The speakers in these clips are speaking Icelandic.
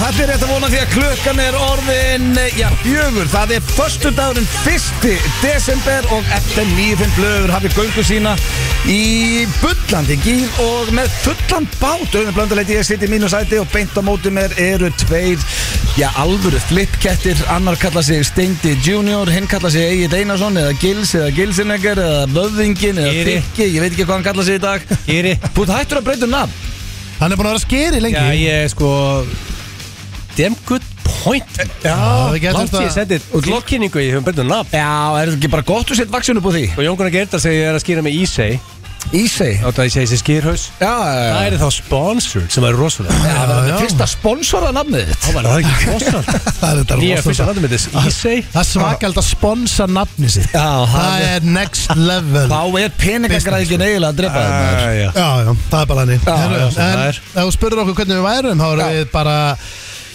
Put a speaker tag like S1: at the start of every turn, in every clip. S1: Allir rétt að vona því að klukkan er orðin, eh, já, fjögur. Það er förstundagurinn 1. desember og eftir nýfinn blöður hafið göngu sína í bullandi gír og með fullan bát. Auðvitað blöndalegti ég sitt í mínu sæti og beint á móti mér eru tveir, já, alvöru flipkettir. Annar kalla sig Steindi Junior, hinn kalla sig Egil Einarsson eða Gils eða Gilsinegger eða Böðingin eða
S2: Giri.
S1: Fikki. Ég veit ekki hvað hann kalla sig í dag.
S2: Giri.
S1: Þú ert hættur að breyta um nafn.
S3: Hann er búin að vera skeri lengi
S2: Já, ég er sko Damn good point
S3: Já, við getum
S2: Látt ég
S3: þetta
S2: sendið tilkynningu Ég hefum byrðið nafn
S1: Já, er þetta ekki bara gott að setja vaksin upp á því?
S2: Og Jón Gunnar Gerdal segir ég er að skýra með Ísei
S1: Ísei
S2: Átt að ég segi þessi skýrhaus
S1: Já,
S2: Það er þá sponsor sem er rosalega
S1: það var
S3: já.
S1: það fyrsta sponsorað nafnið þitt
S2: Það er ekki rosalega
S3: Það er þetta
S2: Nýja fyrsta
S3: rosalega
S2: haldum með þess Ísei
S3: Það er svakald að sponsa nafni sitt
S1: Já,
S3: Það er next level
S1: Þá er peningagræðingin eiginlega að drepa þetta
S2: Já,
S3: Já, já, það er bara hannig
S1: Já,
S3: En
S2: já,
S3: ef
S2: það er.
S3: þú spurður okkur hvernig við værum Þá erum
S1: Já.
S3: við bara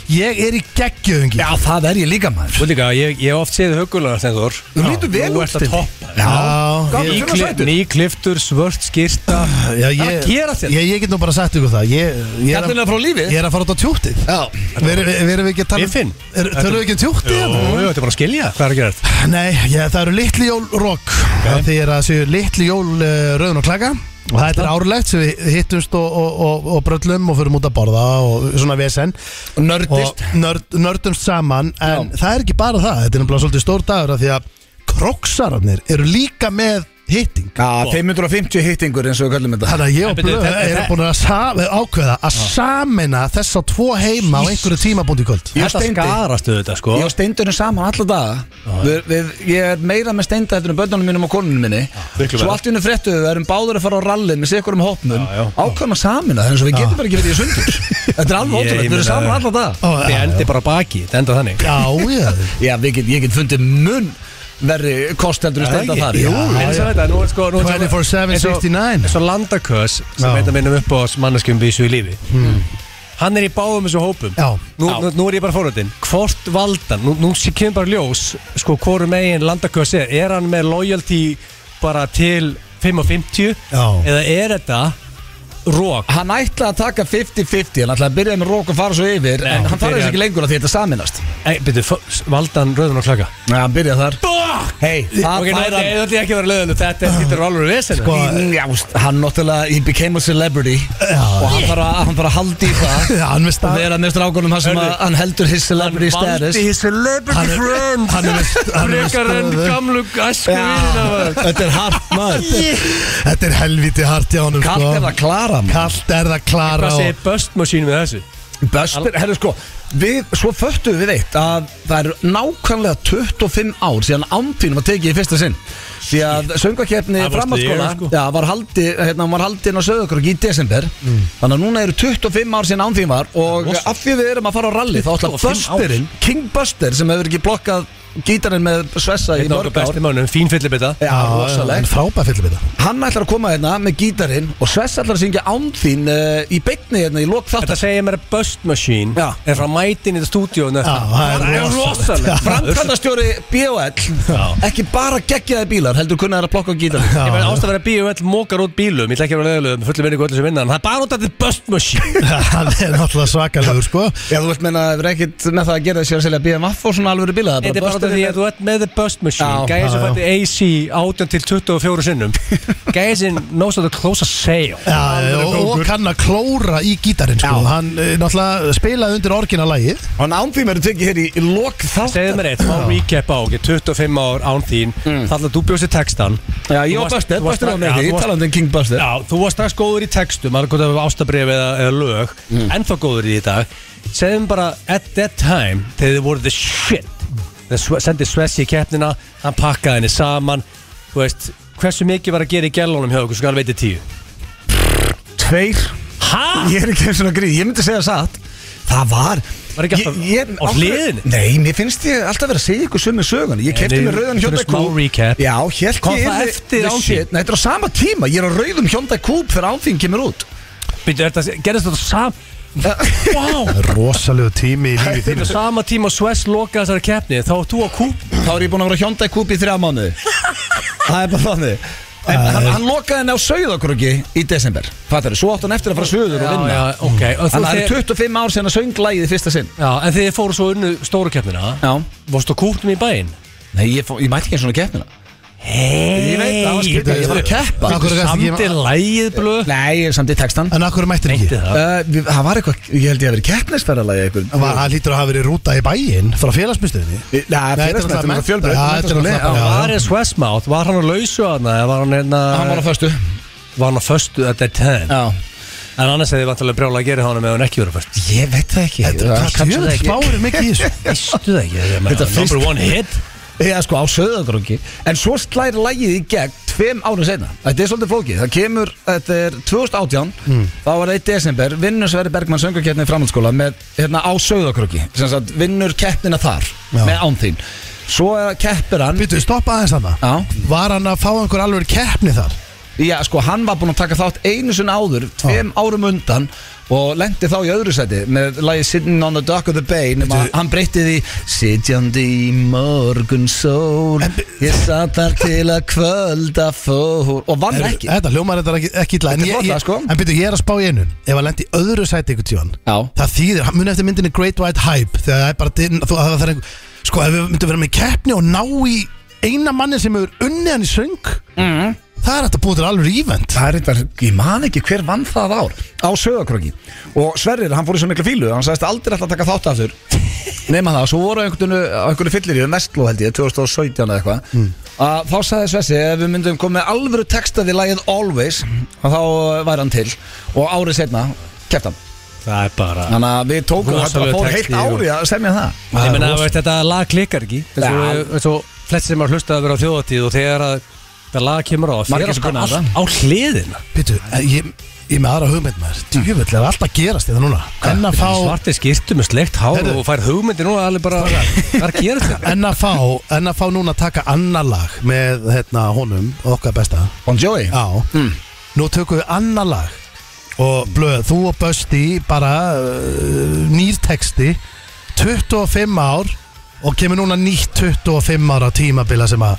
S3: Ég er í geggjöðingi
S1: Já, það er ég líka maður
S2: Þú líka, ég ég hef oft séð hugulega Stendur
S1: Þú lítur vel
S2: Þú
S1: út
S2: ert að
S1: Steindi.
S2: toppa
S1: Já,
S3: Já,
S1: Hvað er svona
S2: Nýkli-
S1: sætur?
S2: Nýkliftur, svört skýrta
S3: Já, ég,
S2: Það er að gera þér.
S3: ég, ég get nú bara sagt ykkur það Ég, ég, er,
S1: Gætlilega
S3: að,
S1: frá lífi
S3: ég er að fara út á tjúttið
S1: Já
S3: Verum við- verum við ekki að tala
S2: Biffinn?
S3: er- Tölum við ekki um tjúttið?
S2: Jú,
S3: hérna?
S2: þetta er bara að skilja Hvað er að gera þetta?
S3: Nei, ég, það eru litli jól rock okay. Því er að séu litli jól uh, rauðin og klaka Og það er árlegt sem við hittumst og, og, og, og bröllum og förum út að borða og svona vesen
S1: Nördist
S3: og nörd, nördumst saman en það er ekki bara það, þetta er náttúrulega svolítið stór dagur af því að kroksararnir eru líka með hitting
S1: Já, 550 hittingur eins og við kallum þetta
S3: Þannig að ég og
S2: En byrju,
S3: Blöð
S2: þetta-
S3: eru
S2: þetta-
S3: búin að sa- ákveða að sameina þess að tvo heima á einhverju tímabúnd í kvöld
S1: Ég og
S2: Þetta
S1: Steindi.
S2: skarastu þetta sko
S1: Ég og steindurinn saman alla daga við, við, Ég er meira með steinda heldur en börnunum mínum og konunum minni
S2: miklu
S1: Svo
S2: verra.
S1: allt í hennu fréttu við erum báður að fara á rallin með sikkurum hópnum
S2: Já, já.
S1: Ákvæm að samina það eins og við getum bara ekki verið í sundur Þetta er alveg
S2: Ég
S1: ótrúlega, við
S2: meina-
S1: erum saman alla daga
S3: Ó,
S2: Þið
S3: Já,
S2: endi bara á baki, þetta enda þannig
S3: já, já
S1: Já, við get, ég get fundið mun verri kost heldur að stenda þar
S3: Jú.
S1: Já.
S2: eins og þetta, nú er sko nú er
S3: 24/7,
S2: eins og-
S3: 69.
S2: eins og landakös sem
S3: Já. Hmm.
S2: heit að minnum upp á manneskjum vísu í lífi hann er í báðum þessu hópum
S3: Já.
S2: Nú, nú, nú er ég bara fórhundin hvort valdan, nú, nú sé kemur bara ljós sko hvorum megin landakös er er hann með loyalty bara til 55
S3: Já.
S2: eða er þetta rók
S1: Hann ætlaði að taka 50-50 Hann ætlaði að byrja með rók og fara svo yfir
S2: Nei,
S1: En hann
S2: byrja-
S1: fara þess ekki lengur að því þetta saminast
S2: byrju, f- valdan rauðan og klaka
S1: Nei, hann byrjaði þar
S2: Bók!
S1: Hei, það
S2: ok, nú
S1: fær
S2: ætla
S1: hann
S2: ég- ætla ég ekki að vera löðan þetta þetta er alveg vesen
S3: Sko,
S1: Já, veist, hann náttúrulega, he became a celebrity Og hann þarf að, hann þarf að haldi í það
S3: Já, hann með
S1: Og
S3: stað
S1: vera með strákunum hann sem að,
S2: Hörðu,
S1: hann heldur his celebrity status
S2: his celebrity friend
S3: hann er með st- hann er með
S2: Frekar enn
S3: stöðu.
S2: gamlu æsku
S1: Já, Þetta er hart maður Sko.
S3: Þetta er helviti hart hjá honum
S1: Kallt er það að klara maður
S3: Kallt er það klara
S2: Hvað
S3: og-
S2: segir Bust Machine við þessu?
S1: Bestir, herru sko við, Svo föttum við eitt að það eru nákvæmlega 25 ár síðan Amfín var tekið í fyrsta sinn Því að söngakefni
S2: Það varstu
S1: framhaldsskóla
S2: ég, sko.
S1: já, var haldið hérna, hún var haldið inn á Söðukrok í desember
S2: Mm.
S1: Þannig að núna eru 25 ár síðan Amfín var og
S2: Rosa.
S1: af því við erum að fara á rally þá ætla
S2: 25 ár.
S1: Busterinn, King Buster sem hefur ekki blokkað gítarinn með Svessa í
S2: Þetta var
S1: mörg ár
S2: besti mannum, fín fyllibita
S1: Já,
S3: En
S1: rosalegt
S3: frábær fyllum við
S1: Hann ætlar að koma hérna með gítarinn og Svessa ætlar að syngja Amfín uh, í beitni hérna í lok
S2: Þetta
S1: þáttar
S2: segir mér að Bust Machine
S1: Já.
S2: er frá mætin í þetta stúdíónu
S3: Já, það er rosalegt.
S2: rosalegt Framkvæmd
S1: Framkvæmdastjóri B.O.L.
S2: Já.
S1: Ekki bara geggjaði bílar, heldur kunna þeirra plokka og gítar
S2: Ég verði ástæð að vera bíu öll mókar út bílum Ég ætla ekki að vera leðilegum, fullum vinningu öllu sem vinna en Það er bara út af þetta Bust Machine
S3: Hann er náttúrulega svakalegur sko
S1: Já, þú veist meina, það er ekkert með það að gera þessi að selja BMF og svona alvöru bíla
S2: Þetta er bara út af því að þú ert með The Bust Machine
S1: Já,
S2: Gæði
S3: já,
S2: sem
S3: já.
S2: fætti AC 18 til 24 sinnum Gæði sem knows how to close a sale
S3: Já, og, og kann að klóra í gítarinn sko
S1: Já.
S3: Hann eh, náttúrulega spilaði undir orginalagi
S1: Og námfým eru tekið hér í, í lok þátt
S2: Segðu mér eitt, smá recap á, ok, 25 ár án þín mm. Þannig að þú bjóðst í textan
S1: Já,
S2: Þú
S1: ég og
S2: varst-
S1: Buster,
S2: þú varst-
S1: Buster á
S2: já,
S1: mér
S2: þú
S1: ekki,
S2: varst-
S1: talandi um King Buster
S2: Já, þú varst strax góður í textum Það er gott að hafa ástabrif eða, eða lög Ennþá góður í því í dag Segðum bara, at that time Þegar þið voru the shit Þegar Sve- sendið Svessi í keppnina Hann pakkaði henni saman Þú veist, hversu mikið var að gera í gælunum hjá okkur Svo hann veitir tíu
S1: Tveir
S2: Hæ?
S1: Ég er ekki eins og gríð, ég myndi segja satt Það var
S2: Var ekki alltaf
S1: Ég- ég-
S2: á hliðinni?
S1: Nei, mér finnst ég alltaf vera að segja ykkur sömu sögun Ég kefti
S2: nei,
S1: mér rauðan
S2: þetta er
S1: Hyundai
S2: smá
S1: Coupe
S2: recap.
S1: Já, hélt
S2: Kom
S1: ég
S2: það
S1: yrði-
S2: eftir
S1: the
S2: Án þín?
S1: shit. Nei, þetta er á sama tíma Ég er á rauðum Hyundai Coupe þegar ánþín kemur út
S2: Býttu, er þetta- gerðist þetta sam Wow
S3: Rosalegu tími í lífi
S2: Þetta
S3: þínu
S2: er sama tíma og Svess lokaði þessari keppni Þá var þú á kúp
S1: Þá er ég búinn að vera á Hyundai Coupe í þrjá mánuði Það er bara þannig En hann, hann lokaði henni á Sauðakröki í desember Fattar Svo átt hann eftir að fara söður og vinna
S2: já, ok Og þú
S1: Þannig að það
S2: þið-
S1: er 25 ár síðan að sönglægið fyrsta sinn
S2: Já, en þið fóru svo unnu stóru keppnina
S1: Já
S2: Vostu á kúknum í bæinn?
S1: Nei, ég, fó, ég mætti ekki einu svona keppnina
S2: Hei
S1: Ég veit, það var skrítið, ég var að keppa
S3: Af hverju gast
S2: Samt
S3: ekki-
S2: er lægið blöð
S1: Nei, ég samt í textan uh,
S3: En akkur mættir
S2: Meinti
S3: ekki
S2: það
S1: við- Það var eitthvað, ég held ég að verið keppnisferðalagi eitthvað
S3: Var- Það hlýtur að hafa verið rúta í bæinn Frá félagsmyndstöðinni
S1: Nei,
S3: Nei, þetta er náttúrulega
S1: félagsmynd,
S3: mennt-
S1: fjölbreytt
S3: Já, þetta er
S1: menntaskóli,
S3: náttúrulega-
S1: já.
S3: já.
S2: Var er Svesmátt, var hann á lausu aðna Var hann einna
S1: Hann var á föstu
S2: Var hann á föstu at that time
S1: Já
S2: En annars hefði vantilega brjála að gera honum Ef hann ekki verið á föstu
S1: Ég veit það ekki
S3: Það
S1: kannski
S3: tjöður
S1: það ekki.
S3: spáir mikið í þessu
S2: Vistu það ekki ég meina,
S1: Þetta fyrst-
S2: Number one hit
S1: Já, sko, á söðagróki En svo slæri lagið í gegn tveim árið senna Þetta er svolítið flókið Það kemur, þetta er 2018 Þá var það í desember Vinnur Sverri Bergmann söngarkeppni í framhaldsskóla með, hérna, Á söðagróki Vinnur keppnina þar
S3: Já.
S1: Með án þín Svo eh, keppir hann
S3: Býtu, stoppa aðeins hana
S1: Já.
S3: Var hann að fá einhver alveg keppni þar?
S1: Já, sko, hann var búinn að taka þátt einu sinni áður Tveim árum undan Og lendi þá í öðru seti Með lagið Sitting on the Dock of the Bay Nefna hann breytti því Sitjandi í morgun sól Ég satt þar til að kvölda fór Og vann ekki
S3: Þetta hljómar þetta ekki, ekki illa En,
S1: Þetta er
S3: ég-
S1: flott,
S3: ég-
S1: sko.
S3: en býtu, ég er að spá í einu Ef hann lendi í öðru sæti ykkur tíðan
S1: Já.
S3: Það þýðir, muni eftir myndinni Great White Hype Þegar það er bara dinn, þú, það, það er einhver Sko, ef við myndum vera með keppni og ná í Eina manni sem hefur unnið hann í söng
S1: Mhm.
S3: mm. Það er þetta búið til alveg ívent
S1: Það er eitthvað, ég man ekki hver vann það ár Á söðakröki Og Sverrir, hann fór í svo miklu fílu Hann sagðist aldrei alltaf að taka þátt aftur Nefna það, svo voru á einhvern, á einhvern fyllir í Vestló held ég, 2017 eða eitthvað að Þá sagði Svessi, ef við myndum koma með alvöru textað í lagið Always að Þá eh, væri hann til Og árið setna, keft hann
S2: Það er bara
S1: Þannig að við tókum,
S2: Rosalegur
S1: þetta bara fór heilt
S2: texti og-
S1: árið að semja það
S2: Ég meina, veist, þetta lag klikkar ekki Eins og-
S1: Ja.
S2: eins og flest sem har hlustað að vera á þjóðatíð og þegar að þetta lag kemur á
S1: Margir
S2: þegar
S1: sem kunna
S2: allt á hliðina
S3: Býtu, eh, ég, ég er með aðra hugmynd maður Tjöfull, það er alltaf að gerast þetta núna En að fá
S2: svarti skýrtu með slegt hár
S3: Heyrðu.
S2: og fær hugmyndi nú alveg bara hvað er að gera þetta
S3: En að fá, en að fá núna að taka annar lag með hérna honum, okkar besta
S1: Bon Jovi
S3: Já,
S1: Hmm.
S3: nú tökum við annar lag og blöð, þú og Bösti bara uh, nýr texti 25 ár og kemur núna nýtt 25 ára tímabila sem að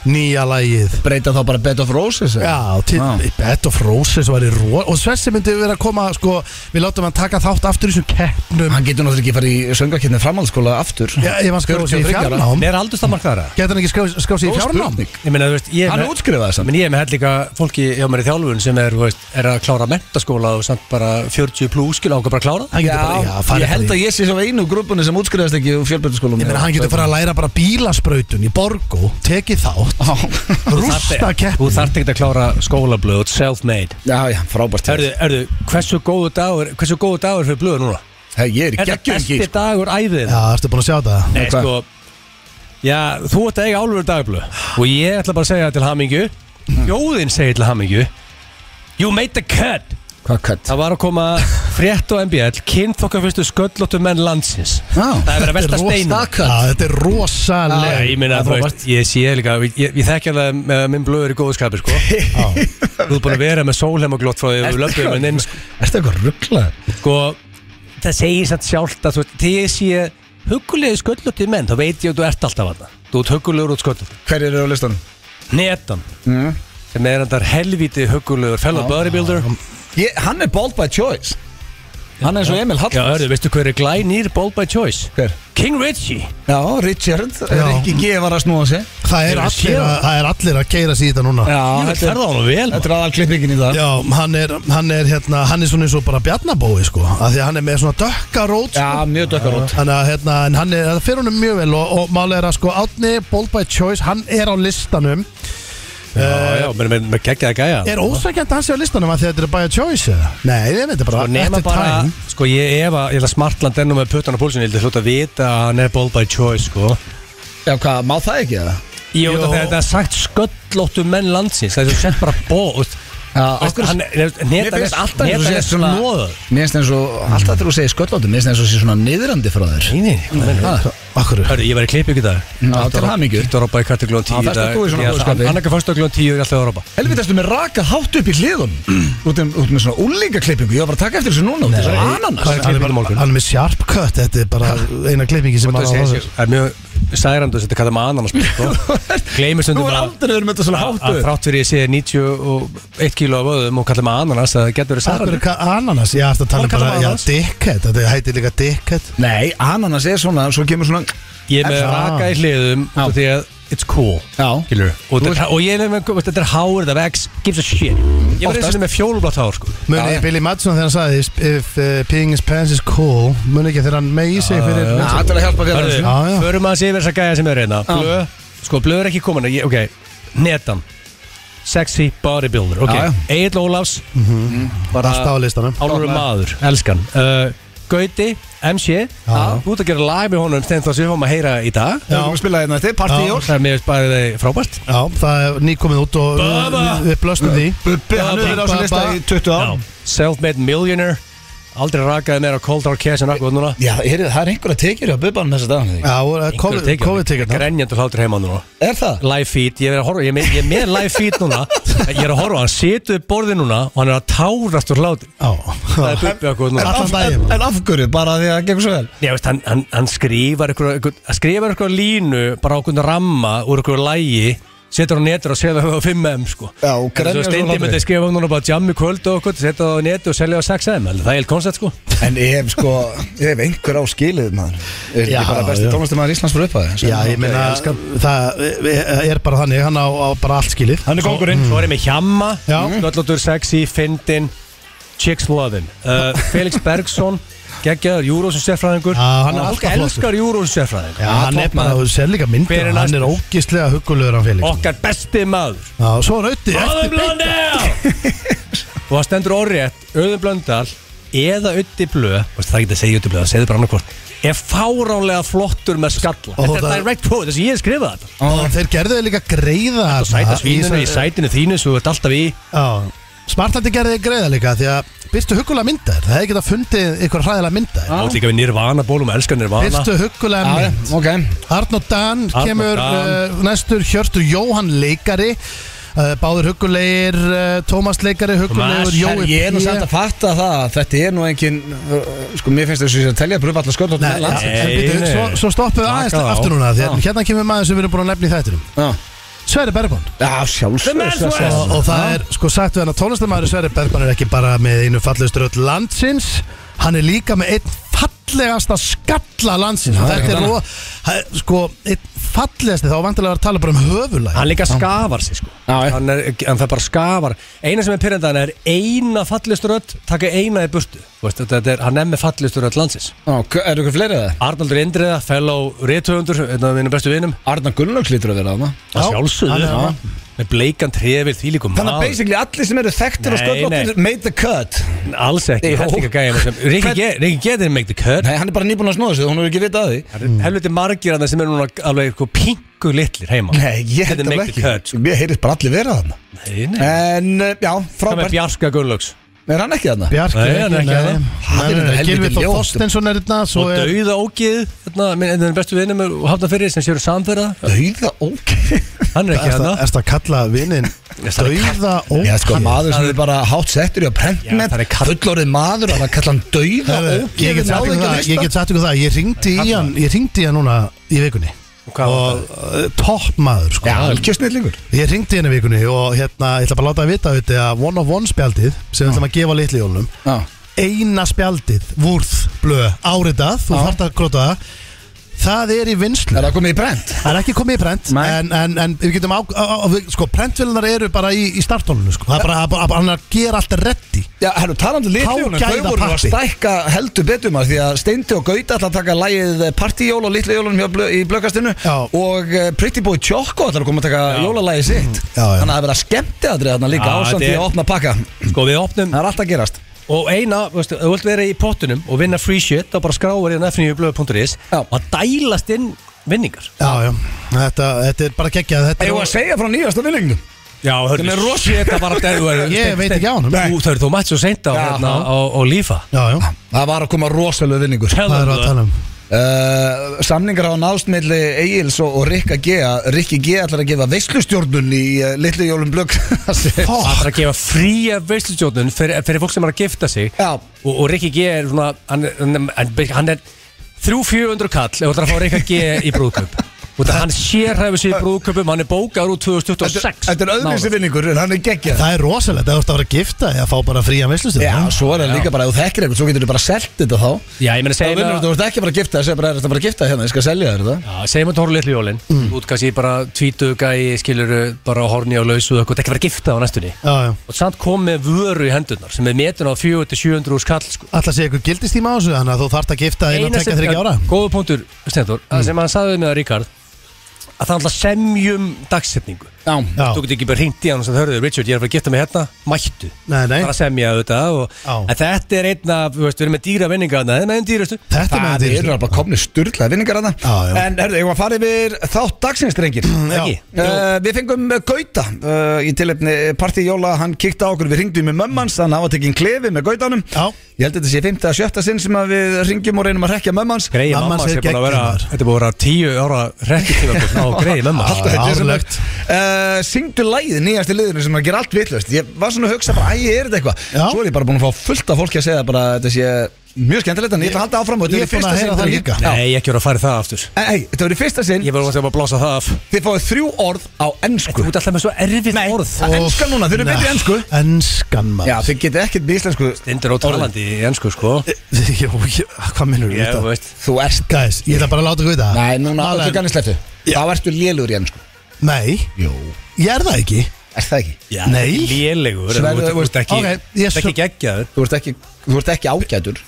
S3: nýja lagið
S1: Breyta þá bara Bed of Roses eða?
S3: Já, til,
S1: Já.
S3: Bed of Roses var í ró og Svessi myndi vera að koma, sko við látum hann taka þátt aftur í þessum keppnum
S1: Hann getur náttúrulega ekki farið í söngakefni framhaldsskóla aftur
S3: Já, ef hann skráði sig í
S1: 43 ára.
S3: fjárnám
S2: Mér er aldrei stafmarkaðara
S3: Getur hann ekki skráð skráð sig í
S1: Góð
S3: fjárnám?
S1: spurning.
S2: Ég meina, þú veist, ég
S1: Hann er útskrifaður samt.
S2: Menn ég er með held líka fólki hjá mér í þjálfun sem er, þú veist, er að klára mentaskóla og samt bara 40 pluss, skil ákveð bara að klára það.
S3: Hann getur bara, já, farið
S1: ég held
S3: bara
S1: að ég sé svo einu grúpunni sem útskriðast ekki úr fjölbjörnskólum
S3: Ég meina, hann getur fara að læra bara bílasprautun í borgu, tekið þátt, rústa
S2: Þú
S3: keppni.
S2: þarft ekki að klára skólablöð, it's self-made
S1: Já, já, frábært
S2: Erðu, erðu, hversu góðu dagur, hversu góðu dagur fyrir blöð núna?
S1: Hei, Ég er
S2: Er það
S1: geggjum
S2: besti
S1: ekki
S2: dagur æðið?
S3: Já, ertu búin að sjá það?
S2: Nei,
S1: Hvað?
S2: sko Já, þú ert að eiga álfur dagblöð Og ég ætla bara að segja til hamingju Mm. Jóðinn segir til hamingju You made the cut
S1: Hvað kött?
S2: Það var að koma frétt og MBL Kynþokka fyrstu sköllóttu menn landsins
S1: Já.
S2: Það er verið að velta
S3: Þetta er
S2: steinu
S3: rosa- Já, þetta er rosalega.
S2: Ég meina, þú veist, ég sé líka Ég, ég þekki alveg að eh, minn blöður í góðu skapi, sko Þú ert búin að vera með sólheim og glott frá því Við löpum en inn,
S1: Er þetta eitthvað rugglað?
S2: sko Það segir samt sjálft að þú veist Þegar ég sé hugulegu sköllóttu menn Þá veit ég að þú ert alltaf að það Þú ert hugulegur út sköllóttu
S1: Hver eru á listan?
S2: Netan
S1: Mm.
S2: sem er andar helviti hugulegur fellow bodybuilder
S1: Ég, hann er bold by choice Hann er eins og Emil
S2: Já,
S1: Hall
S2: hörðu, veistu hver er glænýr Bold by Choice?
S1: Hver?
S2: King Richie
S1: Já, Richard
S3: Já.
S1: Rikki G var að snúa sig
S3: Það er
S2: Hefurðu
S3: allir
S2: séð
S3: að- það er allir að keira sig í þetta núna.
S2: Ég
S1: Já,
S2: veit, ferða honum vel
S1: Þetta er aðal klippingin í dag
S3: Já, hann er, hann er hérna, hann er svona eins og bara bjarnabói, sko, af því að hann er með svona dökka rót, sko.
S1: Já, mjög dökkarót
S3: Þannig að hérna, en hann er, það fyrir honum mjög vel og, og málega er að sko, Átni, Bold by Choice, hann er á listanum.
S2: Já, já, með, með, með geggjaða gæja
S3: Er ósækjandi að hann sé á listanum að því að þetta er by choice eða? Nei, ég veit þetta bara,
S2: Og Sko, nema
S3: eftir
S2: bara,
S3: time.
S2: sko ég ef að, ég ætla smartland ennum með puttan á púlsinu, ég ætla hljóta að vita að hann er Bold by Choice, sko
S1: Já, hvað, má það ekki eða?
S2: Ég veit
S3: Jó.
S2: að þetta er sagt sköllóttu menn landsins, það er sem sett bara bóð
S1: Já,
S2: Veist, hann er,
S1: Mér
S2: netan
S1: finnst alltaf eins og
S2: netan
S1: sé
S2: er
S1: svona
S2: snóður
S1: Mér finnst eins og Alltaf þegar þú segir sköllóttum Mér finnst eins og sé svona niðrandi frá þér
S2: Nei, nei, hvað mennur
S1: Ha?
S3: Akkur
S2: Hörru, ég var í klipið í dag
S1: Já, til hamingju.
S2: Ítt Europa í kategóðan
S1: Já,
S2: 10
S1: fyrst ert þú í svona búðskapi.
S2: Annarka fyrstu klón 10 er alltaf Europa
S1: Helvita, erstu með raka hátt upp í hliðum út, um, út með svona úlingaklippingu Ég var bara að taka eftir þessu núna út þessu
S3: Nei,
S1: ananas
S3: hann er
S2: klippingu
S3: bara-
S2: morgun?
S3: hann er með sharp cut Þetta er bara eina klippingi sem
S2: Það
S3: hann á
S2: sé- sé- er mjög særandu að setja kallað með ananas með, sko. Gleimir
S1: Nú
S2: stundum
S1: er
S2: að,
S1: aldrei verið með þetta svona
S2: að,
S1: hátu
S2: að þrátt fyrir ég sé 91 kíló af vöðum og kallað með ananas að það getur verið
S3: Akkur er
S2: særandu.
S3: ka- ananas, ég ætti að tala um
S2: Hvað kallar
S3: bara
S2: maður
S3: Já,
S2: ananas?
S3: dickhead, þetta heitir líka dickhead
S1: Nei, ananas er svona, svo kemur svona
S2: Ég er með
S3: Já.
S2: raka í hliðum út af því að it's cool.
S1: Já.
S2: Skilur. Og, þetta, og ég er með, veist, þetta er hár, þetta er vex, gives a shit. Ég var eins og
S1: Oftast.
S2: þetta með fjólublátt hár, sko.
S3: Muni Billy Madson þegar hann sagði "If- If uh, peeing his pants is cool Muni ekki þegar hann megi sig fyrir
S1: Já, þetta er að hjálpa fyrir
S2: Hörðu,
S1: þessu
S3: Já, já.
S2: förum að sé verið þess að gæja sem er reyna Blöð, sko blöð er ekki komin ég, Ok, netan Sexy bodybuilder, ok
S1: Já, já.
S2: Egil Ólafs, bara
S3: Alltaf á listanum
S2: álfur maður, elskan uh, Gauti, MC
S3: Já.
S2: Þú ert að gera lag með honum þegar það sem við fáum að heyra í dag
S1: Við erum að spila hérna eftir, partí í
S3: Já.
S1: jól
S2: Það er mér bara þeir frábært
S3: Já, það er nýkomið út og
S2: Bubba!
S3: við blöstum því
S1: Bubbi, hann
S2: Bubba,
S1: hefur verið á þessu lista
S3: Bubba.
S1: í 20 ár
S2: Self-made millionaire Aldrei rakaði meira cold hard cash en akkur núna
S1: Já, er, það er einhver að tekja á bubbanum þessa dag
S3: Já, og uh, COVID-tiggarnar
S2: Grenjandur hlátur heima núna
S1: Er það?
S2: live feed, ég er, að horfa, ég, er með, ég er með live feed núna ég er að horfa, á hann situr við borðið núna og hann er að tárast úr hlátur það er
S3: Já,
S2: bubbi okkur núna
S3: Allan
S1: Af-
S3: daginn.
S1: En en af hverju, bara því að það gengur svo vel
S2: Ég veist, hann, hann, hann skrifar ykkur, ykkur, hann skrifar ykkur línu bara á okkur ramma úr ykkur lægi setur á netur og selja það á 5M sko.
S1: Já, og
S2: En
S1: grenjar
S2: svo
S1: svo
S2: steindi
S1: hlátri.
S2: myndi skrifa núna bara jammi kvöld og okkur setja það á netu og selja á 6M Alveg, það er helt koncept sko
S1: En ég hef sko, ég hef einhver á skilið maður Er
S3: Já,
S1: ekki bara
S3: já.
S1: besti tónlistamæður Íslands fyrir upphæði
S3: Já, ég meina, það eh, er bara þannig, hann á, á bara allt skilið
S1: Hann er kongurinn
S2: Svo er ég með Hjamma,
S3: Já.
S2: Döllotur Sexy, Fyndin Chicks Lovin uh, Felix Bergson, geggjaður Júrósum sérfræðingur
S3: Já, hann er alltaf flottur.
S2: elskar Júrósum sérfræðingur
S3: Já, hann er bara, þú sér líka
S2: Hver
S3: myndir
S2: er
S3: Hann
S2: næstur? Oh,
S3: er ógislega huggulegur hann Felix
S2: Okkar besti maður
S3: Já, og svo er auðvitað
S2: Öðun Blöndal Og það stendur orðrétt Öðun Blöndal eða Ötti Blö Veistu, Það er ekki að segja Ötti Blö, það segir bara annarkvort Er fáránlega flottur með skalla
S3: Og
S2: Þetta er
S3: það-
S2: direct quote, þess að ég hef skrifað þetta
S3: Og þeir gerðu þau líka greiða
S2: Og sæta svíninu í sætinu þínu Svo þú ert alltaf í
S3: Já, Smartlandi gerði þau greiða líka Því að byrstu huggulega myndar Það hefði geta fundið ykkur hræðilega myndar
S2: Átt líka við Nirvana bólum, elskar Nirvana
S3: Byrstu huggulega
S1: Já,
S3: mynd
S1: ok
S3: Arnótt Dan
S2: Arnór
S3: kemur
S2: Dan.
S3: Uh, næstur Hjörtur Jóhann leikari uh, Báður huggulegir uh, Tómas leikari huggulegur
S2: Tómas,
S3: Jói
S1: Ég er nú
S3: P.
S1: samt að fatta það að Þetta er nú engin, uh, sko mér finnst þessu að telja Brufa allar skörn
S3: Nei, ja,
S2: Nei,
S3: en býtu,
S2: nei.
S3: Svo, svo stoppum við
S2: Slaka
S3: aðeins
S2: á.
S3: aftur núna því að
S1: Já.
S3: Hérna kemur maður sem við erum búin að nefna í þættinum
S1: Já,
S3: Sverri Bergman
S1: Já, sjálfsög
S2: man's worst.
S3: og, og það er sko sagt við hann að tónlistamæður Sverri Bergman er ekki bara með einu fallegustur öll landsins hann er líka með einn fallegasta skalla landsins og
S1: Það er
S3: þetta er
S1: ekki
S3: ro- það er, sko einn fallegasti þá er vantilega að tala bara um höfulæg
S2: Hann líka skafar sig sko
S1: Já, já.
S2: hann, er, hann það bara skafar Eina sem er pyrrendan er eina fallistur öll Takk eina í burtu Þú veist, þetta þetta er, Hann er með fallistur öll landsins
S1: Er ykkur fleiri að það?
S2: Arnaldur Indriða, fellow rithöfundur Einn af minnum bestu vinum
S1: Arnar Gunnlaugs lítur að vera þarna
S2: Að
S3: Já, hann er
S2: sjálfsögðu Með bleikan trefið því líkum
S1: Þannig að basically allir sem eru þekktir og
S2: Nei,
S1: sköldlóttir made the cut
S2: Alls ekki,
S1: Jó.
S2: þetta er ekki gæja sem Rikki Ge- Rikki getur make the cut
S1: Nei, hann er bara nýbúin að snóða sig, hún er ekki vitað að því
S2: Það eru Helviti margir að það sem eru núna alveg eitthvað pingu litlir heima
S1: Nei, ég held
S2: Þetta er
S1: alveg
S2: make the cut
S1: ekki Mér heyrðist bara allir vera þarna
S2: Nei, nei
S1: En, uh, já,
S2: Það með
S1: frábært
S2: Bjarska Gunnlaugs
S1: Er hann ekki þarna?
S3: Bjarki
S2: Nei, hann er ekki að það.
S1: Hann er þetta helviti
S3: Gilvi Þór
S1: ljótur.
S3: Þorstensson er þetta svo
S2: Og
S3: er
S2: dauða ógið Þetta er bestu vinnum og hafna fyrir sem séu samferða
S1: Dauða, ok
S2: Hann er ekki
S3: Erst
S2: hérna
S3: að- ertu að kalla vinnin Dauða og
S1: Já, sko, maður sem
S2: það-
S1: er bara hátt settur í að
S2: Já,
S1: prentnet
S2: það er kall-
S1: Fullorðin maður, og hann kalla hann dauða ógeðið,
S3: Ég get sagt
S1: náði
S3: ykkur
S1: ekki að
S3: það, ég
S1: lista.
S3: get sagt ykkur það Ég ringdi í hann, ég ringdi í hann núna í vikunni
S2: hvað var
S3: Og uh, topp maður sko
S1: Já, ekki snillingur
S3: Ég ringdi henni vikunni og hérna, ég ætla bara að láta það vita auðvitað að One of One spjaldið sem við ætlum að gefa litli jólunum
S1: Já,
S3: eina spjaldið, vúrð, blöð, áritað, þú þarft að gróta það það er í vinslu
S1: er það komið í brent?
S3: Það er ekki komið í prent
S1: Nei.
S3: en, en, en við getum á, á, á við- sko, prentvillunar eru bara í, í startólunum sko. það er bara að- bara hann er að gera allt reddi
S1: Já, herru, talandi um litljónum, þau
S3: Hágæða
S1: voru nú að
S3: pappi.
S1: stækka heldur betur maður því að Steindi og Gauta ætla að taka lægið Partíjól og Litljónum blö, í blökkastinu
S3: Já.
S1: og eh, Pretty Boy Choco ætla að koma að taka jólalægið sitt
S3: Já, já.
S1: Þannig að það verða skemmti aðrið þarna líka
S2: Já,
S1: ásand því
S2: þetta er-
S1: að opna pakka
S2: Sko við opnum
S1: Það er allt að gerast
S2: Og eina, veistu, ef þú vilt vera í pottunum og vinna free shit þá bara skráður í fnjöfblöð.is
S1: Já.
S2: og dælast inn vinningar
S3: Já, já, þetta, þetta er bara geggjað þetta
S1: Eða að
S3: er,
S1: segja frá nýjasta vinningnum
S2: Já, hörðu
S1: Sem er rosa-
S2: Þetta var að dælu
S3: Ég veit ekki á honum.
S2: Þú þau eru þú mætt svo seint á,
S1: Já.
S2: hérna, á, á lífa
S3: Já, já,
S1: Það var að koma rosalega vinningur
S3: hvað er að tala um
S1: Uh, samningar hafa náðst milli Egils og, og Rikka G Rikki G ætlar að gefa veislustjórnun í uh, Litlu Jólum Blögg
S2: Það er að gefa fría veistlutjóðnun fyrir, fyrir fólk sem er að gifta sig
S1: Já.
S2: og, og Rikki G er svona hann, er- hann, er- hann er 3-400 kall ef þú ætlar að fá Rikki G í brúðkaup Út að hann sérhæfi sig í brúðköpum, hann er bókar úr 2026
S1: Þetta er öðruvísi
S2: Nálægt.
S1: vinningur en hann er geggjað
S3: Það er rosalegt að þú ert að vera að gifta eða fá bara fría veislustu
S1: Já, svo er það líka bara, ef þú þekkir eitthvað, svo getur þú bara selt þetta þá
S2: Já, ég meina,
S1: Það
S2: segjum
S1: vinnur
S2: að
S1: þetta, þú ert ekki bara að gifta það, segir bara, er þetta bara að gifta hérna, ég skal selja þér þetta
S2: Já, segjum að þú horfum litlu jólin mm. Út kannski bara tvítuga í skiluru bara á horni og lausu og eitthvað, ekki verið að gifta á næstunni
S3: Já, já
S2: og samt kom með vöru í hendurnar sem er metin á 400-700 úr skall sko.
S3: Alltaf sé ykkur gildistíma á þessu Þannig að þú þarft að gifta innan
S2: Eina sem-
S3: tekja þryggja ára
S2: Góður punktur, Stendur, mm. sem hann sagði við með Ríkard að það er alltaf semjum dagsetningu
S1: Já,
S3: Já,
S2: þú getur ekki bara hringt í hann og sagt, hörðu, Richard, ég er að fara að gifta mig hérna, mættu
S3: nei, nei
S2: bara að semja auðvitað og,
S3: Já.
S2: en þetta er einn af, þú veist, við erum með dýra vinninga þarna, þetta er með einn dýrastu
S3: Þetta er með
S1: það eru bara komni sturglaði vinningar
S3: Já, já.
S1: þarna En herðu, ég var að fara yfir þátt dagsins, drengir
S3: Já,
S2: ekki.
S1: Uh, við fengum uh, Gauta uh, í tilefni partíjóla, hann kíkti á okkur, við ringdum með mömmans, hann hafa tekinn klefi með Gautanum
S3: Já.
S1: Ég held að þetta sé 5. að 7. sinn sem að við ringjum og reynum að rekja mömmans
S2: Greiði
S3: Mamma
S2: mamma
S3: segir
S2: sem búin að vera,
S3: geggjuð maður.
S2: þetta er búin að vera tíu ára rekkitíma á greiði mamma
S1: Alltaf
S3: Já,
S1: þetta er
S3: árlegt.
S1: uh, Syngdu lægið nýjast í liðinu sem að gera allt vitlaust Ég var svona að hugsa bara, æ, er þetta eitthvað
S3: Já.
S1: Svo er ég bara búin að fá fullt af fólki að segja bara Þetta sé mjög skemmtilegt, en ég ætla að halda áfram og
S3: Ég
S1: Þetta
S3: er búin að heyra það líka.
S1: Nei,
S2: Nei, ekki voru að fara í það aftur
S1: ei, Eh, þetta verður í fyrsta sinn
S2: Ég verður að blása það af
S1: Þið fáið þrjú orð á
S2: Þú
S1: ennsku
S2: ert alltaf með svo erfitt
S1: Nei,
S2: orð
S1: það er enska núna, þið eru betri í ensku
S3: Enskan
S1: Já,
S3: maður
S1: þið getið ekkert með íslensku
S2: Stendur á talandi í ennsku sko
S3: Jó, ég- hvað minnur
S2: Ég
S3: þetta?
S2: veist
S1: Þú ert
S3: Guys, ég ætla bara að láta ykkur vita
S1: Nei, núna,
S3: Malen-
S1: öllu kannist leftu Þá ertu lélugur í ennsku
S3: Nei,
S1: Jú
S3: ég er það ekki
S1: Er það ekki?
S2: Já,
S3: Nei.
S2: Lélegur
S1: Sverðu,
S2: Þú ert- þú
S1: veist,
S2: ert ekki
S3: ok, ég
S2: Þú ert
S3: svo-
S2: ekki geggjaður
S1: Þú ert ekki, þú ert ekki ágætur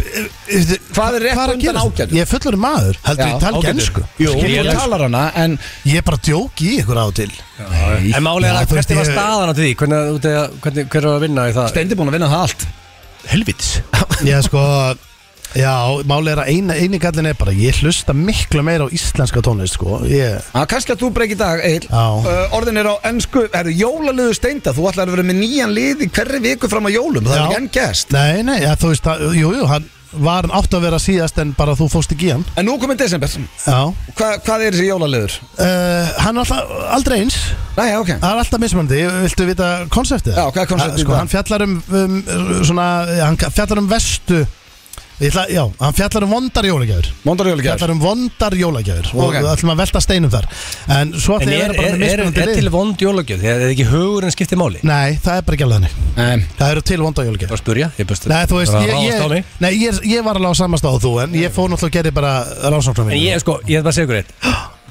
S1: Hvað er rétt
S3: að
S1: undan
S3: gerast?
S1: ágætur?
S3: Ég er fullur maður, heldur
S1: Já,
S3: ég tala ekki
S2: ágætur.
S3: ennsku
S1: Jú, þú
S2: Lélegur.
S1: talar hana en
S3: Ég er bara að djóki í ykkur á og til
S2: En málega
S3: Já,
S2: það,
S3: þú veist,
S2: hvernig var
S3: ég-
S2: staðan á því? Hvernig, út að- hvernig, hver var að vinna í það?
S1: Steindi búin að vinna það allt
S2: Helvitis
S3: Ég er sko Já, máli er að eina, eini gallin er bara Ég hlusta miklu meira á íslenska tónlist sko Ég,
S1: Já, kannski að þú breykir dag, Egil
S3: Já.
S1: uh, Orðin er á ennsku, herru, jólaliðu Steinda Þú ætlar að vera með nýjan lið í hverri viku fram á jólum Það
S3: Já.
S1: er ekki enn gest
S3: nei, nei, já, þú veist að, Jú, jú, hann var hann átt að vera síðast En bara þú fóst ekki í hann
S1: En nú komið desember Hva,
S3: Já,
S1: Hvað er þessi jólaliður?
S3: uh, hann er alltaf aldrei eins
S1: Næja, ok
S3: Það er alltaf mismunandi, viltu vita konseptið?
S1: Já, hvað er konseptið
S3: Ha, Sko,
S1: í dag?
S3: hann fjallar um, um svona, hann fjallar um vestu Ég ætla, já, hann fjallar um vondar jólagjafur
S1: Móndar
S3: Fjallar
S1: jólagjör
S3: um vondar jólagjafur Og
S1: Ok.
S3: við ætlum að velta steinum þar En svo
S2: En
S3: ætlum ég
S2: er,
S3: að vera bara
S2: er,
S3: með
S2: er, er,
S3: mismunandi
S2: til
S3: lið
S2: vond jólagjöf? Er er ekki hugurinn skiptir máli?
S3: Nei, það er bara ekki alveg þannig
S1: Nei
S3: Það eru til vondar
S2: Ég var
S3: jólagjafur
S2: að spurja Ég best
S3: Nei, þú veist,
S2: bara að
S3: ég,
S2: ráðast á mig.
S3: ég, nei, ég, ég var alveg á samastáð þú En ég fór náttúrulega að gera bara rannsóknar
S2: En
S3: mín
S2: ég, sko, ég ætla bara að segja ykkur eitt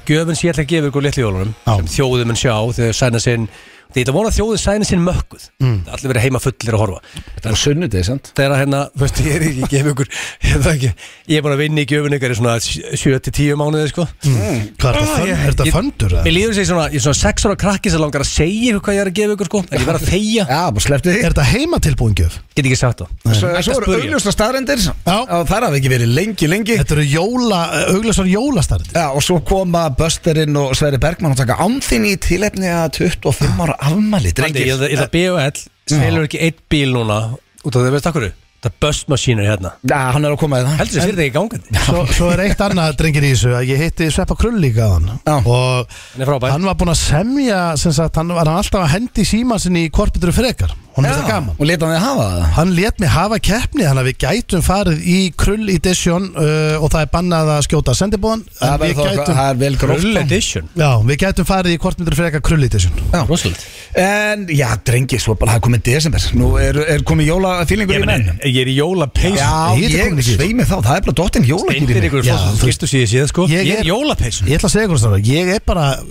S2: Gjöfin sem ég ætla að gefa ykkur litlu jólunum
S3: Já.
S2: sem þjóðum mun sjá þegar þau sæna sinn Þegar þetta vona að þjóðum sæna sinn mökkuð mm. Allir verið heima fullir að horfa
S1: Þetta var sunnudegi, sant?
S2: Þegar að hérna, þú veist, ég er ekki að gefa ykkur Ég það ekki Ég er bara að vinna í gjöfin ykkur í svona 7-10 mánuði, sko
S3: Mm. Hvað er þetta fönn- er þetta föndur? eða?
S2: Mér líður sér svona, ég er svona 6 ára krakki sem langar að segja ykkur hvað ég er að gefa ykkur, sko En ég verð að þegja,
S1: Já, bara slepptu því
S3: Er þetta heimatilbúingjöf?
S2: get ekki sagt það
S1: Svo, svo
S2: Ætti að
S1: eru
S2: spyrja.
S1: augljósta staðrendir
S3: Já.
S1: Það hafi ekki verið lengi, lengi
S3: Þetta eru jóla, eh, auglasvar jólastarði
S1: Já, og svo koma Bösterinn og Sverri Bergmann og taka amþinn í tilefni að 25 ára afmæli,
S2: Andi,
S1: drengir
S2: Ég ætla- ég ætla að BOL selur ekki eitt bíl núna Út af því, veist það hverju? Það böstmaskínur hérna
S1: Já, hann er að koma í það
S2: Heldur þessi fyrir ekki gangandi
S3: svo, svo er eitt annað drengir í þessu að ég hitti Sveppa Krull líka á hann
S1: Já.
S3: og
S2: Hann er frábær.
S3: hann var búinn að semja sem sagt, hann var hann alltaf að hendi síman sinni í korpitur frekar, hún er þetta gaman
S1: Og leta hann þið hafa það
S3: Hann let mig hafa keppni þannig að við gætum farið í krull edition uh, og það er bannað að skjóta sendibóðan
S1: Það
S3: við
S1: verður þá eitthvað-
S3: gætum,
S1: það er vel
S2: Krull
S1: gróft
S2: edition
S3: já, við gætum farið í korpitur frekar krull edition
S2: Rósvöld
S1: En, já, drengir, svo bara það er komið desember Nú er, er komið jólafílingur
S2: Ég,
S1: í
S2: meni,
S1: menn
S2: ég er í jólapeys
S1: Já,
S3: Nei, þetta er
S1: ég
S3: komin í gír.
S1: sveimi þá, það er bara dottinn jólagýr
S2: Eindir ykkur
S3: Já,
S2: fólk
S3: þú-
S2: Fyrstu síðið síðið sko
S3: Ég
S2: Ég
S3: er-
S2: er jólapeys
S3: Ég ætla að segja ykkur svona, ég er bara uh,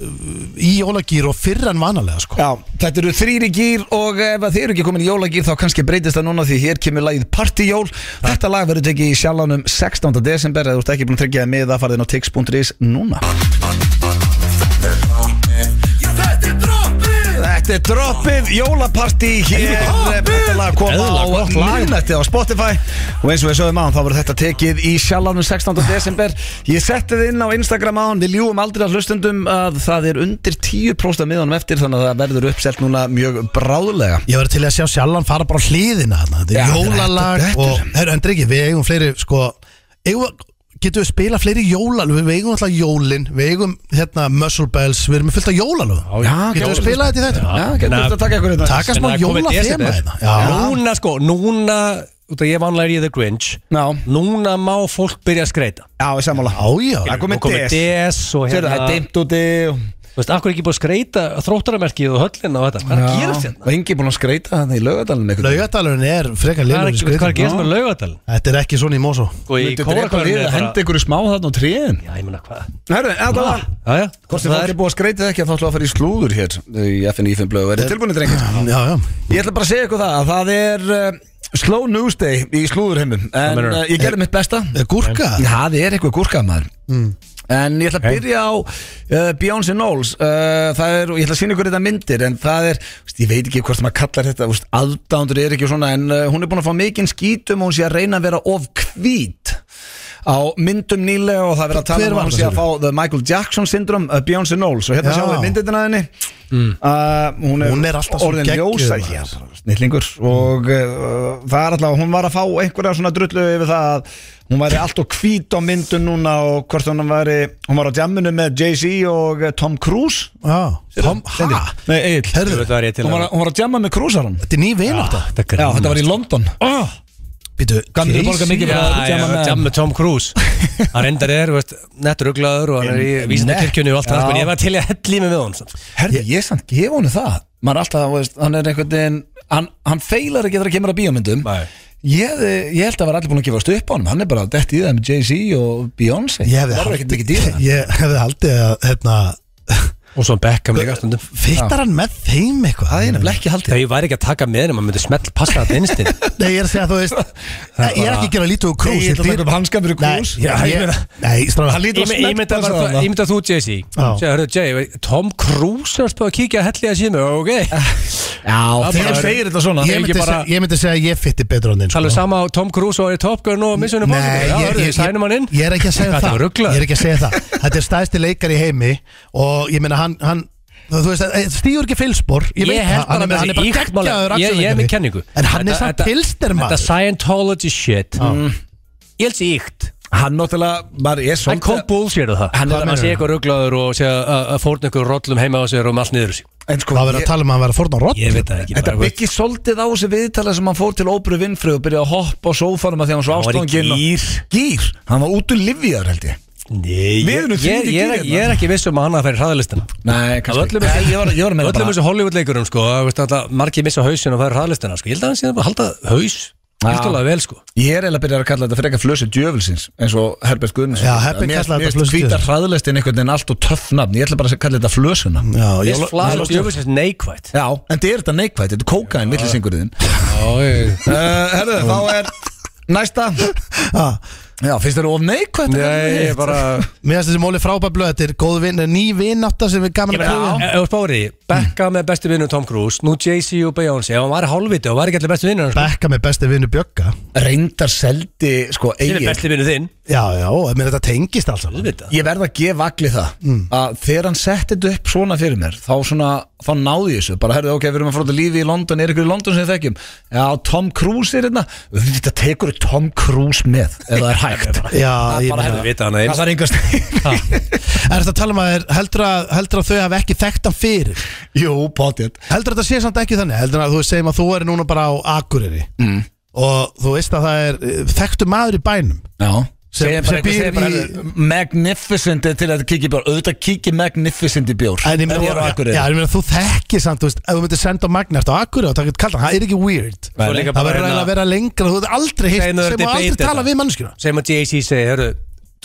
S3: í jólagýr og fyrr en vanalega sko.
S1: Já, þetta eru þrýri gýr og ef að þið eru ekki komin í jólagýr þá kannski breytist það núna því hér kemur lagið Partijól Þetta lag verður tekið í sjalanum 16. desember eða þú ert ekki búin að tryggja það með það farið inn á tix.is núna Þetta er droppið, jólapartí hér Þetta lag kom
S2: Eðla
S1: á
S2: gott lag.
S1: minnætti á Spotify og eins og við sögum án þá verður þetta tekið í sjalanum 16. desember Ég setti þið inn á Instagram án, við ljúum aldrei að hlustundum að það er undir 10% af miðanum eftir þannig að það verður uppselt núna mjög bráðlega
S3: Ég var til að sjá sjálfan fara bara á hliðina þarna. Þetta
S1: Já,
S3: er jólalag
S1: þetta- þetta
S3: og
S1: er-
S3: Heru, En drikki, við eigum fleiri sko, eigum, við- Getum við spila fleiri jólalög Við eigum alltaf jólin Við eigum hérna Muscle Bells Við erum með fullt af jólalög
S2: já,
S3: Getum við
S1: jólalög.
S3: spilað þetta í þetta?
S1: Já, getur þetta að taka ykkur hérna. þetta
S3: Taka smá hérna.
S2: En það er komið
S3: jólathema
S2: desember.
S3: hérna Já,
S2: Núna sko Núna út að ég vanlega er ég The Grinch
S1: Já,
S2: Núna má fólk byrja að skreita
S1: já, ég sammála
S3: Á, já.
S1: Það er komið
S2: Nú komið
S1: DS
S2: DS og
S1: Sérðu, Það er
S2: hérna
S1: dimmt úti og-
S2: Þú veist, akkur ekki búið að skreita þróttaramerkið og höllina og þetta Hvað er að hérna? gera
S1: Já,
S2: þetta?
S1: Og engi búin að skreita þannig í lögadalinn
S3: Laugadalurinn er frekar
S2: Hvað er
S3: liður í
S2: ekki, hvað er að
S3: skriðin
S2: gerast með laugadal?
S3: Þetta er ekki svona í mósó
S2: Sko, í kórakvarinu er bara
S1: Hendi ykkur smá þarna á tríðin
S2: Já, ég meina hvað
S1: Herru, þetta var
S2: Já, já
S1: Hvort sem það er búið að skreita eða ekki þá ætlum við að fara í slúður hér í FNÍFN blöðu Er þið tilbúinir drengir?
S3: Já, já
S1: Ég ætla bara að segja ykkur það að það er uh, slow news day í slúðurheimum En
S2: meinar
S1: uh,
S2: þú?
S1: ég gerði mitt besta
S3: Er Gúrka
S1: Já, það er eitthvað gúrkað maður
S3: Mm.
S1: En ég ætla að byrja á uh, Beyoncé Knowles uh, Það er, og ég ætla að sína ykkur þetta myndir En það er, veist, ég veit ekki hvort maður kallar þetta veist, Aðdándur er ekki svona En uh, hún er búin að fá mikinn skítum Og hún sé að reyna að vera of hvít Á myndum nýlega og það er verið að tala
S3: Hver
S1: um
S3: var
S1: að Hún
S3: það,
S1: sé að fá
S3: segirðu?
S1: the Michael Jackson syndrom uh, Beyoncé Knowles Og hérna
S3: Já.
S1: sjáum við myndina henni mm. uh, hún,
S3: Hún er alltaf svo
S1: orðin
S3: geggjuð,
S1: ljósar
S3: maður.
S1: hér snillingur og uh, það er alltaf, hún var að fá einhverja svona drullu yfir það að hún væri allt og hvít á myndun núna og hvort hún væri, hún var á djamminu með Jay-Z og eh, Tom Cruise
S3: Já Tom,
S1: Steindi.
S3: ha?
S1: Nei, Egil,
S3: Herðu,
S2: Þetta var ég til
S1: hún
S2: að
S1: var, hún var að djamma með Mm. Cruisarum
S3: þetta er ný vinnátt
S2: Þetta er
S1: Já, þetta
S2: grimmast.
S1: var í London
S2: Oh,
S3: Býtu,
S1: Gamlir borga mikið fyrir að
S2: já, já,
S1: djamma með
S2: jam með Tom Cruise hann reyndar er, veist, nettur uglaður og hann er í vísindakirkjunni og allt það
S1: Já.
S2: sko, en ég var til í að hella í mig með hann samt.
S1: Herði, ég samt gefa hún það maður er alltaf, þú veist, hann er einhvern veginn hann, hann feilar ekki þegar að kemur að bíómyndum
S2: Nei.
S1: ég, hefði- ég held að var allir búin að gefast upp á honum hann er bara dett í það með Jay-Z og Beyoncé
S3: Ég hefði
S1: það var ekkert mikið dýra
S3: Ég hefði haldið að, hérna
S2: og svo Beckham líka stundum
S3: Fittar hann með þeim eitthvað
S1: það er nefnilega ekki haldið
S2: þegar ég væri ekki að taka með hann, maður myndi smelt passa þetta innstinn
S3: Nei, ég er að segja, þú veist Ég er ekki að gera lítið úr
S1: Nei,
S3: krús
S1: ég ætla að taka upp hanska fyrir Krús.
S3: Nei,
S1: Já,
S3: ég,
S1: ég meina-
S3: nei stráðar
S1: Hann lítur að
S2: ég myndi
S1: smelta
S2: að,
S1: þarna.
S2: bara, ég myndi að þú Jay-Z
S3: Já.
S2: Segðu, hörðu, Jay, Tom Cruise er spöð að kíkja að hella í að síðan mig, ok
S1: Já, þegar
S2: þegar þú segir
S1: segir þetta svona
S3: Ég myndi, bara...
S2: bara-
S3: ég myndi segja að ég fitti betur hann þinn sko.
S2: tala sama á Tom Cruise og er í Top Gun og missunum
S3: Nei, ég, ég,
S2: sænum hann inn
S3: ég, ég er ekki að segja
S2: Þetta
S3: það
S2: var ruglað.
S3: Ég er ekki að segja það Þetta er stæðsti leikar í heimi Og ég meina hann, hann Þú þú veist, eh, stígur ekki fylspor Ég, veit
S2: Ég held
S3: það,
S2: bara
S3: hann er-
S2: með
S3: hann er
S2: þessi
S3: bara
S2: íktmála
S3: geggjaður
S2: Ég ég er með kenningu
S3: En hann er
S2: Þetta-
S3: samt
S2: þetta-
S3: pilsner
S2: Þetta
S3: maður
S2: Scientology shit Mm. Ég held sér íkt
S1: Hann náttúrulega, maður er
S2: Hann kom
S1: svolítið
S2: bullshit á það Hann er að maður sé eitthvað rugglaður og sé að- að fórna ykkur rollum heima á sér og með allt niður sig
S1: En sko,
S3: Það verður
S1: ég-
S3: að tala um að hann verður að forna rott
S2: Ég veit það ekki
S1: Þetta byggir svolítið á þessi viðtala sem hann fór til Óbru Vinfri og byrjaði að hoppa á sófanum að því að hann svo
S2: Hann var í
S1: ástóðan
S2: gír.
S1: Gýr, hann var út úr livjar held ég
S2: Nei,
S1: Við
S2: ég,
S1: erum
S2: ég,
S1: þvílík
S2: ég, er-
S1: í
S2: ég er ekki viss um að hann að færi hraðalistina
S1: Nei,
S2: Af öllum
S1: Nei, ég var, ég var með
S2: Öllum þessu Hollywood-leikurum sko þú veist, alltaf Margir missa hausin og færi hraðalistina sko. Ég held að hann sé að halda haus Hildulega vel sko
S1: Ég er eiginlega byrjað að kalla þetta frekar flösi djöfulsins eins og Herbert Guðnins
S3: Já, Herbert kallaði þetta flösu
S1: Hvítar
S3: djöfulsins.
S1: hræðlistin einhvern veginn allt og töffnafn Ég ætla bara að kalla þetta flösuna
S3: Já, ég,
S2: Vist flagur djöfusins neikvætt
S1: Já, en þetta er þetta neikvætt, þetta er kókain, villisingurðin uh, Herðu, þá er næsta
S3: á,
S1: Já, finnst þér of neikvætt?
S2: Nei, ég bara
S3: Mér finnst þessi móli frábæð blöð Þetta er góð vinn, ný vinnátta sem við gaman að prófa
S2: Ef þú spárið því, Beckham með bestu vinnu Tom Cruise Nú Jay-Z og Beyoncé Ef hann var hálfviti og var ekki allir bestu vinnur hans, sko.
S3: Bekka með besti vinnu Bjögga
S1: Reyndar seldi, sko,
S2: Hver er
S1: eigin
S2: besti vinnu þinn
S3: Já, já, ég meina, þetta tengist alls saman.
S2: Auðvitað.
S1: Ég verð að gefa allir það
S2: Mm.
S1: að þegar hann setti þetta upp svona fyrir mér þá, svona, þá náði ég þessu bara herðu ok, við erum að fara út að lífi í London er ykkur í London sem við þekkjum Já, Tom Cruise er hérna Þetta tekur Tom Cruise með ef það er hægt
S3: Já,
S1: Það
S3: ég
S1: bara
S3: meina-
S1: herðu
S2: Við vita hann
S1: Það
S2: eins
S1: er einhvers
S3: Er þetta að tala um að þeir heldur að, heldur að þau hafi ekki þekkt hann fyrir
S1: Jú, potið
S3: Heldur að þetta sé samt ekki þannig Heldur að þú segjum að þú er núna bara á Akureyri mm. Og þú veist að það er eh, Þekktu maður í bænum
S1: Já
S3: Sem-
S1: Segir
S3: sem
S1: bara, eitthvað,
S3: býr
S1: segir bara
S3: í-
S1: í... Magnificent er til að kíkja í bjór Auðvitað kíkja í Magnificent í bjór
S3: En ég
S1: Ef þú er á
S3: meina, já,
S1: Akureyri.
S3: já, ég meina þú þekkir samt Þú veist, ef þú myndir senda á Magna eftir á Akureyri og það getur kallt hann, það er ekki weird
S2: Svo líka bara
S3: Það verður
S2: hérna-
S3: eiginlega að vera lengra Þú hefur aldrei hitt
S2: Nei,
S3: sem
S2: nú er
S3: þú aldrei
S2: debate
S3: tala
S2: þetta.
S3: við mannskjuna
S2: Sem að Jay-Z segir, hörru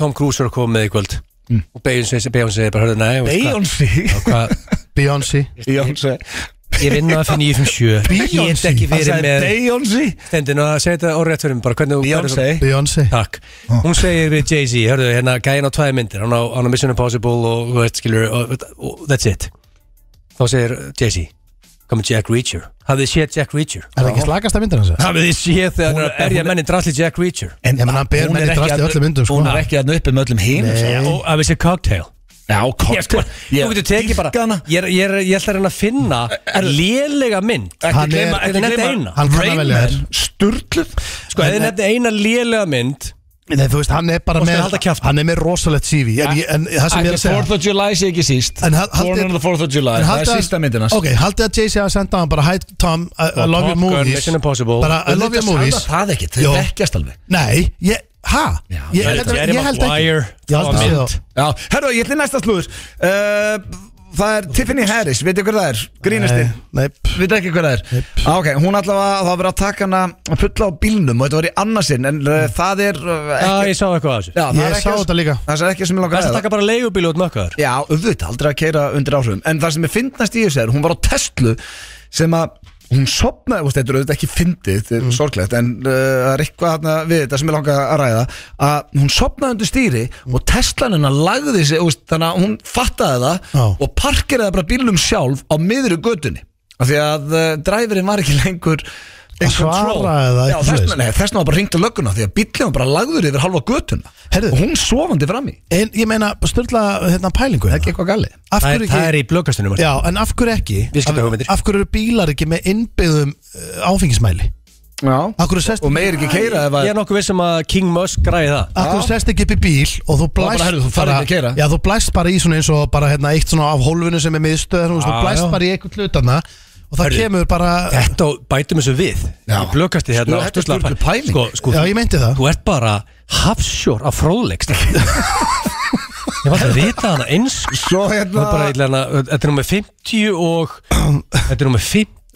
S2: Tom Cruise er að koma með í kvöld Og Beyoncé Beyoncé segir bara, hörru, nei veist hvað-
S1: Beyoncé
S2: hvað-
S3: Beyoncé
S1: Beyoncé
S2: Ég vinn að finna í þessum sjö Ég get
S3: Beyoncé?
S2: ekki
S1: Það
S2: verið
S1: sagði
S2: með
S1: Beyoncé
S2: Stendin og segja þetta orðrétt fyrir mig bara hvernig þú-
S1: Beyoncé
S3: Beyoncé
S2: Takk. Hún segir við Jay-Z, hörðu, hérna gæin á tvæði myndir, hann á, hann á Mission Impossible og, og, skilur, og, og that's it. Þá segir Jay-Z, komið Jack Reacher. Hafið þið séð Jack Reacher?
S3: Er það ekki slagasta myndir hans?
S2: Hafið þið séð þegar hann er að berja menni drasli Jack Reacher?
S1: En
S3: Ég meina, hann ber
S1: hún
S3: menn
S1: er
S3: í
S1: ekki
S3: drasli
S1: að-
S3: öllum myndum, sko.
S1: Hún er ekki að upp með öllum hinn
S2: Og hafið þið séð Cocktail?
S1: Já,
S2: Ég, sko, þú getur tekið bara, ég, er- ég, er- ég ætla að reyna að finna lélega mynd.
S3: Hann
S1: Ekki gleyma
S3: er-
S1: Ekki
S2: Nefndi
S1: gleyma
S2: eina.
S3: Hann kann að velja þér.
S1: Sturluð
S2: Sko, ef þið nefnir eina lélega mynd
S3: Nei, þú veist, hann er bara
S2: Og skal halda
S3: með
S2: kjafti.
S3: Hann er með rosalegt CV En, ég, en það sem ég
S4: Ætli
S3: er að segja
S4: 4th of July sé ekki síst
S3: En hal- haldið-
S4: Born on the 4th of July
S3: en
S4: Það
S1: er
S3: haldið að-
S1: sísta myndin hans.
S3: Ok, haldið að Jay-Z að senda hann bara Hi Tom, I, I
S2: Og
S3: love
S2: Top
S3: your
S2: Gun,
S3: movies
S2: Mission Impossible.
S3: Bara, I
S4: Auðvitað
S3: love your
S4: sagði
S3: movies
S1: um
S4: Það ekki,
S3: Jó.
S4: þau vekkjast alveg
S3: Nei, ég, hæ?
S4: Já,
S3: Ég,
S4: ég-
S3: ég,
S2: ég
S3: ég,
S2: er
S3: ég held
S2: bara
S3: ekki
S2: wire.
S3: Ég held
S2: Það
S3: ekki
S2: var
S3: það
S1: Já, herru, ég ætli í næsta slúður uh, Það er Tiffany Harris, veitu hver það er? Grínustinn
S3: Nei, pff,
S1: Við ekki hvað það er
S3: Nei.
S1: ah, okay. Hún allavega, það var verið að taka hana að fulla á bílnum og þetta var í annarsinn en uh, það er uh,
S2: Já,
S1: ekki
S2: ég sá eitthvað af þessu
S1: Já, það
S3: Ég
S1: er ekki-
S3: sá þetta líka.
S1: Það er ekki sem ég langar
S2: Best að
S1: ræða.
S2: taka bara leigubíl út mökkaður
S1: Já, auðvitað, aldrei að keira undir áhrifum En það sem er fyndnast í þessu er, hún var á Tesla sem að hún sopnaði, veist, þetta er auðvitað ekki fyndið þetta
S3: Mm.
S1: er sorglegt, en uh, það er eitthvað hana, við þetta sem ég langa að ræða að hún sopnaði undir stýri og Teslan hennar lagði sig, veist, þannig að hún fattaði það
S3: Já.
S1: og parkeraði bara bílnum sjálf á miðru götunni af því að uh, dræfurinn var ekki lengur in
S3: Að svara
S1: control.
S3: eða
S1: Já,
S3: eitthvað
S1: þess
S3: svoleiðis.
S1: vegna- nei, þess vegna var bara hringt að lögguna því að bíllinn var bara lagður yfir halva götuna
S3: Heyrðu.
S1: og hún sofandi fram í
S3: En ég meina, styrla hérna pælingu
S1: ekki
S3: hérna.
S1: eitthvað galið
S3: Af
S2: Það
S3: hverju
S2: er, það er
S3: ekki
S2: í blökastunum
S3: Já, en af hverju ekki
S2: Viðskiptahugmyndir.
S3: Af hverju eru bílar ekki með innbyggðum uh, áfengismæli
S1: Já.
S3: Af hverju sest
S1: Og meir ekki keira ef að
S2: Ég er nokkuð vissum að King Musk græði það
S3: Akkur þú sest ekki upp í bíl og þú
S1: bara,
S3: blæst
S1: herru, þú farir ekki að keyra.
S3: Já, þú blæst bara í svona eins og bara hérna, eitt svona af hólfinu sem er miðstöð þú, veist, þú
S2: Já,
S3: blæst
S2: já.
S3: bara í eitthvað hlutana og það kemur bara
S2: Þetta og bætum þessu við
S1: Já.
S2: Í blökasti hérna
S1: Sko,
S2: á
S1: þetta er
S2: Sturlu
S1: stjórnlu
S2: Appa.
S1: pæling.
S2: Sko, sko,
S3: Já,
S2: þú-
S3: ég meinti það
S2: Þú ert bara hafsjór af fróðleikst Ég var að rita hana eins sko.
S1: Svo
S2: Það
S1: hérna
S2: er bara eitthvað Þetta er nummer 50 og Þetta er nummer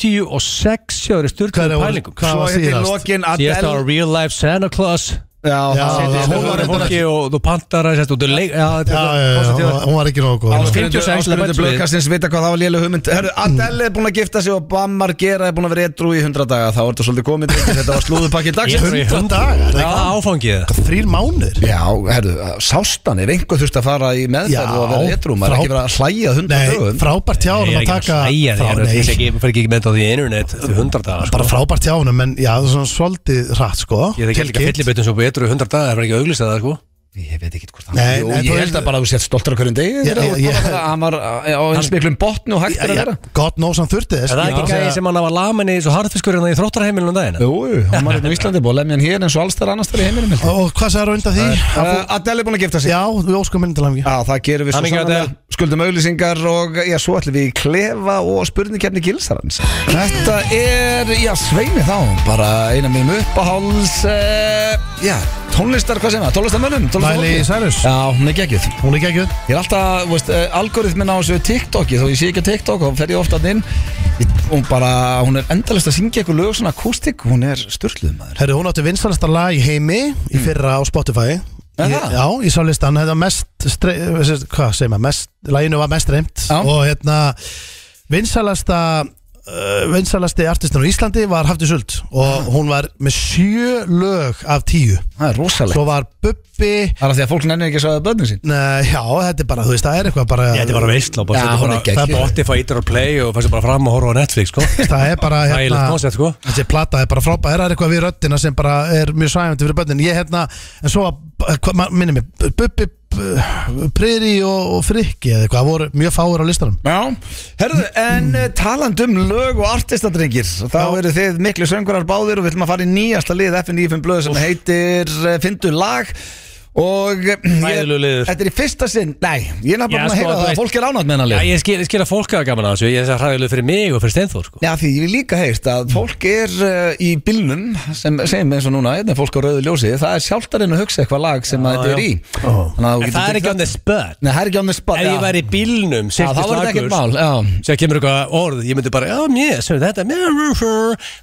S2: 56 Já, það er
S3: Hvað er
S2: styrkjum
S3: að-
S2: pælingum
S3: hvað-
S1: Svo
S3: var
S1: hérna í
S3: síðast?
S1: lokin
S2: Síðast á
S1: Adele
S2: Real Life Santa Claus
S1: Já,
S3: Já,
S1: það-
S3: já,
S1: hún var
S3: reyndar-
S2: fólki og þú pantar að sérst og þú leik Já,
S3: Já,
S2: þetta er
S3: já, já, já, hún var ekki nógu góð
S2: Ásgeir-
S1: Ásgrundur
S2: 56
S1: Ásgrundur
S2: bætt við.
S1: Blöðkastins vita hvað það var lélega hugmynd Herru, Adele er búin að gifta sig og Bammar Gera er búin að vera edru í 100 daga Þá er þetta svolítið komið drengir. Þetta var slúðupakki dags
S2: Edrú í
S3: 100 dagar
S2: Já, áfangið
S3: Þrýr mánir
S1: Já, herru, sástan er einhver þurft að fara í meðferð
S3: Já,
S1: og að vera edru Maður er ekki verið að hlæja 100
S3: Nei,
S1: dögum
S3: frábært hjá
S2: Ég
S3: honum
S2: er
S3: að
S2: ekki að
S3: taka
S2: slæja
S3: frá-
S2: því
S3: nei,
S2: Ég fer ekki með það í internet til 100 dagar sko.
S3: Bara frábært hjá honum, en já, það er svona svolítið rætt sko
S2: Ég er ekki heldur að
S3: Tilkynnt.
S2: fyllibetun svo betur í 100 dagar Það er ekki að auglýsa það sko
S1: Ég veit ekki hvort það
S3: Nei,
S1: Jú,
S3: nei,
S1: Ég
S3: þú-
S1: held að bara þú sett stoltur á hverjum degi
S3: Já,
S1: þegar þú
S3: já,
S1: ert
S3: já.
S1: bara- Hann var uh, á eins miklum botni og hægt
S3: Já,
S1: er að
S3: já,
S1: vera
S3: Gott nóg sem hann þurfti þess
S2: Er það ekki gæði sem hann var lamin í svo harðfiskur en það í um þróttarheimilunum dagina?
S1: Jú, hann var hérna í Íslandi búið að lemja hann hér eins og alls þar annars þar í heiminum held ég.
S3: Og hvað sagði hann undan því?
S1: Uh, Adele er búin að gifta sig
S3: Já, við óskum minni til hann
S1: Já, það gerum við svo
S2: Hamingju,
S1: saman
S2: Adele.
S1: Skuldum auðlýsingar og já, svo ætlum við í klefa og spurningkefni gilsarans Þetta er, já, sveimi þá Bara eina mínum uppáháls uh, Já, tónlistar, hvað segir maður? Tónlistarmönnum?
S3: Miley
S1: tónlistarfólki?
S3: Cyrus.
S1: Já, hún er geggjöð
S3: Hún er geggjöð
S1: Ég er alltaf, þú veist, uh, algoritmin á þessu TikToki Þó ég sé ekki á TikTok og fer ég ofta inn Ég- Hún bara, hún er endalist að syngja eitthvað lög svona akústik Hún er styrluð maður
S3: Herru, hún átti vinsalasta lag í heimi í
S2: Mm.
S3: fyrra á Spotify
S1: Er
S3: Ég,
S1: það?
S3: já, ég sá listan, þetta var mest strey, þessi- hvað segir maður, mest, laginu var mest reymt
S1: Já.
S3: og hérna vinsalasta uh, vinsalasti artistin á Íslandi var Hafti Sult
S2: Ah.
S3: og hún var með sjö lög af tíu,
S1: Það er rosalegt
S3: svo var Bubbi
S1: Það er að því að fólk nennir ekki að sagða börnum sín
S3: Nei, já, þetta er bara, þú veist, það er eitthvað bara,
S2: Þetta er bara veistla
S1: Já, hún er
S2: Það er
S1: geggjuð.
S2: bara Spotify, Ítar og Play og fannst bara fram og horfa á Netflix sko.
S3: það er bara hérna-
S2: Ægilegt koncept sko
S3: þessi plata er bara frábæð það er eitthvað við röddina sem bara er mjög sæfandi fyrir börnin ég hérna, en svo eh, minni mig, Bubbi B- Priri og, og Frikki eða eitthvað voru mjög fáir á listanum
S1: Já, herðu, en mm. taland um lög og artistadrengir þá
S3: Já.
S1: eru þið miklu söngurar báðir og við ætlum að fara í nýjasta lið FN95 blöð sem heitir eh, Fyndu lag og eh,
S2: Hræðilegur liður.
S1: þetta er í fyrsta sinn nei, ég er
S2: Já,
S1: nefnilega búin að
S2: sko,
S1: heyra
S2: þú
S1: það að
S2: veist-
S1: fólk er ánátt með hennar
S2: Já,
S1: lið
S2: ég skil, ég skil að fólk hafa gaman að þessu Ég er það hræðileg fyrir mig og fyrir Steinþór sko
S1: Já, því ég vil líka heyrt
S2: Mm.
S1: að fólk er eh, í bílnum sem segjum eins og núna, einnig fólk á rauðu ljósi það er sjálftarinn að hugsa eitthvað lag sem að þetta er í Þannig að þú
S2: Oh. En
S1: getur
S2: það
S1: tekið
S2: er ekki on the spot
S1: Nei, það er ekki on the spot
S2: Ef
S1: já.
S2: ég væri í
S1: Já,
S2: bílnum,
S1: þá
S2: sigtist
S1: var þetta ekkert
S2: lagur
S1: mál já.
S2: Sér kemur eitthvað orð, ég myndi bara Já, mér, sem þetta mér,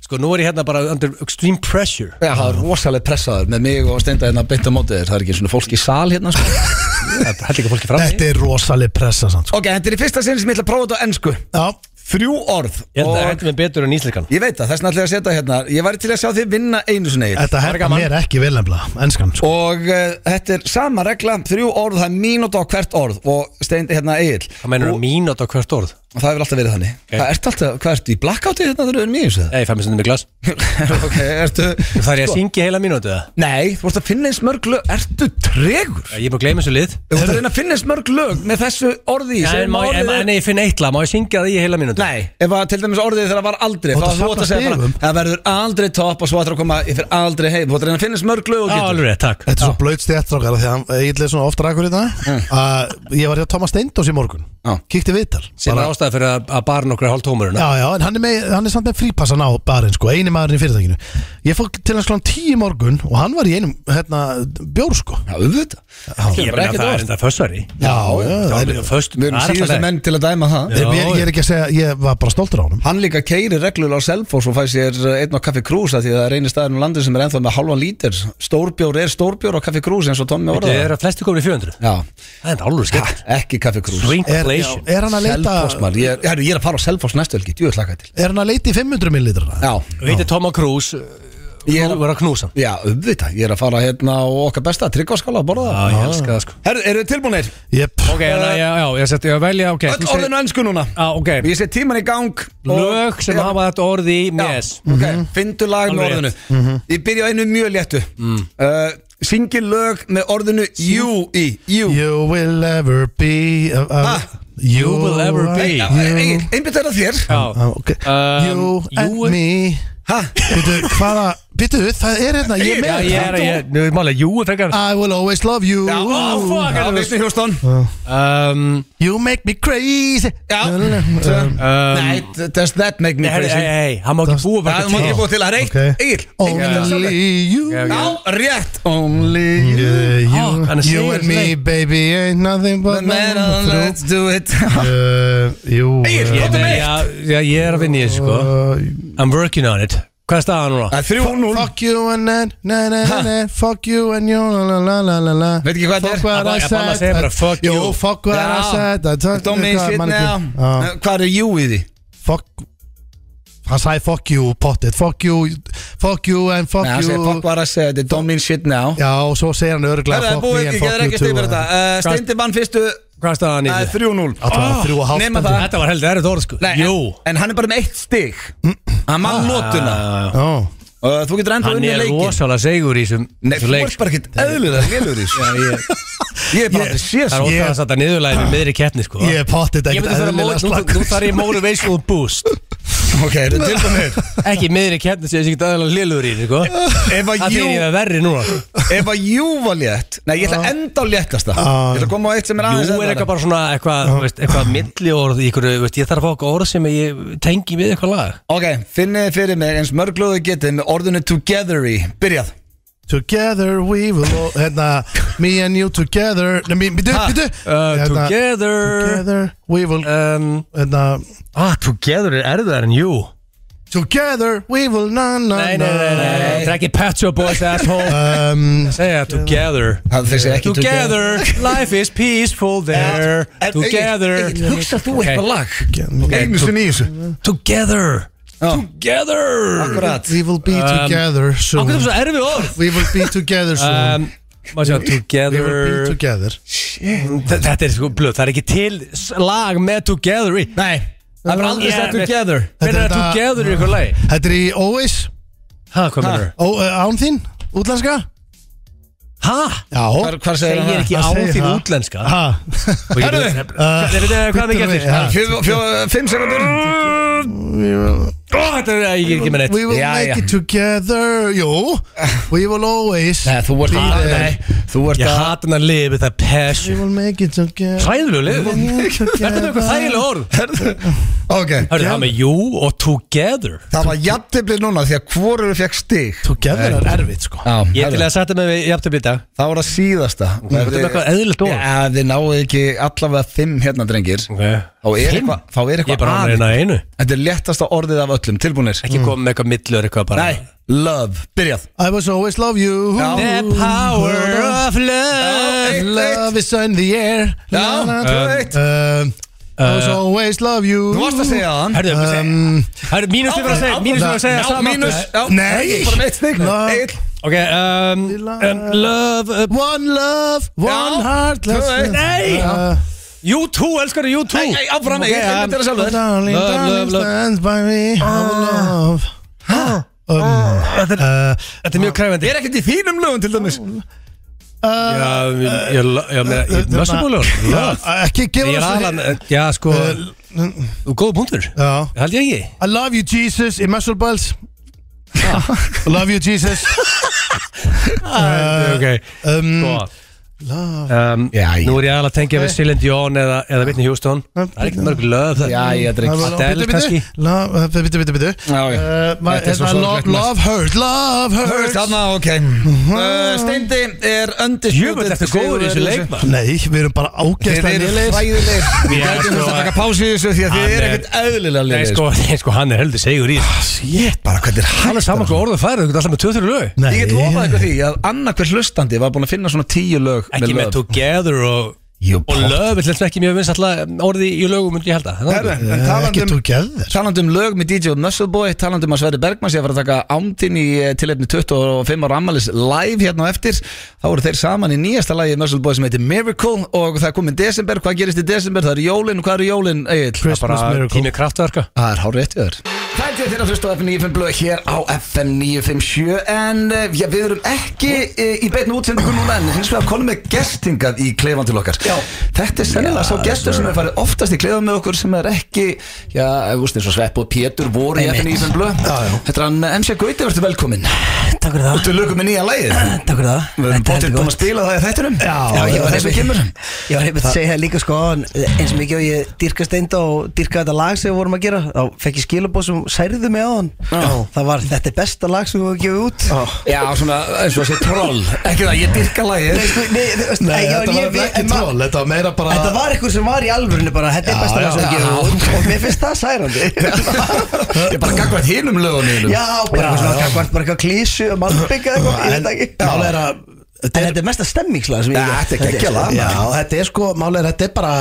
S2: Sko, nú er ég hérna bara under extreme pressure
S1: Já, það er rosalega pressaður með mig og Steinda hérna beint á mótið þér Það er ekki svona fólk í sal hérna sko.
S2: Það held ekki fólki fram
S3: þetta er rosaleg pressa samt, sko.
S1: Ok, þetta er í fyrsta sinni sem ég ætla að prófa þetta á ennsku
S3: já,
S1: Þrjú orð
S2: Ég held að
S1: og
S2: hendur mig betur en íslíkan
S1: ég veit það, þess vegna ætla ég að setja hérna Ég væri til að sjá þið vinna einu sinni Egill.
S3: þetta hérna mér ekki vel nefnilega ennskan, sko.
S1: Og uh, þetta er sama regla, þrjú orð, það er mínúta á hvert orð Og Steinda hérna Egil
S2: Það mennur að mínúta á hvert orð
S1: Það hefur alltaf verið þannig
S2: Ok.
S1: okay. Ertu alltaf, hvað ertu í blackouti þetta þegar þú erum í þessu
S2: Nei, ég fæ mér stundum í glas
S1: það? ok, ertu
S2: Þar ég að
S1: Sko,
S2: syngja heila mínútu það
S1: Nei, þú vorst að finna eins mörg lög Ertu tregur?
S2: Ég er búin að gleyma þessu lið
S1: Þú vorst að reyna að finna eins mörg lög með þessu orði í
S2: Já,
S1: sem
S2: En má ég-
S1: orðið
S2: en-
S1: er-
S2: en ef ég finn eitt lag, má ég syngja það í heila mínútu?
S1: Nei, ef að til dæmis orðið þeirra var aldrei
S3: Þú
S1: þá
S3: átt
S1: þú
S3: að
S1: átt að
S3: safna
S1: segja bara
S3: stigum.
S1: Það verður aldrei topp og svo ætlar að koma Ég fyrir aldrei heim, þú ætlar að reyna að finna eins mörg lög og
S2: Já,
S1: getur
S2: alveg rétt, takk
S3: Þetta er svo blöyt stjættrákar Því að ég leði svona ofta rækur í þetta að Ég var hjá Thomas Steindós í morgun
S1: Já.
S3: Kíkti viðtal
S2: Sem er
S3: Bara-
S2: ástæða fyrir að að barn okkur er hálf tómurinn
S3: Já, já, en hann er, með, hann er samt með frípassan á barinn sko, eini maðurinn í fyrirtækinu Ég fór til hans klán tíu morgun og hann var í einum hérna, bjór sko
S1: Já, auðvitað Það
S2: Ég
S1: kemur
S2: meina
S1: ekkert á
S2: það er
S1: óvart.
S2: þetta fössari
S3: Já, já,
S2: Það
S3: það
S2: er
S3: er-
S2: föst
S1: Við erum
S2: það er
S1: síðasta
S2: alltaf-
S1: menn til að dæma það
S3: ég, ég, ég er ekki að segja, ég var bara stoltur á honum
S1: Hann líka keirir reglulega á Selfoss og fæ sér eh, einn á Kaffi Krús af því að það er eini staðurinn á landin sem er ennþá með halvan lítir Stórbjór er stórbjór á Kaffi Krús eins og Tommi
S2: Þetta
S1: orðaði
S2: er að flesti komin í 400
S1: Já,
S2: Það er alveg
S1: ha,
S2: skemmt
S1: ekki Kaffi Krús
S3: er, já,
S2: Drinkflation
S3: er hann að leita
S1: Selfoss maður, ég, er- herru, ég er að fara á Selfoss næstu helgi, djú, ég hlakka til
S3: Er hann að leita í 500 millilitra?
S1: Já,
S2: Veitir Toma Krús
S1: Ég er-
S2: Ég var að knúsa hann.
S1: já, auðvitað, ég er að fara hérna á okkar besta tryggvaskála að borða
S2: Já, ég elska það sko
S1: Herru, eru þið tilbúinir?
S3: Jep,
S2: Ok, en að- já, já, ég seti ég að velja ok,
S1: Öll
S2: þú segir-
S1: orðinu ennsku núna
S2: Já, ok
S1: Ég set tíman í gang og-
S2: Lög sem
S1: Já,
S2: hafa þetta orði í mes
S1: Já, ok, fyndu lag með
S2: Alveg Mhm. Mm.
S1: orðinu Ég byrja á einu mjög léttu Uh, Syngi lög með orðinu You í You
S3: you will ever be uh, uh,
S1: Ah.
S3: you,
S2: will ever be.
S3: you,
S1: Einbytt er að þér
S2: Já,
S3: Ah, okay.
S2: Um,
S3: you and
S2: you-
S3: me
S1: Ha?
S3: Býtu, hvaða, býtu, það er hérna
S2: Já,
S3: Ég er með
S2: ég er, ég, nú er málega, jú, frekar
S3: I will always love you
S1: Já,
S2: ó, oh, fuck,
S1: Já,
S2: hann er
S1: Whitney Houston Ah.
S2: Um,
S3: You make me crazy
S1: Já.
S3: Na, na, na, na.
S2: um,
S1: Nei, d- does that make me
S2: Nei, herri, eh,
S1: crazy?
S2: ei, ei, hann má ekki búa
S1: Það má ekki
S2: fyrir
S1: búið til að reynt
S3: Ok.
S1: Egil
S3: Um, Only you
S2: Já,
S1: Já, rétt Only you
S3: Yeah,
S2: Ah, hann er
S3: you, you
S2: sigur,
S3: and me, baby, ain't nothing but
S1: Man,
S3: nothing but
S1: let's do it
S3: Uh, jú
S1: Egil,
S3: uh,
S2: eh,
S1: komdu með eitt.
S2: Já, já, ég er að vinna í þessu sko
S3: uh,
S2: I'm working on it Hvað er staðan núna?
S1: Það er 3-0
S3: Fuck you and then na, na, na, na, Fuck you and you la, la, la, la, la.
S1: Veit ekki hvað þetta er?
S3: Fuck what
S2: Að-
S3: I
S2: að
S3: said
S2: mamma segir bara, fuck
S3: Jú,
S2: you.
S3: fuck what I
S1: Já.
S3: said er I told-
S1: Don't make
S3: hvað,
S1: shit
S3: man ekki.
S1: now
S3: Já.
S1: Eh, Hvað er you í því?
S3: Fuck Hann sagði fuck you, pottit Fuck you, fuck you and fuck
S1: Nei, hann
S3: you
S1: segir fuck what I said, it don't mean shit now
S3: Já, og svo segir hann
S1: Herra,
S3: örglega
S1: Það er
S3: Fuck me
S1: búið,
S3: and
S1: ég
S3: fuck
S1: getur
S3: you
S1: ekki stið
S3: too eh.
S1: fyrir þetta Uh, Steindi vann fyrstu,
S2: Hvað er staðan í
S1: það er
S2: þessu?
S1: 3-0
S3: Þetta var
S1: Ah,
S3: þrjú og hálft
S1: nema
S3: held
S1: það
S2: Þetta var heldur erið orð sko
S1: Nei,
S2: Jú
S1: en, en hann er bara með eitt stig
S3: Mm.
S1: Hann mann lótuna
S2: Ah,
S3: Já,
S1: uh, Þú getur enda
S2: Hann
S1: unnið
S2: er
S1: leikin
S2: rosalega segur í þessum
S1: Nei,
S2: þessum
S1: þú
S2: leik
S1: ert bara ekkert eðlilega lélur í þessu. Ég er bara aldrei séð
S2: Það er
S1: svo
S2: óþví að þetta niðurlæði með miðri keppni sko
S3: Ég er pottit
S2: Ég
S3: ekkert
S2: myndi þarf að
S3: eðlilega
S2: móta Nú
S3: slakur
S2: þarf ég motivational boost
S1: Ok, eru tilbúinir
S2: Ekki í miðri keppni sem ég sé ekki aðeins liður í sko
S1: Ef að
S2: Það
S1: jú
S2: fyrir ég að verri núna
S1: Ef að jú var létt Nei, ég ætla að enda á léttasta Ég ætla að koma á eitt sem er aðeins
S2: Jú er eitthvað bara svona eitthvað veist, eitthvað milli orð í ykkur veist, Ég þarf að fá eitthvað orð sem ég tengi við eitthvað lag
S1: Ok, finnið þið fyrir mig eins mörgluðu getið með orðinu together í Byrjað
S3: Together we will all- hérna, Me and you together Nei, mi- Býtu,
S1: Ha, Eh,
S3: býtu
S2: uh,
S3: Hérna,
S2: Together
S3: Together we will
S2: um,
S3: hérna,
S2: ah, Together er erðar en jú
S3: Together we will na na
S2: Nei, nei,
S3: na
S2: nei, nei, nei. Það er ekki Pet Shop Boys asshole
S3: Um,
S2: Segja together
S1: Það þessi Ah. ekki
S2: Together, life is peaceful there
S1: En-
S2: Together
S1: Egill, Egill, Hugsa þú
S2: Ok.
S1: eitthvað lag
S3: okay.
S1: Einu sinni í þessu
S2: Together
S1: Já.
S2: Together
S1: Akkurat
S3: We will be
S2: Um,
S3: together soon
S2: Akkur það er svo erfið orð
S3: We will be together
S2: um,
S3: soon
S2: má sjá,
S3: We will be
S2: Together
S3: together
S2: Þa- Þetta er sko blöð, það er ekki til s- lag með Together í
S1: Nei, það er bara aldrei
S2: Yeah,
S1: sagt together
S2: Hvernig er
S3: Þetta-
S2: Together í ykkur lagi?
S3: Þetta er í Óis
S2: Hæ, hvað mennur?
S3: Ó, uh, Án þín, útlenska
S2: Hæ?
S3: Já
S1: Hvar- Hvar segir
S2: Segir
S1: hann
S2: ekki
S3: Hvað
S2: á
S3: segir
S2: þín
S3: það?
S2: útlenska
S3: Ha,
S2: Og ég
S1: Herðu,
S2: veit- Nei, veitu Hvað er mikið
S3: bíddu við,
S2: eftir?
S3: ja.
S1: það? Fimm sekundur
S2: Ó, Þetta er, ég er ekki með neitt
S3: We will
S1: Já,
S3: make
S1: já.
S3: it together Jú We will always
S1: Nei, þú ert
S3: Be
S1: að
S3: there.
S1: Nei, Eh, þú ert
S2: Ég
S1: að
S2: hata hann að lifi það
S3: We
S2: passion
S3: will make it together
S2: Hræðulegu lifi Þetta er eitthvað þægilega orð
S1: Ok,
S2: Hörðu það með you og together
S1: það var jafnteflið núna því að hvorur fekk stig
S3: Together er erfitt sko
S1: Já,
S2: Ég er til
S1: herðu,
S2: að setja mig við jafntöfli í dag
S1: það var að síðasta Eh,
S2: Þú ert með eitthvað eðlilt orð
S1: Já, þið náðu ekki allavega fimm hérna drengir
S2: Ok.
S1: Þá er
S2: Fimm?
S1: eitthvað, þá er
S2: Ég er
S1: eitthvað
S2: bara að
S1: aðeins
S2: reyna einu
S1: Þetta er léttasta orðið af öllum, tilbúinir
S2: Ekki koma með eitthvað millur eitthvað bara
S1: Nei, love, byrjað
S3: I was always love you
S1: Já.
S2: The power of love
S3: Love is in the air
S1: Já,
S3: Na, na,
S1: tvö,
S3: na.
S1: eitt.
S3: Um, I
S2: uh,
S3: was always love you
S1: Þú varst að segja það
S2: Hörðu,
S3: Um,
S2: hörðu, mínus við bara að segja Mínus við bara að segja sama.
S1: Mínus, já,
S3: Nei.
S1: ég er bara með eitt stig
S3: Love.
S1: Egill.
S2: Ok, um, um, love uh,
S3: One love, one
S1: Já,
S3: heart Uh,
S1: tvö, eitt.
S3: Nei
S2: U2, elskar þú U2
S1: Nei, nei, áfram, ég er þetta sjálfur Ah.
S3: Darling,
S2: Love,
S3: darling,
S2: love, love.
S3: stands by me Our love Um, uh,
S2: Þetta er mjög kræfandi
S1: Ég er ekkert í þínum lögum til dæmis
S3: uh,
S2: Já, ég- ég ég meina, ég
S3: Þarna-
S2: mössubólur
S3: Já, Ekki
S2: Ég er
S3: gefa
S2: aðlan,
S3: þessu
S2: já sko Þú er góð punktur
S3: Já.
S2: Held ég ekki
S3: I love you Jesus í Muscle Balls
S1: Ah.
S3: I love you Jesus Uh,
S2: Ok,
S3: um,
S2: sko
S3: Love
S2: um,
S1: Já, já.
S2: Nú er ég aðalega að tengja við Silent Jón eða, eða Whitney Houston Það er ekkert mörg lög það
S4: Já, ég er ekki
S2: Adele kannski
S3: Bitu, bitu, bitu, bitu
S4: Já, já.
S2: Þetta er svo
S3: Uh, Love
S2: sorglegt mest.
S3: love hurt, love hurt
S1: Þarna, ok uh, Steindi er
S2: Jöfull,
S1: undisputed
S2: ertu góður í þessu leikmann
S3: Nei, við erum bara
S1: Þeir
S3: ágæslega
S1: eru
S3: nýleis
S1: fræðilegir Við
S2: Já,
S1: gætum
S2: sko,
S1: þess að taka pási í þessu Því að þið
S2: hann
S1: eru
S2: er-
S1: ekkert eðlilega
S2: Nei,
S1: liðir
S2: sko, nei, sko, hann er heldur segur í þessu.
S1: Ég bara, hvernig er
S2: Hann er saman hvað orðuð færið, þú getur alltaf með 2-3 lög
S3: Nei,
S1: Ég get lofað ykkur því að annarkvæð hlustandi var búin að finna svona tíu lög
S2: Ekki með
S1: lög.
S2: Together og
S3: Jú,
S2: Og lög, við ætlum ekki mjög vinst alltaf orði í lögum myndi ég held að
S1: Herðu,
S2: Það
S1: en
S3: Ekki
S1: talandi um-
S3: þú geðir
S1: Talandi um lög með DJ og Muscle Boy Talandi um að Sverri Bergmann sé að fara að taka ámtinn í eh, tilefni 25 ára ammælis live hérna á eftir Þá voru þeir saman í nýjasta lagi Muscle Boy sem heitir Miracle Og það er komin desember, hvað gerist í desember? Það eru jólin, hvað eru jólin? Egill?
S3: Christmas
S2: bara
S3: miracle.
S2: tími kraftverka
S1: Það er hár rétt við þér Það er þeirra hlustu á FM 95 blöð hér á FM 957 En uh, já, við erum ekki uh, í beinu útsendingu núna En hins vegar konum með gestingað í klefan til okkar já. Þetta er sennilega sá gestur sem er farið oftast í klefan með okkur Sem er ekki, já, úst eins og Svepp og Pétur voru í FM 95 blöð Þetta er hann eh, MC Gauti, verður velkomin
S5: Takk fyrir það
S1: Þú lögum með nýja lagið
S5: Takk fyrir það
S1: Við erum
S5: Þetta er
S1: bóttið búin
S5: gott.
S1: að spila það í þættinum
S5: Já, ég var
S1: þess að
S5: einmitt-
S1: kemur
S5: Ég var einmitt að segja það líka sko en eins og mikið og ég dyrka steinda og dyrka þetta lag sem við vorum að gera þá fekk ég skilabóð sem særðu mig á hann það var þetta er besta lag sem við vorum að gefa út
S1: Já, svona, eins og þessi troll Ekki það, ég dyrka lagið
S5: Nei, sko, nei, þú veist,
S3: Nei,
S5: ég-
S3: þetta
S5: ég-
S3: var
S5: ég-
S3: ekki
S5: en ma-
S3: tról Þetta var meira bara
S5: Þetta var eitthvað sem var í alvörinu bara þetta er
S3: Já,
S5: besta
S3: já,
S5: lag sem við
S1: já.
S5: gefa út og mér finnst það særandi
S1: Ég er bara gagvað hinum lögunum
S5: Já, bara eitthvað svona gagvart, bara eitthvað klísu og malbygga eitthvað, ég veit það ekki
S3: Málega er að
S5: En þetta er mesta stemmingslag sem ég
S1: Já, þetta er geggjað lag,
S3: Já, þetta er sko, málega er þetta er bara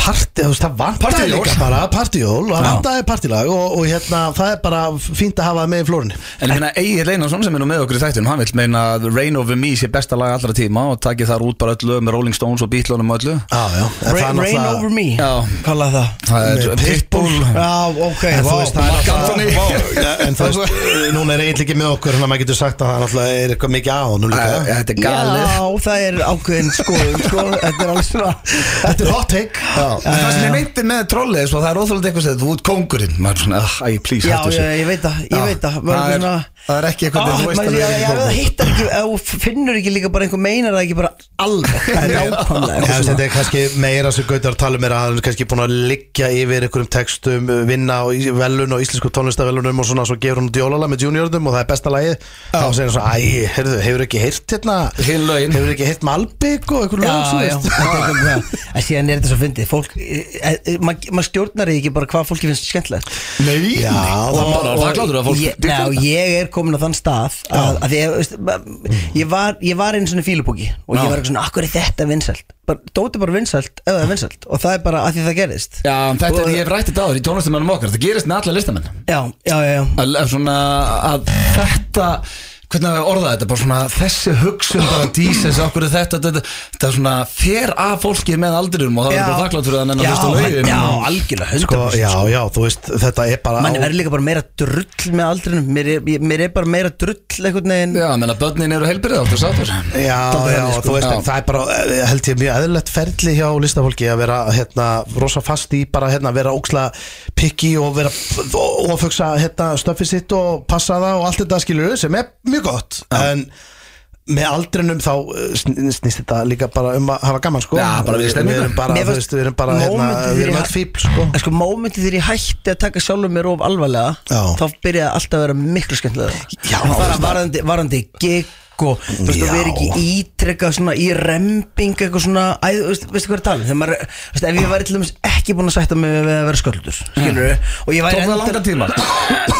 S3: partí, þú veist, það vantaði
S1: Partíjól.
S3: líka bara partíjól og það vantaði partílag og, og hérna, það er bara fínt að hafa það með í flórunni
S1: En ég meina Egil Einarsson sem er nú með okkur í þættunum Hann vil meina að Rain Over Me sé besta lag allra tíma Og takir þar út bara öll lög með Rolling Stones og Beatlunum og öllu
S3: Já, já, en það er
S5: Rain, rain
S3: náttúrulega-
S5: over me,
S1: Já.
S5: kallaði það
S1: Það er
S3: Með
S1: Pitbull
S5: Já, ok,
S3: En þú
S5: vá.
S3: veist, það er
S1: Mark Anthony.
S3: Vá, já, En þú veist, núna er eitthvað ekki með okkur Þannig að maður getur sagt að það náttúrulega er eitthvað mikið á honum
S1: Æ,
S3: líka
S1: Eh, Þetta er galið
S5: Já, það er ákveðin skoðun sko, Þetta er alveg svona
S3: Þetta er hot take
S1: En það sem ég meinti með trollið svo, Það er óþjóðlega eitthvað sem þú ert kóngurinn Maður er svona, "Ah, æ, please,
S5: Já,
S1: hættu
S5: ég,
S1: þessu
S5: ég veit það, ég
S1: Já,
S5: veit það Var
S1: það
S5: eitthvað
S1: er-
S5: svona
S1: það er ekki eitthvað
S5: Ah,
S1: sem þú veist að
S5: maður-
S1: við
S5: já,
S1: erum
S5: já,
S1: komin.
S5: Það hittar ekki, ef þú finnur ekki líka bara einhver meinar það ekki bara alveg Það er
S3: Já,
S5: ákvæmlega
S3: þú veist, Þetta er kannski meira sem Gautar tala um er að hann er kannski búin að liggja yfir einhverjum textum, uh, vinna á í- velun og íslensku tónlistavelunum og svona svo gefur hann djólala með juniorðum og það er besta lagið þá segir hann svo, æ, heyrðu, hefur ekki heyrt hérna,
S1: Hin lögin.
S3: hefur ekki heyrt Malbygg og einhver
S5: Já,
S3: lög, svo
S5: já,
S3: veist
S5: þetta er komið það En síðan er þetta svo fyndið Fólk, e, e, maður ma stjórnar því ekki bara hvað fólki finnst skemmtilegt
S1: Nei,
S3: Já,
S1: og
S3: það-
S1: bara
S5: Og
S1: það klátur að fólk
S5: ég, Já, ég er komin á þann stað að, að ég, veist, ba- ég var, ég var einu svona fílubóki og
S1: Já.
S5: ég var eitthvað svona, akkur er þetta vinsælt bara, Dóti er bara vinsælt, ef það er vinsælt og það er bara að því það gerist
S1: Já, en þetta er,
S5: Og-
S1: ég hef rætt þetta áður í tónlistamennum okkar Það gerist með alla listamenn
S5: Já, já, já, já.
S1: að, að svona að þetta hvernig að orða þetta, bara svona þessi hugsun bara dísins, okkur er þetta þetta, þetta er svona fer að fólki með aldrinum og það er
S5: Já.
S1: bara þakklátt fyrir að nennan
S5: Já,
S1: hlusta á lögin
S5: já,
S1: og-
S5: algjörlega, 100%
S3: Sko, já, já, þú veist, þetta er bara
S5: Mann
S3: á-
S5: er líka bara meira drull með aldrinum Mér er, ég- mér er bara meira drull einhvern veginn
S1: já, menna börnin eru heilbyrðið áttur sáttur
S3: Já,
S5: Dálítið
S3: já,
S5: þannig,
S3: þú
S5: sko.
S3: veist,
S1: Já.
S3: en það er bara, eh, held ég, mjög eðlilegt ferli hjá listafólki að vera, hérna, rosa fast í bara, hérna, vera óksla pikki og vera og ofugsa, hérna, stöfið sitt og passa það og allt þetta skilur sem er mjög gott, en með aldrinum þá eh, sn- snýst þetta líka bara um að hafa gaman, sko
S1: Já, bara við
S3: við
S1: stemninguna.
S3: erum bara,
S5: Mér
S3: þú
S5: fannst
S3: veist, við erum bara, hérna, við
S5: mómentið þegar
S3: erum
S5: ég-
S3: öll fíbl, sko
S5: En sko, mómentið þegar ég hætti að taka sjálfur mér of alvarlega
S3: Já.
S5: Þá byrjaði alltaf að vera miklu skemmtilega
S3: Já,
S5: Bara
S3: veist það.
S5: varandi, varandi gig og Þú veist,
S3: Já.
S5: það verið ekki ítrekka svona í remping eitthvað svona Æ, þú veist, veistu hvað er talað? Þegar maður, þú veist, ef ég væri til dæmis ekki búin að sætta mig við að vera sköldur Skilur Og ég væri
S1: tók það
S5: endal-
S1: langan tíma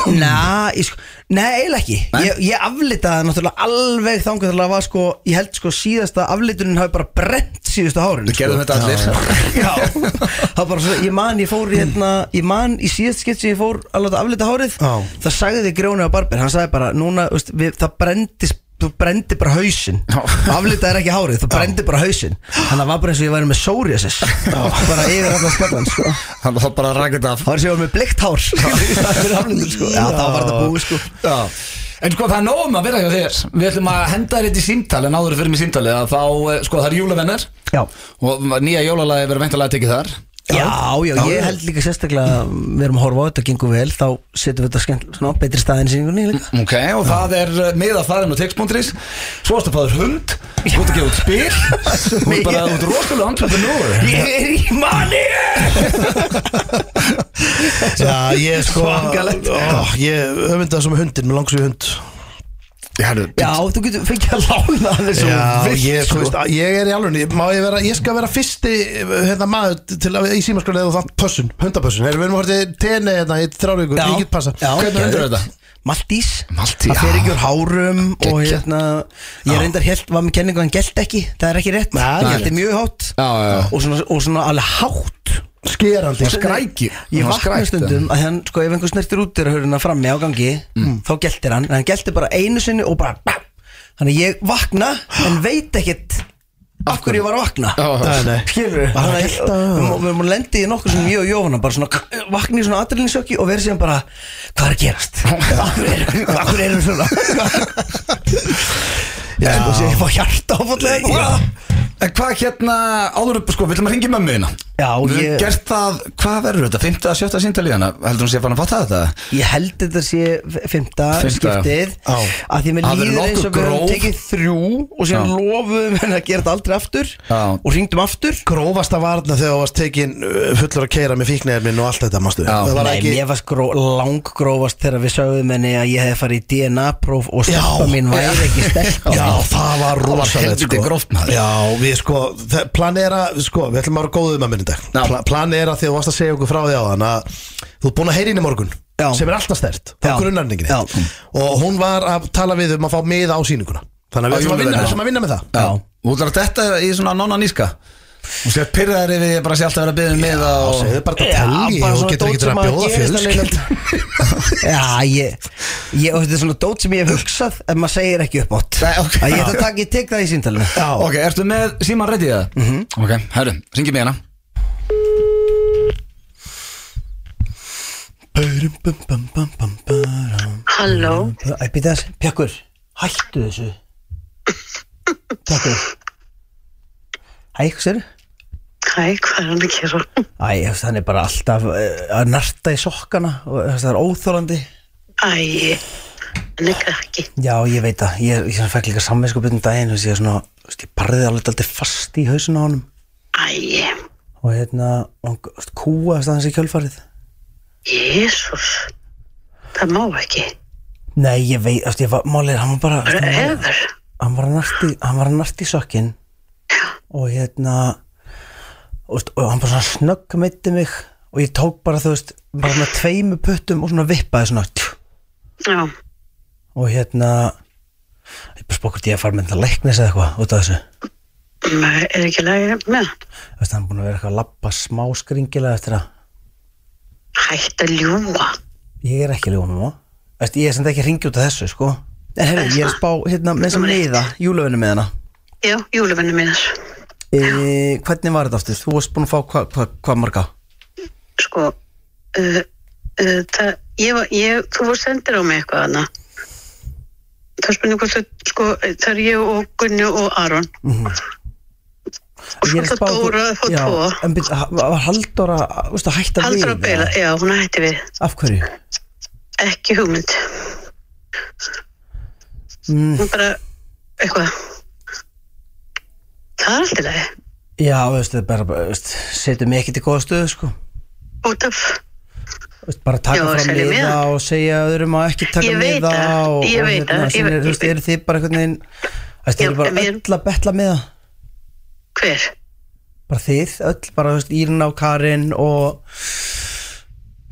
S5: Næ, ég sko, nei, eiginlega ekki Ég, ég aflitaði náttúrulega alveg þangar til að var sko, ég held sko síðasta aflitunin hafi bara brent síðustu hárin
S1: Við gerðum þetta allir.
S5: Já, það var bara svo, ég man, ég fór í hérna, ég man í síðast skipt sem ég fór að láta aflita hárið
S3: Já.
S5: Það sagði þið Grjóni á Barber, hann sagði bara, núna, veist, við, það brendist þú brendi bara hausinn aflitað er ekki hárið, þú brendi bara hausinn þannig að það var bara eins og ég væri með psoriasis bara yfir allan skallan sko.
S1: Hann var bara að rakið af
S5: það var eins og ég var með bleikt hár það fyrir aflitað sko. já, það var þetta búið sko.
S1: Já.
S4: En sko það er nóg um að vera hjá þér Við ætlum að henda þér eitt í símtali En áður en við fyrir mig símtali að Þá, eh, sko það er jólavennar
S5: já.
S4: Og nýja jólalagi verður veintalega tekið þar
S5: Já, já, ég held líka sérstaklega að við erum að horfa á þetta gengur vel þá setjum við þetta skemmt svona á betri staðin síningunni líka
S4: Ok, og það er eh, miðað þarinn og textbúndris Svo ertu að fá þér hund Þú ert að gefa út spil Þú ert bara, þú ert rosalega entrepreneur
S5: Ég er í manni
S3: Já, ég sko
S5: Svakalegt.
S3: ó, Ég öfndi það sem hundin, mér langs við hund
S5: Já, þú getur fengið að lána þessu
S3: Já,
S5: vilt,
S3: ég, sko,
S5: sko.
S3: veist, að- ég er í alveg Má ég vera, ég skal vera fyrsti hérna, maður til að í símaskrölu eða það pössun, hundapössun Erum við erum hortið tenni hérna í þrjár vikur,
S5: Já.
S3: ég get passa
S5: Já,
S4: Hvernig hundur er þetta?
S5: Maltís
S4: Maltís,
S5: Það
S4: já.
S5: fer ekki úr hárum og
S4: Geggjað.
S5: hérna Ég reyndar held, var með kenningu að hann gælt ekki Það er ekki rétt,
S3: Nei.
S5: ég held er mjög hátt
S4: Já, já, já.
S5: Og, svona, og svona alveg hátt
S3: Skerandi
S4: Skræki
S5: Ég
S4: Hann var
S5: vakna
S4: skrækt,
S5: stundum að hann, sko, ef einhver snertir út þeirra höruna frammi á gangi Þá geltir hann, en hann geltir bara einu sinni og bara bam. Þannig að ég vakna, en veit ekkert Af hverju ég var að vakna
S4: Já, já.
S3: Nei, nei.
S5: Skilur við
S3: Bara
S5: Þannig
S3: gelta.
S5: að við erum að lendi í nokkur sem ég og Jóhanna bara svona k- vakna í svona aðdreilinsjöki og verið síðan bara hvað er að gerast? Akkur erum, akkur erum svona Já, sko, sem ég fá hjarta áfallega Já,
S4: En hvað hérna, áður, sko, við ætlum að ringi mömmu þína
S5: Já,
S4: Við höfum
S5: ég-
S4: gert það, hvað verður þetta? 5. að 7. síntalið hana, heldur hún sé hérna? að fara að fatta þetta?
S5: Ég held þetta sé f- fimmta
S4: Fimmta.
S5: skiptið
S4: Já.
S5: að því mér
S4: Það verður
S5: líður eins og
S4: nokkuð
S5: við höfum
S4: gróf.
S5: tekið þrjú og síðan
S4: Já.
S5: lofuðum henni að gera þetta aldrei aftur
S4: Já.
S5: og ringdum aftur
S3: Grófasta varna þegar þú varst tekin uh, fullur að keira með fíknæðir minn og allt þetta, mástu
S4: Já.
S3: Það var
S5: Nei,
S3: ekki
S5: mér varst gró, langgrófast þegar við sögðum henni að ég hef farið í DNA-próf og
S3: Já.
S5: stelpa mín væri ekki stelpa
S3: Já, það var
S4: var
S3: rosalegt
S4: helviti
S3: sko.
S4: gróft, maður.
S3: Já, við sko, þe- planera sko, við ætlum að vera góðum að minna
S4: Já.
S3: dag Pla, planera þegar þú varst að segja okkur frá því á þann að þú ert búin að heyra inn í morgun
S5: Já.
S3: sem er alltaf stert, þá
S5: Já.
S3: grunnarningin
S5: Já.
S3: og hún var að tala við um að fá miða á sýninguna þannig að
S4: Á
S3: við ætlum að vinna,
S4: jólaveru.
S3: við ætlum að vinna með það
S4: Já Þú ætlar að detta í svona nonna níska Hún sé að pyrra þær yfir, ég bara sé alltaf að vera að byggja um miða
S3: og
S4: og...
S3: segðu bara að telji og getur ekki að bjóða fjölskyld
S5: Já, ég, ég og þetta er svona dót sem ég hef hugsað en maður segir ekki upp átt
S4: Nei, ok.
S5: að ég ætla að taka, ég tek það í síntalinu
S3: Já,
S4: Ok, ertu með síman ready það?
S5: Mhm.
S4: Mm -hmm. Ok, herru, ringi mig hana
S6: Halló,
S5: Æ, býta þess, Pjakkur, hættu þessu Pjakkur Æ, hvað sér?
S6: hæ, hvað er hann að gera?
S5: Æ, þú veist, hann er bara alltaf eh, að narta í sokkana og þú veist, það er óþólandi
S6: Æ, hann er krakki.
S5: Já, ég veit það, ég, ég svona fekk líka samvegskupið um daginn, þú veist, ég svona þú veist, ég barðið alveg aldrei fast í hausinu á honum
S6: Æ,
S5: og hérna, og hann þú veist, kúaðist aðeins í kjölfarið
S6: jésús, það má ekki.
S5: Nei, ég veit, þú veist, ég var, málið, er, hann var bara þú veist,
S6: Bara
S5: hann var-
S6: eður.
S5: hann var að narti hann var að narti sokkin og hérna og, veist, og hann bara svona snögg meitti mig og ég tók bara þú veist bara með tveimu puttum og svona vippaði svona tjú,
S6: Já,
S5: og hérna ég bara spokkur til ég að fara með þetta leiknis eða eitthvað út af þessu
S6: maður Mm, er ekki lægir með hann.
S5: Þú veist, hann er búin að vera eitthvað að labba smá skringilega eftir að
S6: Hætt að ljúa.
S5: ég er ekki ljóma má Veist, ég er sem þetta ekki að ringi út af þessu sko en herru, ég er að spá hérna með þessum neyða júlöfinu með hana
S6: Já, júluvenni mínir.
S5: e, hvernig var þetta aftur? þú varst búin að fá hvað hva, hva marga?
S6: Sko, uh, uh, það, ég var, ég, þú voru sendir á mig eitthvað hana. Það er spurning hvort þau, sko, það er ég og Gunni og Aron. Og
S5: Ég er að
S6: svo það
S5: spá þú-
S6: Dóra að fá
S5: Já,
S6: tvo.
S5: En byrja, var Halldóra veistu, að hætta
S6: Haldur að
S5: við?
S6: beila,
S5: eða?
S6: já, hún hætti við.
S5: Af hverju?
S6: ekki hugmynd
S5: Mm.
S6: hún bara eitthvað það er alltaf leið
S5: Já, veistu, það er bara, bara, veistu, setjum mig ekki til góða stöðu, sko
S6: út af
S5: veistu, bara taka
S6: Já,
S5: fram
S6: selja
S5: miða
S6: miða.
S5: og segja öðrum að ekki taka
S6: Ég veit
S5: miða
S6: það,
S5: og, hérna,
S6: ég veit
S5: og
S6: það, ég
S5: síðan
S6: veit-
S5: eru- veistu, eru þið bara einhvern veginn veistu,
S6: Já,
S5: eru bara
S6: en við-
S5: öll að betla miða
S6: hver
S5: bara þið, öll, bara veistu, Írna og Karin og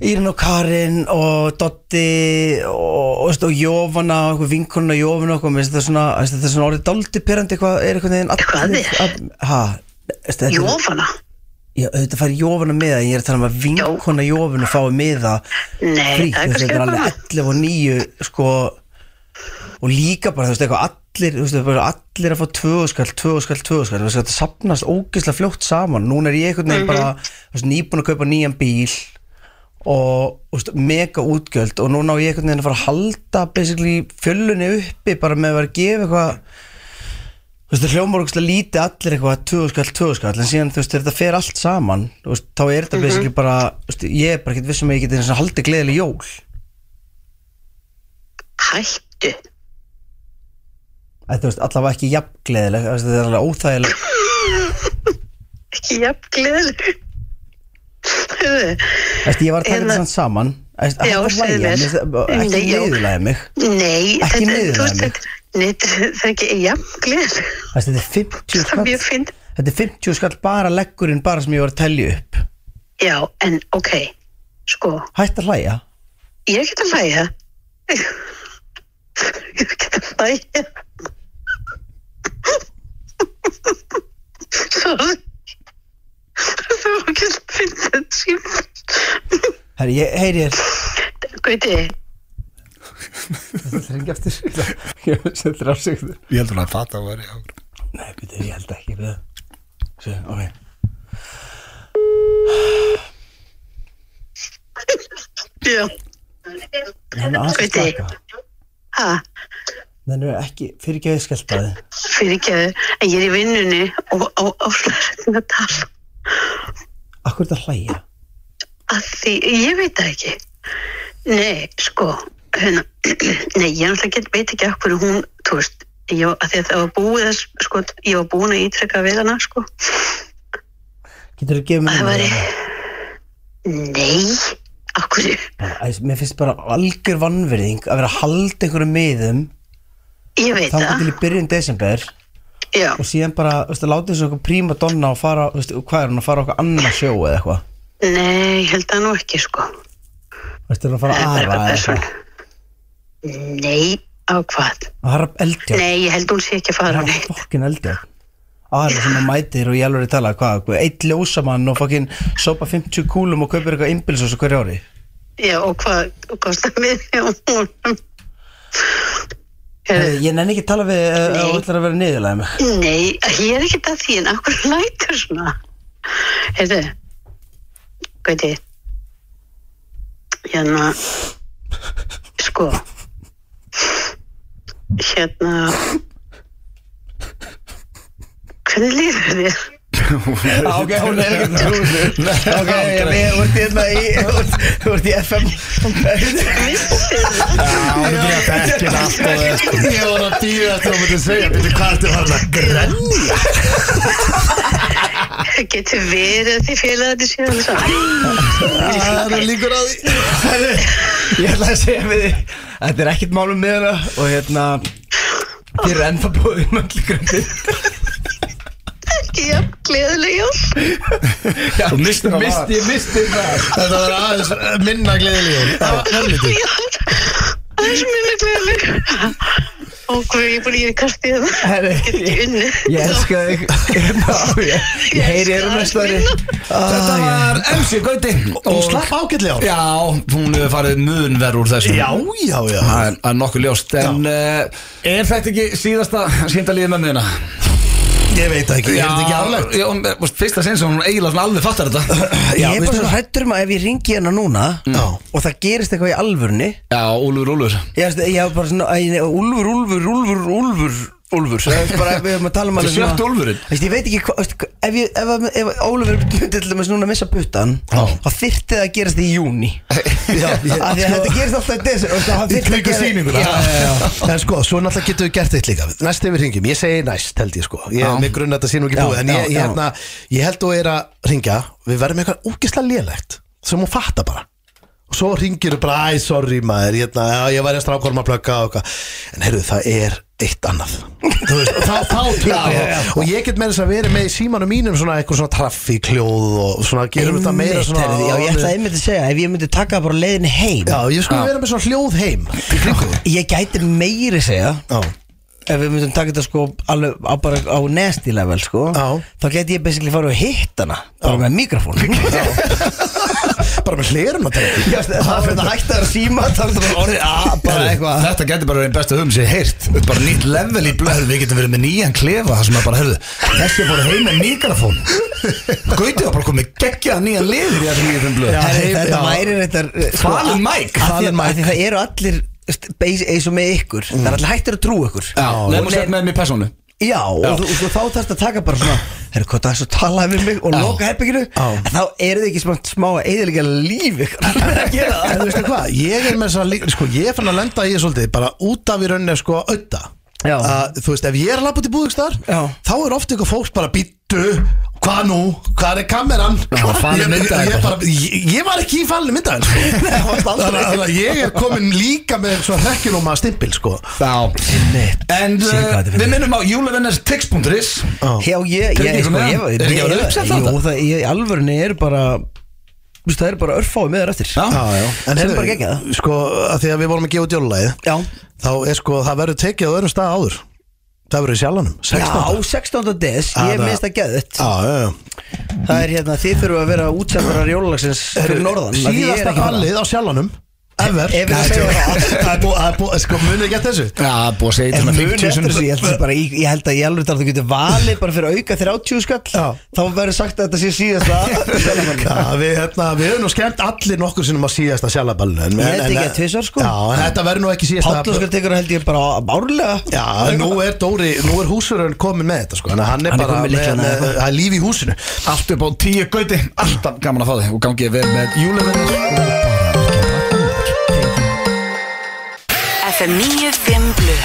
S5: Írna og Karin og Dotti og, og, veistu, og Jófana og einhver vinkunna Jófana og okkur, mér finnst þetta svona, veistu, þetta er svona orðið daldi perandi eitthvað, er einhvern veginn
S6: Eitthvað að þér?
S5: Hæ? Þetta er
S6: Jófana
S5: Já, auðvitað fær jófuna miða, en ég er að tala um að vinkona jófuna fái miða
S6: Nei,
S5: frítt,
S6: það
S5: þess að
S6: er
S5: þetta
S6: kannski
S5: er
S6: eitthvað
S5: alveg
S6: annað.
S5: 11 og 9 sko, og líka bara, þú veist, eitthvað allir þú veist, bara allir að fá tvöðskall, tvöðskall, tvöðskall þú veist, þetta sapnast ógeðslega fljótt saman núna er ég einhvern veginn bara
S6: Mhm.
S5: þú veist, nýbúin að kaupa nýjan bíl og þú veist, mega útgjöld og núna á ég einhvern veginn að fara að halda basically fjölunni uppi bara með að vera að gefa eitthvað þú veist, það hljómar okkur lítið allir eitthvað tvöðskall, tvöðskall, en síðan þú veist, þegar þetta fer allt saman, þú veist, þá er
S6: Mhm.
S5: þetta basically bara, þú veist, ég er bara ekkert vissum að ég geti einu sinni haldið gleðileg jól
S6: Hættu
S5: Þetta veist, allavega ekki jafn gleðileg þú veist, Þetta er alveg óþægileg
S6: Ekki jafn gleðileg Hörðu
S5: Æst, Ég var að taka
S6: Hérna-
S5: þetta samt saman Æst,
S6: Já,
S5: hættu að hlæja,
S6: segðu mér.
S5: mér finnst það- Ekki
S6: Nei, já.
S5: leiðilega mig
S6: Nei,
S5: Ekki
S6: þetta,
S5: niður
S6: þú veist,
S5: með
S6: þetta, nei, þetta- það er ekki jafn gleðileg
S5: Æst, Þetta er 50
S6: Það er mjög
S5: skall
S6: fyndið.
S5: Þetta er 50 skall bara leggurinn bara sem ég var að telja upp
S6: Já, en ok, sko,
S5: Hættu að hlæja
S6: ég get að hlæja. Ég get að hlæja. Sorry. Það var ekki að finna þetta síma.
S5: Herri, ég heyri þér
S6: Gauti,
S5: Þetta er ekki eftir Ég setur afsöktur
S4: Ég heldur að fatta að vera já.
S5: Nei, byrju, ég held ekki við Sjö, ok
S6: já.
S5: Nennu aðeins að
S6: Gauti.
S5: slaka
S6: Ha,
S5: Nennu ekki, fyrir ekki að ég skelta þið
S6: fyrir ekki en ég er í vinnunni og á áslaðsöndin að tala.
S5: Akkur þetta að hlæja
S6: að því, ég veit það ekki nei, sko hérna, nei, ég náttúrulega get, veit ekki af hverju hún, þú veist ég, var- að því að það var búið að, sko, ég var búin að ítreka við hana, sko
S5: Getur þú að gefa mér
S6: að það
S5: númerið
S6: væri
S5: hennar?
S6: nei, af hverju
S5: Æs, mér finnst bara algjör vannverðing að vera að halda einhverjum miðum
S6: ég veit
S5: þá
S6: það,
S5: til í byrjun desember
S6: já,
S5: og síðan bara, veist, láta þessu okkur príma donna og fara, veist, og hvað er hún að fara á okkur annað sjó eða eitthvað,
S6: nei, ég held það nú ekki, sko
S5: veist, er hún að fara
S6: það
S5: að
S6: er
S5: ara
S6: bara
S5: eða
S6: person
S5: eitthvað,
S6: nei, á hvað
S5: að harra eldjá
S6: nei, ég held hún sé ekki að fara
S5: harra
S6: neitt
S5: fokkin eldjá aðra sem að mætir og ég alveg er að tala hvað, hvað, eitt ljósamann og fokkin sopa 50 kúlum og kaupir eitthvað innbilsós og hverju ári
S6: já, og hvað, og kostar mig hún
S5: Heyrðu, ég nenni ekki að tala við eh, og ætlar að vera niðurlega mig
S6: Nei, ég er ekkert að því en akkur lætur svona Heyrðu Gauti Hérna Sko Hérna Hvernig líður þér?
S5: ok, hún er ekki trúið ok, ég er úrt í þetta í úrt í FM
S3: Ég er
S4: sko.
S3: að býða eftir að maður segja Býttu hvað ertu farin að grenn
S6: Getur verið að þið félag að þið séu alveg saman
S3: Það er líkur á því
S5: ég ætla að segja við þig þetta er ekkert málum með hana og hérna þér er ennþá búið um öllu gröndi
S6: Ekki jafn gleðileg jól
S4: Þú mistir það var.
S5: misti, ég misti það
S3: Þetta var aðeins minna gleðilegjum Helviti
S6: Já, Það er sem minna gleðileg Og hvað ég er búin að gera kastið
S5: Herri,
S6: Get ekki unnið
S5: ég elska þig hérna, ég, ég heyri þér um næsta ári
S4: Þetta var MC Gauti
S3: Hún slapp ágætlega á
S4: Já, hún hefur farið mun verð úr þessu
S3: Já, já, já
S4: Það er- það er nokkuð ljóst En uh, er þetta ekki síðasta síndalíði með miðina?
S3: Ég veit það ekki, er þetta ekki aflegt?
S4: Já, hún- þú veist, fyrsta sinn sem hún eiginlega svona alveg fattar þetta
S5: ég er
S3: veistu
S5: bara svo hrættur um að ef ég ringi hérna núna
S3: Já.
S5: og það gerist eitthvað í alvörni
S4: Já, Úlfur, Úlfur
S5: ég veist, ég hef bara svona æ, nei, Úlfur, Úlfur, Úlfur, Úlfur Úlfur, það er bara við höfum að tala um
S4: Þetta er
S5: svona-
S4: sjöttu Úlfurinn.
S5: Veist, ég veit ekki hvað, veist, ef, ég- ef, ef, ef Ólafur myndi til dæmis núna að missa puttan
S4: Já.
S5: þá þyrfti það að gerast í júni
S3: Já,
S5: af því
S3: ég- sko-
S5: að þetta gerist alltaf í desember, veist, það
S3: Í
S5: þyrfti að
S3: kringum
S5: gera-
S3: sýninguna.
S5: Já, já, já.
S3: En sko, svo náttúrulega getur við gert eitt líka Næst yfir ringjum, ég segi næst held ég sko Ég er með grunn að þetta sé nú ekki
S5: Já,
S3: búið En ég,
S5: já,
S3: ég,
S5: já.
S3: hérna, ég held þú er að ringja Við verðum eitthvað úkislega lélegt Sem hún fattar bara Og svo ringir þú bara, æ, sorry maður hérna, já, Ég væri að strákólum að plugga og eitthvað En heyrðu, það er eitt annað Þú veist, og þá, þá tökum
S5: já,
S3: við Og ég get meira þess að vera með í símanum mínum Svona eitthvað svona traffíkljóð Og svona gerum þetta meira
S5: Einmitt,
S3: svona
S5: heyrðu, já, ég ætla einmitt að segja ef ég myndi taka það bara á leiðinni heim
S3: Já, ég skulle vera með svona hljóð heim Í kringum
S5: ég gæti meiri segja
S3: Já
S5: ef við myndum taka þetta sko alveg á, bara á nasty level sko
S3: Já.
S5: þá gæti ég basically farið að hitta hana bara með mikrofón
S7: bara með hlerun að tala
S5: Já, það var fyrir að hætta að síma Það var bara orðið að bara eitthvað
S1: Þetta getur bara verið besta höfum sem ég heyrt Bara nýtt level í blöð Við getum verið með nýjan klefa Það sem að bara, heyrðu, þessi er bara heim með mikrofón Gautið var bara komið geggjað nýjan liður í þessum nýjum blöð
S5: Já,
S3: heim-
S5: Þetta
S3: já.
S5: væri reyndar eh, sko,
S1: Falin Mike.
S5: Falin
S3: Falin Mike.
S5: Mike Það eru allir st- beis- eins og með ykkur Það er allir hættir að trúa ykkur
S1: Já,
S5: Og
S1: Lemon Set
S5: nei-
S1: með mér persónu
S5: Já, og þú- og svo þá þarfst að taka bara svona Herru, hvað það er svo talaði við mig og loka herbygginu En þá eru þið ekki smá, smá að eðilega líf ykkur Það er að
S3: En
S5: gera það.
S3: þú veistu hvað, ég er með þess að líka, sko, ég er fann að lenda í því svolítið, bara út af í rauninni sko auða.
S5: Já.
S3: Að, þú veist, ef ég er að lappa út í búðikstar,
S5: Já.
S3: þá er ofta ykkur fólk bara býttu, hvað nú, hvað er kameran? Já,
S1: falin myndavél
S3: ég, ég, bara, ég, ég var ekki í falinu myndaðin, sko. Þannig að- þannig að ég er komin líka með svo hrekkilóma stimpil, sko.
S1: En uh, við minnum á júlevinnars tix.is
S5: Já, ég,
S1: Tengi
S5: ég,
S1: ykkur
S5: sko,
S1: með
S5: ég,
S1: hann?
S5: ég,
S1: Er ekki að vera
S5: ég-
S1: uppsett á
S5: Jú,
S1: þetta?
S5: það, ég, alvörunni eru bara þú veist, Það eru bara örfáið með þér eftir
S1: Já.
S3: já.
S5: En
S3: heyrðu,
S5: bara geggjað.
S3: Sko, að því að við vorum að gefa út jólulæðið,
S5: Já,
S3: þá er sko, það verður tekið á öðrum stað áður. Það verður í sjalanum, 16.
S5: já 16. des,
S3: Ah,
S5: ég
S3: það-
S5: minnst að geða þetta
S3: Já, já, já.
S5: Það er hérna, þið þurfum að vera útsendarar jólalagsins fyrir norðan af því ég er
S3: síðasta
S5: ekki hérna. að fara.
S3: hallið á sjalanum ever
S5: Ef við segjum það.
S3: það er búið, það er búið, sko munið ekki eftir þessu
S1: Já, búið að segja
S5: En
S1: þetta
S5: muni
S1: 50
S5: eftir
S1: sinni.
S5: þessu, ég held, þessi bara, í- ég held að ég alveg þar þú getur valið bara fyrir auka 30 skall
S3: Já.
S5: þá verður sagt að þetta sé síðasta
S3: Já, við, hérna, við höfum nú skemmt allir nokkur sinnum á síðasta sjalaballinu en-
S5: Ég held
S3: en-
S5: ekki
S3: en-
S5: að tvisvar, sko.
S3: Já, en þetta verður nú ekki síðasta
S5: Páll Óskar tekur það held ég bara árlega
S3: Já, en nú er Dóri, nú er húsurinn komin með þetta sko Þannig að hann er
S5: Hann er
S3: bara
S5: komin með
S3: með,
S5: lyklana,
S3: með,
S5: eða
S3: það er líf í húsinu
S1: Allt upp á tíu gauti Alltaf gaman að fá þig Og gangið vel með júlevinnars
S8: FM 95 Blu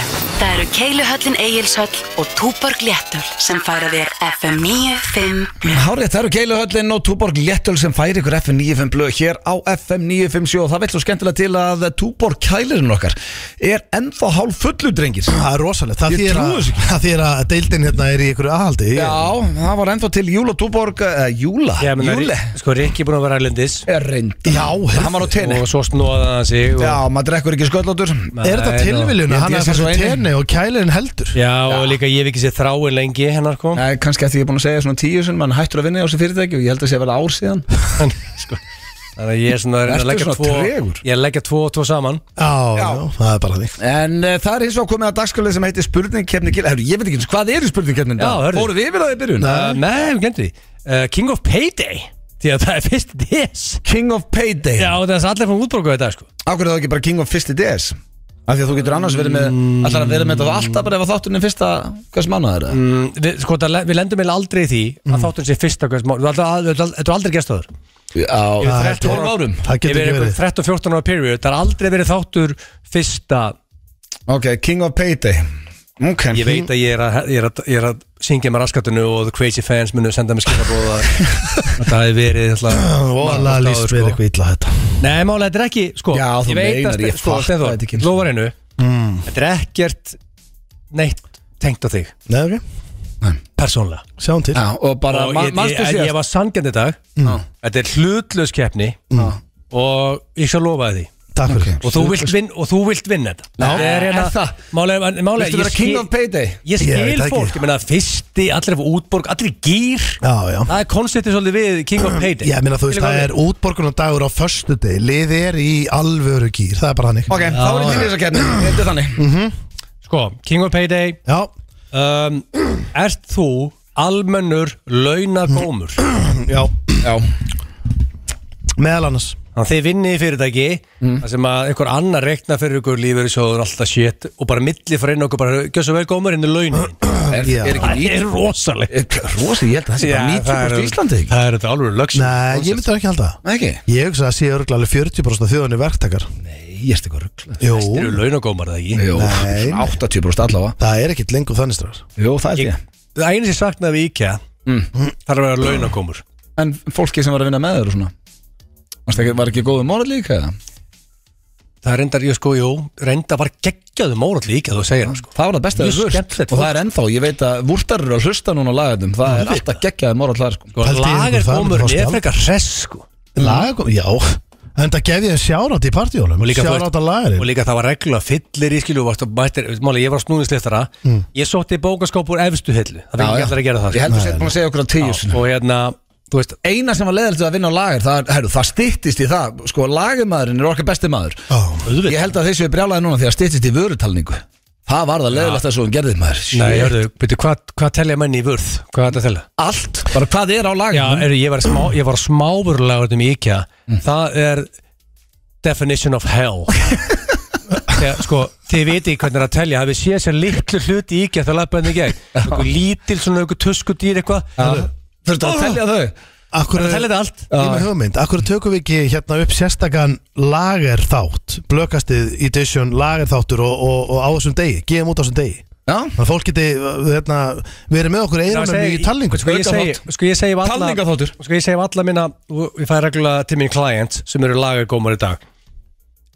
S8: Það eru Keiluhöllin Egilshöll og Túborg Léttöl sem færa þér FM 95 Blu
S1: Hárið, það eru Keiluhöllin og Túborg Léttöl sem færi ykkur FM 95 blöð hér á FM 957 og það vill svo skemmtilega til að Túborg kælirinn okkar er ennþá hálf fullu drengir
S3: Það er rosalegt, það
S1: Ég
S3: þýðir
S1: trúi
S3: að,
S1: þessu
S3: það þýðir að deildin hérna er í ykkur aðhaldi Ég-
S1: Já, það var ennþá til Júla Túborg uh, Júla,
S2: Ég meina,
S1: Júle
S2: Sko, Rikki er búin að vera ærlendis
S1: er reynd
S3: Já,
S1: Hann var á tenni
S2: og svo snóða hann sig og,
S1: Já, maður drekkur ekki sköllótur
S3: er þetta
S2: Nei,
S3: tilviljun
S1: Ég held
S3: að hann
S1: ég
S3: er
S1: sé svo
S3: fyrir
S1: einin.
S3: tenni og kælirinn heldur
S2: Já, og líka ég hef ekki séð þráin lengi hennar sko. kom
S1: Nei, kannski að því ég er búin að segja svona tíu sem mann hættur að vinna á þessu fyrirtæki og ég held að sé vel ár síðan
S2: sko. Þannig að ég er svona að reyna að
S1: Ertu
S2: leggja
S1: svona
S2: tvo
S1: tregur?
S2: Ég er að leggja tvo og tvo saman
S3: Já, já, það er bara því
S1: En uh, það er hins vegar komið að dagskalið sem heitir spurningkefni Gil Herru, ég veit ekki eins og hvað eru spurningkefnin
S2: Já, hörðu.
S1: Fóru við yfir að þið byrjun?
S2: Uh, Nei, við glemdi því uh, King of Payday Því að það er fyrst DS
S1: King of Payday
S2: Já, það er allir fann útborguð þetta sko
S1: Akkur er það ekki bara King of Fyrsti DS? Af því að þú getur annars verið með Allar að verið með þetta alltaf bara ef að þátturinn er fyrsta Hvers mánuð er það?
S2: mm, við, sko, það, le- við lendum eiginlega aldrei í því að þátturinn sé fyrsta hvers mál Þetta er aldrei gestöður
S1: Já,
S3: Það er
S2: 12 árum
S3: Það getur
S2: Yfir
S3: ekki
S2: einhver
S3: verið.
S2: 13-14 ára period Það er aldrei verið þáttur fyrsta
S1: ok, King of Payday Ok,
S2: Ég veit að ég er að, ég er að, ég er að syngja með raskatinu og the crazy fans munu senda mér skilabóð að að það hefur verið ætla,
S3: Óla líst við eitthvað illa á þetta
S2: sko. Nei, málega, þetta er ekki sko,
S1: Já, þú
S2: ég veit
S1: meinar,
S2: að,
S1: ég
S2: sko,
S1: fatta
S2: Steinþór,
S1: þetta ekki einu sinni.
S2: Lofar einu Þetta er ekkert neitt tengt á þig,
S3: Nei, ok,
S2: persónlega
S3: sjáum til
S1: Já, og bara,
S2: og
S1: ma-
S2: ég,
S1: manstu
S2: ég, ég,
S1: síðast
S2: var sangjandi í dag Mm. Þetta er hlutlaus keppni og ég skal lofa þér því
S3: Takk fyrir
S2: og þú vilt vinna, og þú vilt vinna þetta Þetta er
S1: er
S2: hérna
S1: það?
S2: málega, málega
S1: Viltu
S2: ég
S1: vera King
S2: skil-
S1: of Payday?
S2: Ég skil
S3: Ég veit það ekki.
S2: fólk, ég meina fyrsti, allir af útborg, allir í gýr
S3: Já, já
S2: Það er konceptið svolítið við King of Payday
S3: Ég meina þú veist, það er útborgunardagur á förstu deg Lið er í alvöru gýr, það er bara hannig
S1: Ok, þá er ég til í þessa kefni Þetta er þannig
S2: Sko, King of Payday
S3: Já,
S2: um, Ert þú almennur launagómur?
S3: já,
S1: Já,
S3: meðal annars
S2: Þannig að þið vinnið í fyrirtæki
S3: Mm.
S2: Það sem að einhver annar rekna fyrir ykkur lífur í sjóður alltaf shit Og bara milli fyrir inn okkur bara Gjössu vel gómur inn í launin
S1: er,
S3: Ah, Já.
S1: er
S2: Það
S1: ekki
S2: er rosaleg
S1: nýtt eh, Rosi, ég held að það sé
S2: Já, það
S1: bara 90%
S2: er-
S1: í Íslandi ekki?
S2: Það er þetta alveg lögst
S3: Nei, ég myndi það ekki halda það.
S1: Nei, ekki?
S3: Ég hugsa að sé örgulega alveg 40% af þjóðunni verktakar
S1: Nei, ég erst eitthvað ruggla
S3: Jú,
S2: Það eru launagómar það ekki
S1: Jú,
S3: Nei.
S1: 80% allavega
S3: það er ekkit lengur þannig strafs
S1: Jú, það held ég
S2: Það einu sem saknaði við IKEA
S3: Mm.
S2: Það er að vera launagómur
S1: En fólki sem var að vinna með þér og svona Varst ekki, var ekki góðu morð líka eða?
S2: Það er reyndar, ég sko, jú, reyndar var geggjaðum órátt líka þú segir hann sko
S1: Það var það besta
S2: Mjög
S1: við vörst
S2: skemmtilegt
S1: Og það er ennþá, ég veit að vúrtar eru að hlusta núna á lagatum Það er alltaf geggjaði morð hlar sko.
S2: Sko,
S3: Pældi í ykkur,
S2: lagar
S3: það er
S2: komur
S3: bara
S2: er
S3: skjald.
S2: frekar hress sko
S3: Lagum, já En það gef ég sjárat í partíólum
S2: Og líka, þú
S3: Sjárat
S2: veist-
S3: að
S2: og
S3: lagari
S2: líka það var reglulega fyllir í skilju og varst að mættir, máli, ég var snúðinsliftara mm. ég sótti bókaskáp úr efstu hillu það fengi ekki allir að gera það
S1: Ég
S2: sko.
S1: held að þú sétt búin að segja okkur á tíu
S2: og hérna,
S1: þú veist, eina sem var leðilegt að vinna á lager það, herru, það styttist í það, sko lagermaðurinn er okkar besti maður
S3: auðvitað.
S1: ég held að þessu er brjálaði núna því að styttist í vörutalningu það var það leðilegt að svo hún gerði maður
S2: Nei, hörðu, byrju, hvað, hvað telja menni í vörð? Hvað er þetta að telja?
S1: allt, bara hvað er á
S2: Já,
S1: lagermaður
S2: er, ég var, smá, ég var smáburlagur um IKEA Það er definition of hell Þegar, sko, þið viti hvernig er að telja hafið séð sér litlu hluti í IKEA það lappaði í gegn einhver lítil svona einhver tuskudýr eitthvað
S1: Já. þurftu að telja þau
S3: Akkur
S2: Það telja þetta allt
S3: Ég er með hugmynd, akkur tökum við ekki hérna upp sérstakann lagerþátt Blökastið edition lagerþáttur og, og, og á þessum degi, gefum út á þessum degi
S1: Já.
S3: Þannig að fólk geti hérna, verið með okkur
S2: Já,
S3: eirunum
S2: segi-
S3: í talningu
S2: Sko ég segi, sko ég segi við alla
S1: Talningaþáttur.
S2: Sko ég segi við alla minna og Ég fæ reglulega til minn client sem eru lagagómar í dag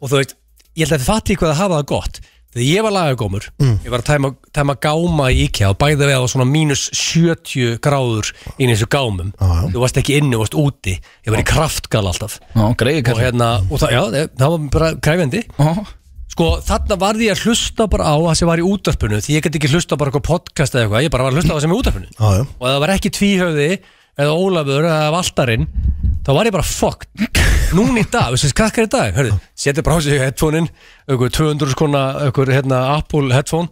S2: Og þú veit Ég held að þið fatti hvað að hafa það gott Þegar ég var lagagómur
S3: Mm.
S2: Ég var að tæma, tæma gáma í IKEA og bæði við á svona mínus 70 gráður inn í þessu gámum
S3: Já, já.
S2: Þú varst ekki inni, þú varst úti Ég var í kraftgal alltaf
S1: Já, greiði
S2: Og hérna, og það, já, það- það var bara kræfendi
S1: kallið
S2: Sko, þarna varði ég að hlusta bara á það sem var í útarpinu Því ég gæti ekki hlusta bara á eitthvað podcast eða eitthvað Ég bara var að hlusta á það sem er í útarpinu
S3: Já, já.
S2: og ef það var ekki tvíhöfði eða Ólafur eða Valdarinn þá var ég bara fucked núna í dag, þessi krakkar í dag hörðu, setja bara á sig headphone-in einhver 200 skona, einhver hérna, Apple headphone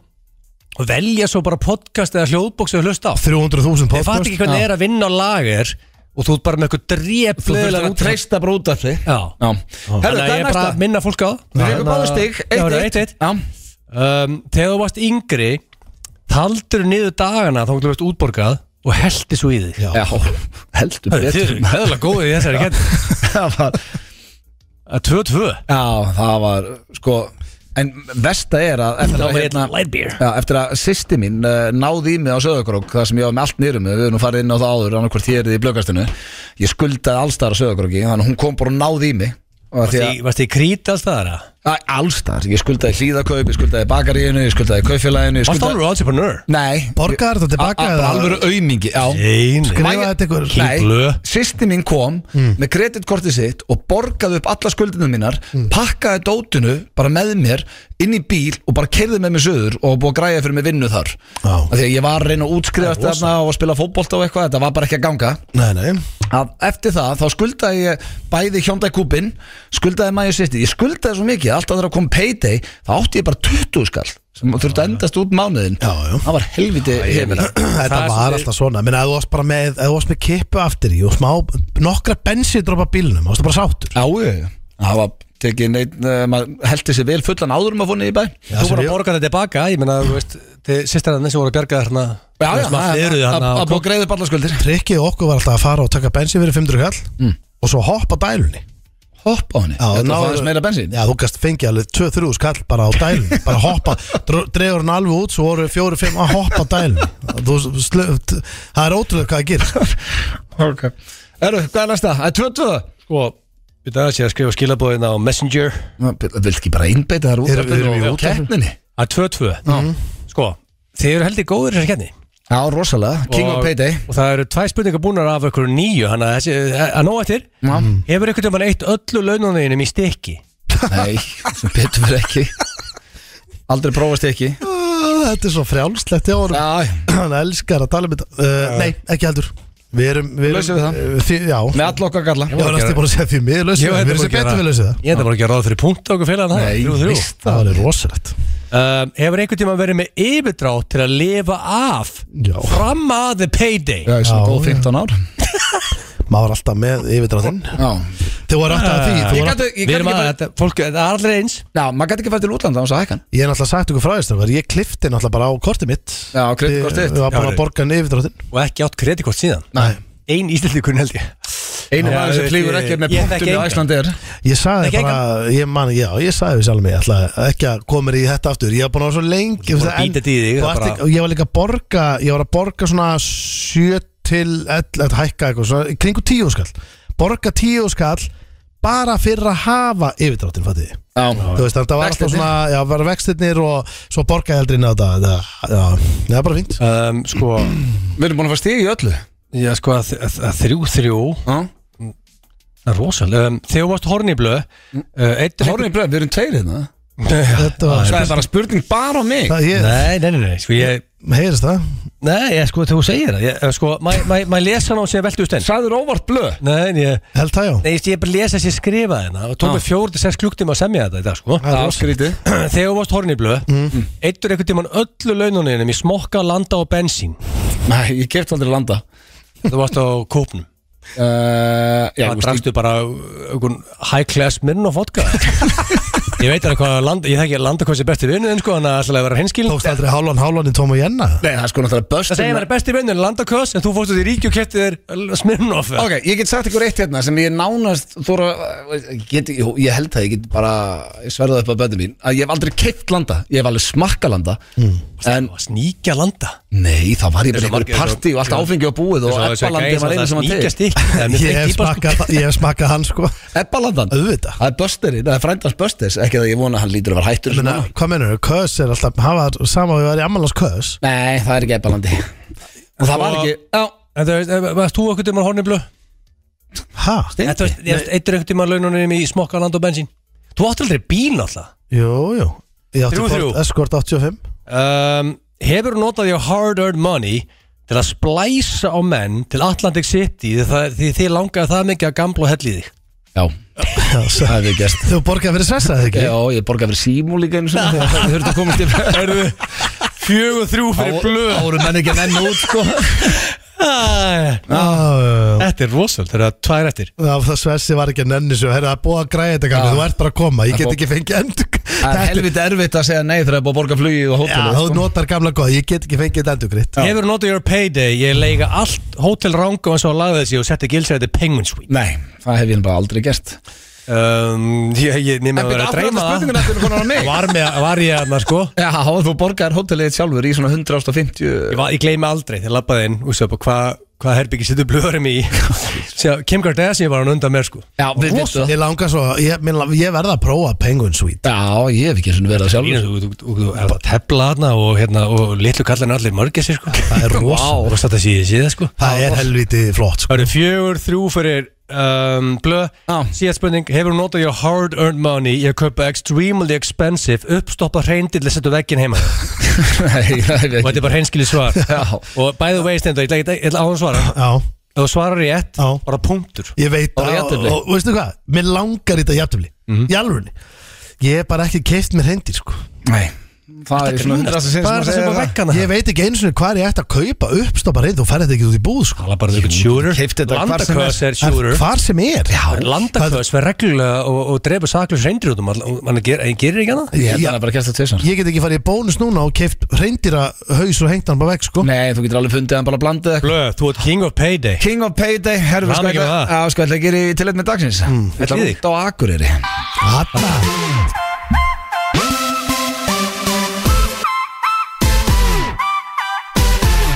S2: og velja svo bara podcast eða hljóðbóks eða hlusta á ég fatt
S3: 300.000 podcast
S2: ekki hvernig er að vinna á lager og þú ert bara með einhver drep
S1: Þú þurftur að treysta bara út af því
S2: Já.
S1: Herðu,
S2: Þannig
S1: hvað
S2: að ég
S1: er
S2: er bara
S1: næsta?
S2: að minna fólk á það.
S1: Við fengum báðu stig,
S2: Já, hörðu, eitt, eitt.
S1: 1-1 Já.
S2: um, Þegar þú varst yngri Taldur niður dagana þá þú varst útborgað og heldi svo í þig
S1: Já, heldur
S2: Hörðu, Þið
S1: betur
S2: eru heðalega góðið í þessari kætt
S1: Það var-
S2: Að 2-2
S1: Já, það var sko En versta er að eftir
S2: Það
S1: að,
S2: var
S1: hérna,
S2: einn light beer.
S1: já, eftir að sýsti mín uh, náði í mig á Söðakrók Það sem ég var með allt nýrum Við erum farið inn á það áður Annarkvort ég er í blökastinu Ég skuldaði allstar á Söðakróki Þannig að hún kom bara og náði í mig Og því að-
S2: Varst þið í krít alls staðar að?
S1: Æ, Allstar, ég skuldaði hlýðakaup Ég skuldaði bakaríinu, ég skuldaði kaufélaginu ég
S2: Varst það
S1: skuldaði...
S2: alveg entrepreneur?
S1: Nei
S5: Ah,
S3: Borgar þetta tilbaka
S1: A- a-
S3: eða?
S1: bara Alvöru aumingi, já
S2: Nein
S1: Sko,
S3: Skrifa þetta Mm. ykkur
S1: Nei,
S2: blöð.
S1: sýsti mín kom með kreditkortið sitt og borgaði upp alla skuldinu mínar
S3: Mm.
S1: pakkaði dótinu bara með mér inn í bíl og bara kerði með mér söður og búið að græja fyrir mig vinnu þar
S3: Já.
S1: af því að ég var að reyna að útskrifast þarna og að spila fótbolta og eitthvað, þetta var bara ekki að ganga
S3: Nei, nei,
S1: að eftir það þá skuldaði ég bæði Hyundai Coupin skuldaði maður sitt, ég skuldaði svo mikið alltaf þegar að kom payday, þá átti ég bara 20 skall sem þurfti að endast út mánuðin
S3: Já, já.
S1: það var helviti hefina
S3: þetta
S2: er
S3: var
S2: svolítið-
S3: alltaf svona Menn að þú varst bara með, ef þú varst með kippu aftur í og smá, nokkra bensindropa bílnum þá varstu bara sáttur
S1: Já, já, já. það var tekið neitt, uh, maður heldur sér vel fullan áður um að fóna í bæ
S2: Þú
S3: Já, sem
S2: voru að
S3: ég-
S2: borga þetta tilbaka Ég meina, þú veist Þið sýstir hann sem voru að bjarga hérna, þarna
S1: Já, já,
S2: Svona
S1: að
S2: fleruðu
S1: að-
S2: þarna
S1: að
S2: og
S1: búið greiðu ballaskuldir
S3: Trikkið okkur var alltaf að fara og taka bensin fyrir 500 kall
S1: Mm.
S3: og svo hoppa dælunni
S1: Hopp á henni,
S3: Já,
S1: þetta
S3: náðu-
S1: var aðeins meira bensín
S3: Já, þú gæst fengið alveg 2-3 skall bara á dælun bara hoppa, dr- dregur hann alveg út svo voru 4-5 að hoppa dælun þú, slöft, það er ótrúlega hvað það gerir sko.
S1: okay. Eru, hvað er næsta? Það er 22
S2: Sko, við það sé að skrifa skilabóðina á Messenger
S1: Vilt ekki bara einbeita þar út
S3: Erum- erum við í
S1: og keppninni?
S2: Að 2-2 Sko, þið eru heldur góður í þessari kenni
S1: Já, rosalega, King of Payday
S2: Og það eru tvær spurningar búnar af ykkur nýju Þannig að þessi, að nóg eftir
S1: Já.
S2: Hefur ykkur tjóman eitt öllu launaneginum í stikki
S1: Nei, sem betur verið ekki Aldrei prófast ég ekki
S3: Þetta er svo frjálslegt hjá honum
S1: Já,
S3: Hann elskar að tala um þetta uh, Nei, ekki heldur Við erum, við erum
S1: Lausum við það.
S3: uh, því, Já,
S1: með all okkar galla
S3: ég var næstu búin að segja því Við lausum það, við erum sem betur við lausum það
S2: Ég þetta bara að gera ráð fyrir punkt okkur félagann þarna,
S1: Nei,
S2: 3-3.
S1: víst.
S3: Það var rosalegt
S2: Um, hefur einhvern tíma verið með yfirdrátt til að lifa af
S3: Já.
S2: fram að the payday
S1: Já, ég sem
S3: Já,
S1: góð
S3: já.
S1: 15 ár
S3: Maður var alltaf með yfirdráttinn
S1: Já,
S3: Þú var alltaf að því
S1: Ég
S3: þú voru-
S1: gat- ég
S2: Við
S1: gat
S2: erum
S1: ekki
S2: að,
S1: bara-
S2: þetta, fólk, það er allir eins
S1: Já, maður gæti ekki fært til útlanda á þess að hækkan
S3: Ég er náttúrulega sagt ykkur frá þess Ég klifti náttúrulega bara á kortið mitt
S1: Já, kreditkortið þitt.
S3: Ég var
S2: Já,
S3: bara
S2: já.
S3: að borga yfirdráttinn
S2: og ekki átt kreditkort síðan
S1: Nei.
S2: Ein íslendingur held ég
S1: Einu
S2: Já,
S1: maður sem
S2: ég-
S1: flýgur ekki með
S2: ég þekki
S1: punktum í
S2: engan.
S1: Æslandi er
S3: Ég sagði
S2: Ekki
S3: bara, ég man, já, ég sagði við sjálf mig, ég ætla ekki að koma mér í þetta aftur Ég var búin að vera svo lengi
S2: Þú ert búin að
S3: en-
S2: bíta þetta í þig,
S3: þú
S2: það
S3: ert
S2: bara-
S3: ekki- og Ég var líka að borga, ég var að borga svona 7 til 11, hækka eitthvað, svona í kringu 10 skall Borga 10 skall bara fyrir að hafa yfirdráttin, fatið þið
S1: Já,
S3: Þú veist, þannig að það var alltaf
S1: Vextirnir.
S3: svona, já, var vextirnir og svo borga eldrin á þetta það- Já, það er bara fínt
S2: um, Sko,
S1: við erum búin að fara stig í öllu
S2: já, sko að, að, að þrjú þrjú
S1: Já
S2: Það er rosalega um, Þegar þú varst horniblöð uh,
S1: Hórni blöð, við erum tveir hérna
S3: Þetta var,
S1: Það er bara spurning bara á mig
S3: það, ég,
S2: Nei, nei, nei, nei, sko ég
S3: heyrist það
S2: Nei, ég, sko, þegar þú segir það ég, eh, sko, maður ma, ma lesa hann á sem veltu út enn
S1: Sæður óvart blöð
S2: Nei, en ég
S3: Held það já
S2: Nei, ég, ég bara lesa þess að ég skrifa hérna og tók mig fjóru til sex klukktíma að semja þetta í dag, sko
S1: Ah. Það er skrítið
S2: Þegar þú varst horfin í blöð mm. Eittur einhvern tímann öllu laununinum í smokka, landa og bensín
S1: Nei, ég kefti aldrei landa
S2: Þú varst á kópnum
S1: uh, Já,
S2: Það
S1: þú veist,
S2: drakstu bara uh, einhvern high class minn og vodka Ég veit alveg hvað land, ég þekki að landa hvað sé besti vinnu en sko, hann er alltaf að vera hinskil
S3: Tókst aldrei hálfan hálfan í tóm og jenna
S1: nei, það er sko náttúrulega
S2: Það segir að
S1: böstum
S2: vera besti vinnu en landa kvöss en þú fórst út í ríki og kæfti þér Smirnoff
S1: Ok, ég get sagt ykkur eitt hérna sem ég nánast þóra, get, jú, ég held það, ég get bara ég sverða upp að bönni mín, að ég hef aldrei keipt landa, ég hef alveg smakka landa en
S2: Sníkja landa
S1: nei, þá var ég bara
S2: Þessu
S1: í einhverju
S2: margir-
S1: partí Hmm. og allt áfengi á búið og ebbalandi var einu sem var
S2: Sníkja
S1: til
S2: stikk Það er mjög
S3: Ég
S2: steikt
S3: hef
S2: dýpa, sko.
S3: smakkað ég hef smakkað hann sko
S1: Ebbalandan,
S3: Auðvitað.
S1: það er bösterinn, það er frændans bösters ekki að ég vona að hann lítur að vera hættur sko.
S3: Menna,
S1: svona.
S3: Hvað menur þau? Kös er alltaf hafa, Sama við varum í ammalans kös
S1: Nei, það er ekki ebbalandi og það var
S2: Og-
S1: ekki, já,
S2: En þú veist, eh, varst þú okkur tímann horniblu?
S3: Ha?
S2: Þetta veist, ég veist, eittur einhvern tímann laununum í smokka, landa og bensín Þú átt aldrei bíl alltaf
S3: Jú, jú Ég átti
S2: Þrjú,
S3: Ford
S2: þrjú.
S3: Escort 85
S2: um, Hefur notað því hard-earned money til að splæsa á menn til Atlantic City því, það, því þið langaði það mikið að gamla og hella í þig
S1: já,
S3: Já,
S1: það hefur gerst
S3: Þú borgaði fyrir stressaði ekki?
S1: Já, ég borgaði fyrir símú líka eins og það þurfti að komast í
S2: Fjögur þrjú fyrir blöð
S1: Árum menn ekki að menn út sko
S2: Æ,
S3: Já, já, já.
S2: Þetta er rosal, þetta er tvær eftir
S3: Já, það sversi var ekki að nenni svo Herra, það er búið að græja þetta kannu,
S1: Já.
S3: þú ert bara að koma Ég
S1: Það
S3: get
S1: er
S3: ekki fengið endur
S1: Það er sko.
S3: Þetta er-
S1: helviti erfitt að segja nei þegar það er búið að borga flugið og
S3: Já,
S1: hótelið
S3: þú notar gamla góð, ég get ekki fengið þetta endurgritt
S2: Hefur notað your payday, ég leiga allt Hotel Rango eins og að laga þessi og setti gilsæti Penguin Suite
S1: Nei, það hef ég bara aldrei gert
S2: um, Ég, ég nefnir að vera að dreyma það. Var, með, var ég aðna sko
S1: Já, hafa þú borgaðir hótelið þitt sjálfur í svona 150
S2: Ég, va- ég gleymi aldrei þegar labbaði inn og sér bara hvað hva herbyggi setur blöðurum í Sér, Kim Kardashian var hann undan mér sko
S1: Já, við
S3: Rosa.
S1: vittu það
S3: Ég langar svo, ég, mér lang- ég verða að prófa Penguin Suite
S1: Já, ég hef ekki eins og verið það
S2: Lína,
S1: sjálfur
S2: þú, þú, þú, þú er bara tefla hana og, hérna, og litlu kallan allir mörgir sér sko Það er rosa
S1: Vá.
S2: Rosa þetta sé ég sé það sko
S3: Það er helviti flott sko.
S2: Það eru fjögur, þrjú fyrir um, blöð
S1: Já.
S2: Síðan spurning, hefur hún notað your hard earned money í að kaupa extremely expensive uppstoppa hreindill að setja veggin heima og
S1: Nei, það hef ég
S2: þetta
S1: ekki
S2: er bara hreinskili svar
S1: Já.
S2: og by the way stendur, ég ætla- ég ætla- ég ætla á hann svara ef
S3: Já,
S2: þú svarar rétt,
S3: Já.
S2: bara punktur
S3: ég veit
S1: Bara
S3: að-
S1: jafntefli. Mhm.
S3: og, og veistu hvað, mér langar þetta jafntöfli Í alvörunni Ég hef bara ekki keift mér hendir sko
S1: Nei, það er svona 100 sem að
S2: Hvað er það sem
S1: segja
S2: bara
S1: það
S2: veggana
S3: Ég veit ekki eins og hvað ég ætti að kaupa uppstoppa reynd Þú færði þetta ekki út í búð sko
S2: Það er bara einhvern shooter
S1: keypti þetta hvar sem er.
S2: Landaköðs er
S3: En
S2: shooter
S3: Hvar sem er Það-
S2: Landaköðs verð reglulega og, og drepa saklaus reyndir út um all- og hann ger, hann gerir ekki hana
S1: Ég held að hann hafi bara gert það tvisar
S3: Ég get ekki farið í bónus núna og keift reyndira haus og hengt hann bara vekk sko
S1: Nei, þú getur alveg fundið hann bara að blanda eitthvað
S2: Blöð, þú ert king of payday
S1: King of Payday, herfum
S2: Hamingju
S1: við
S2: með það.
S1: ætla- Já, sko, ætla að gera í tilhætt með dagsins Þetta
S2: Ætli
S1: er
S2: þig.
S1: út á Akureyri
S3: Hanna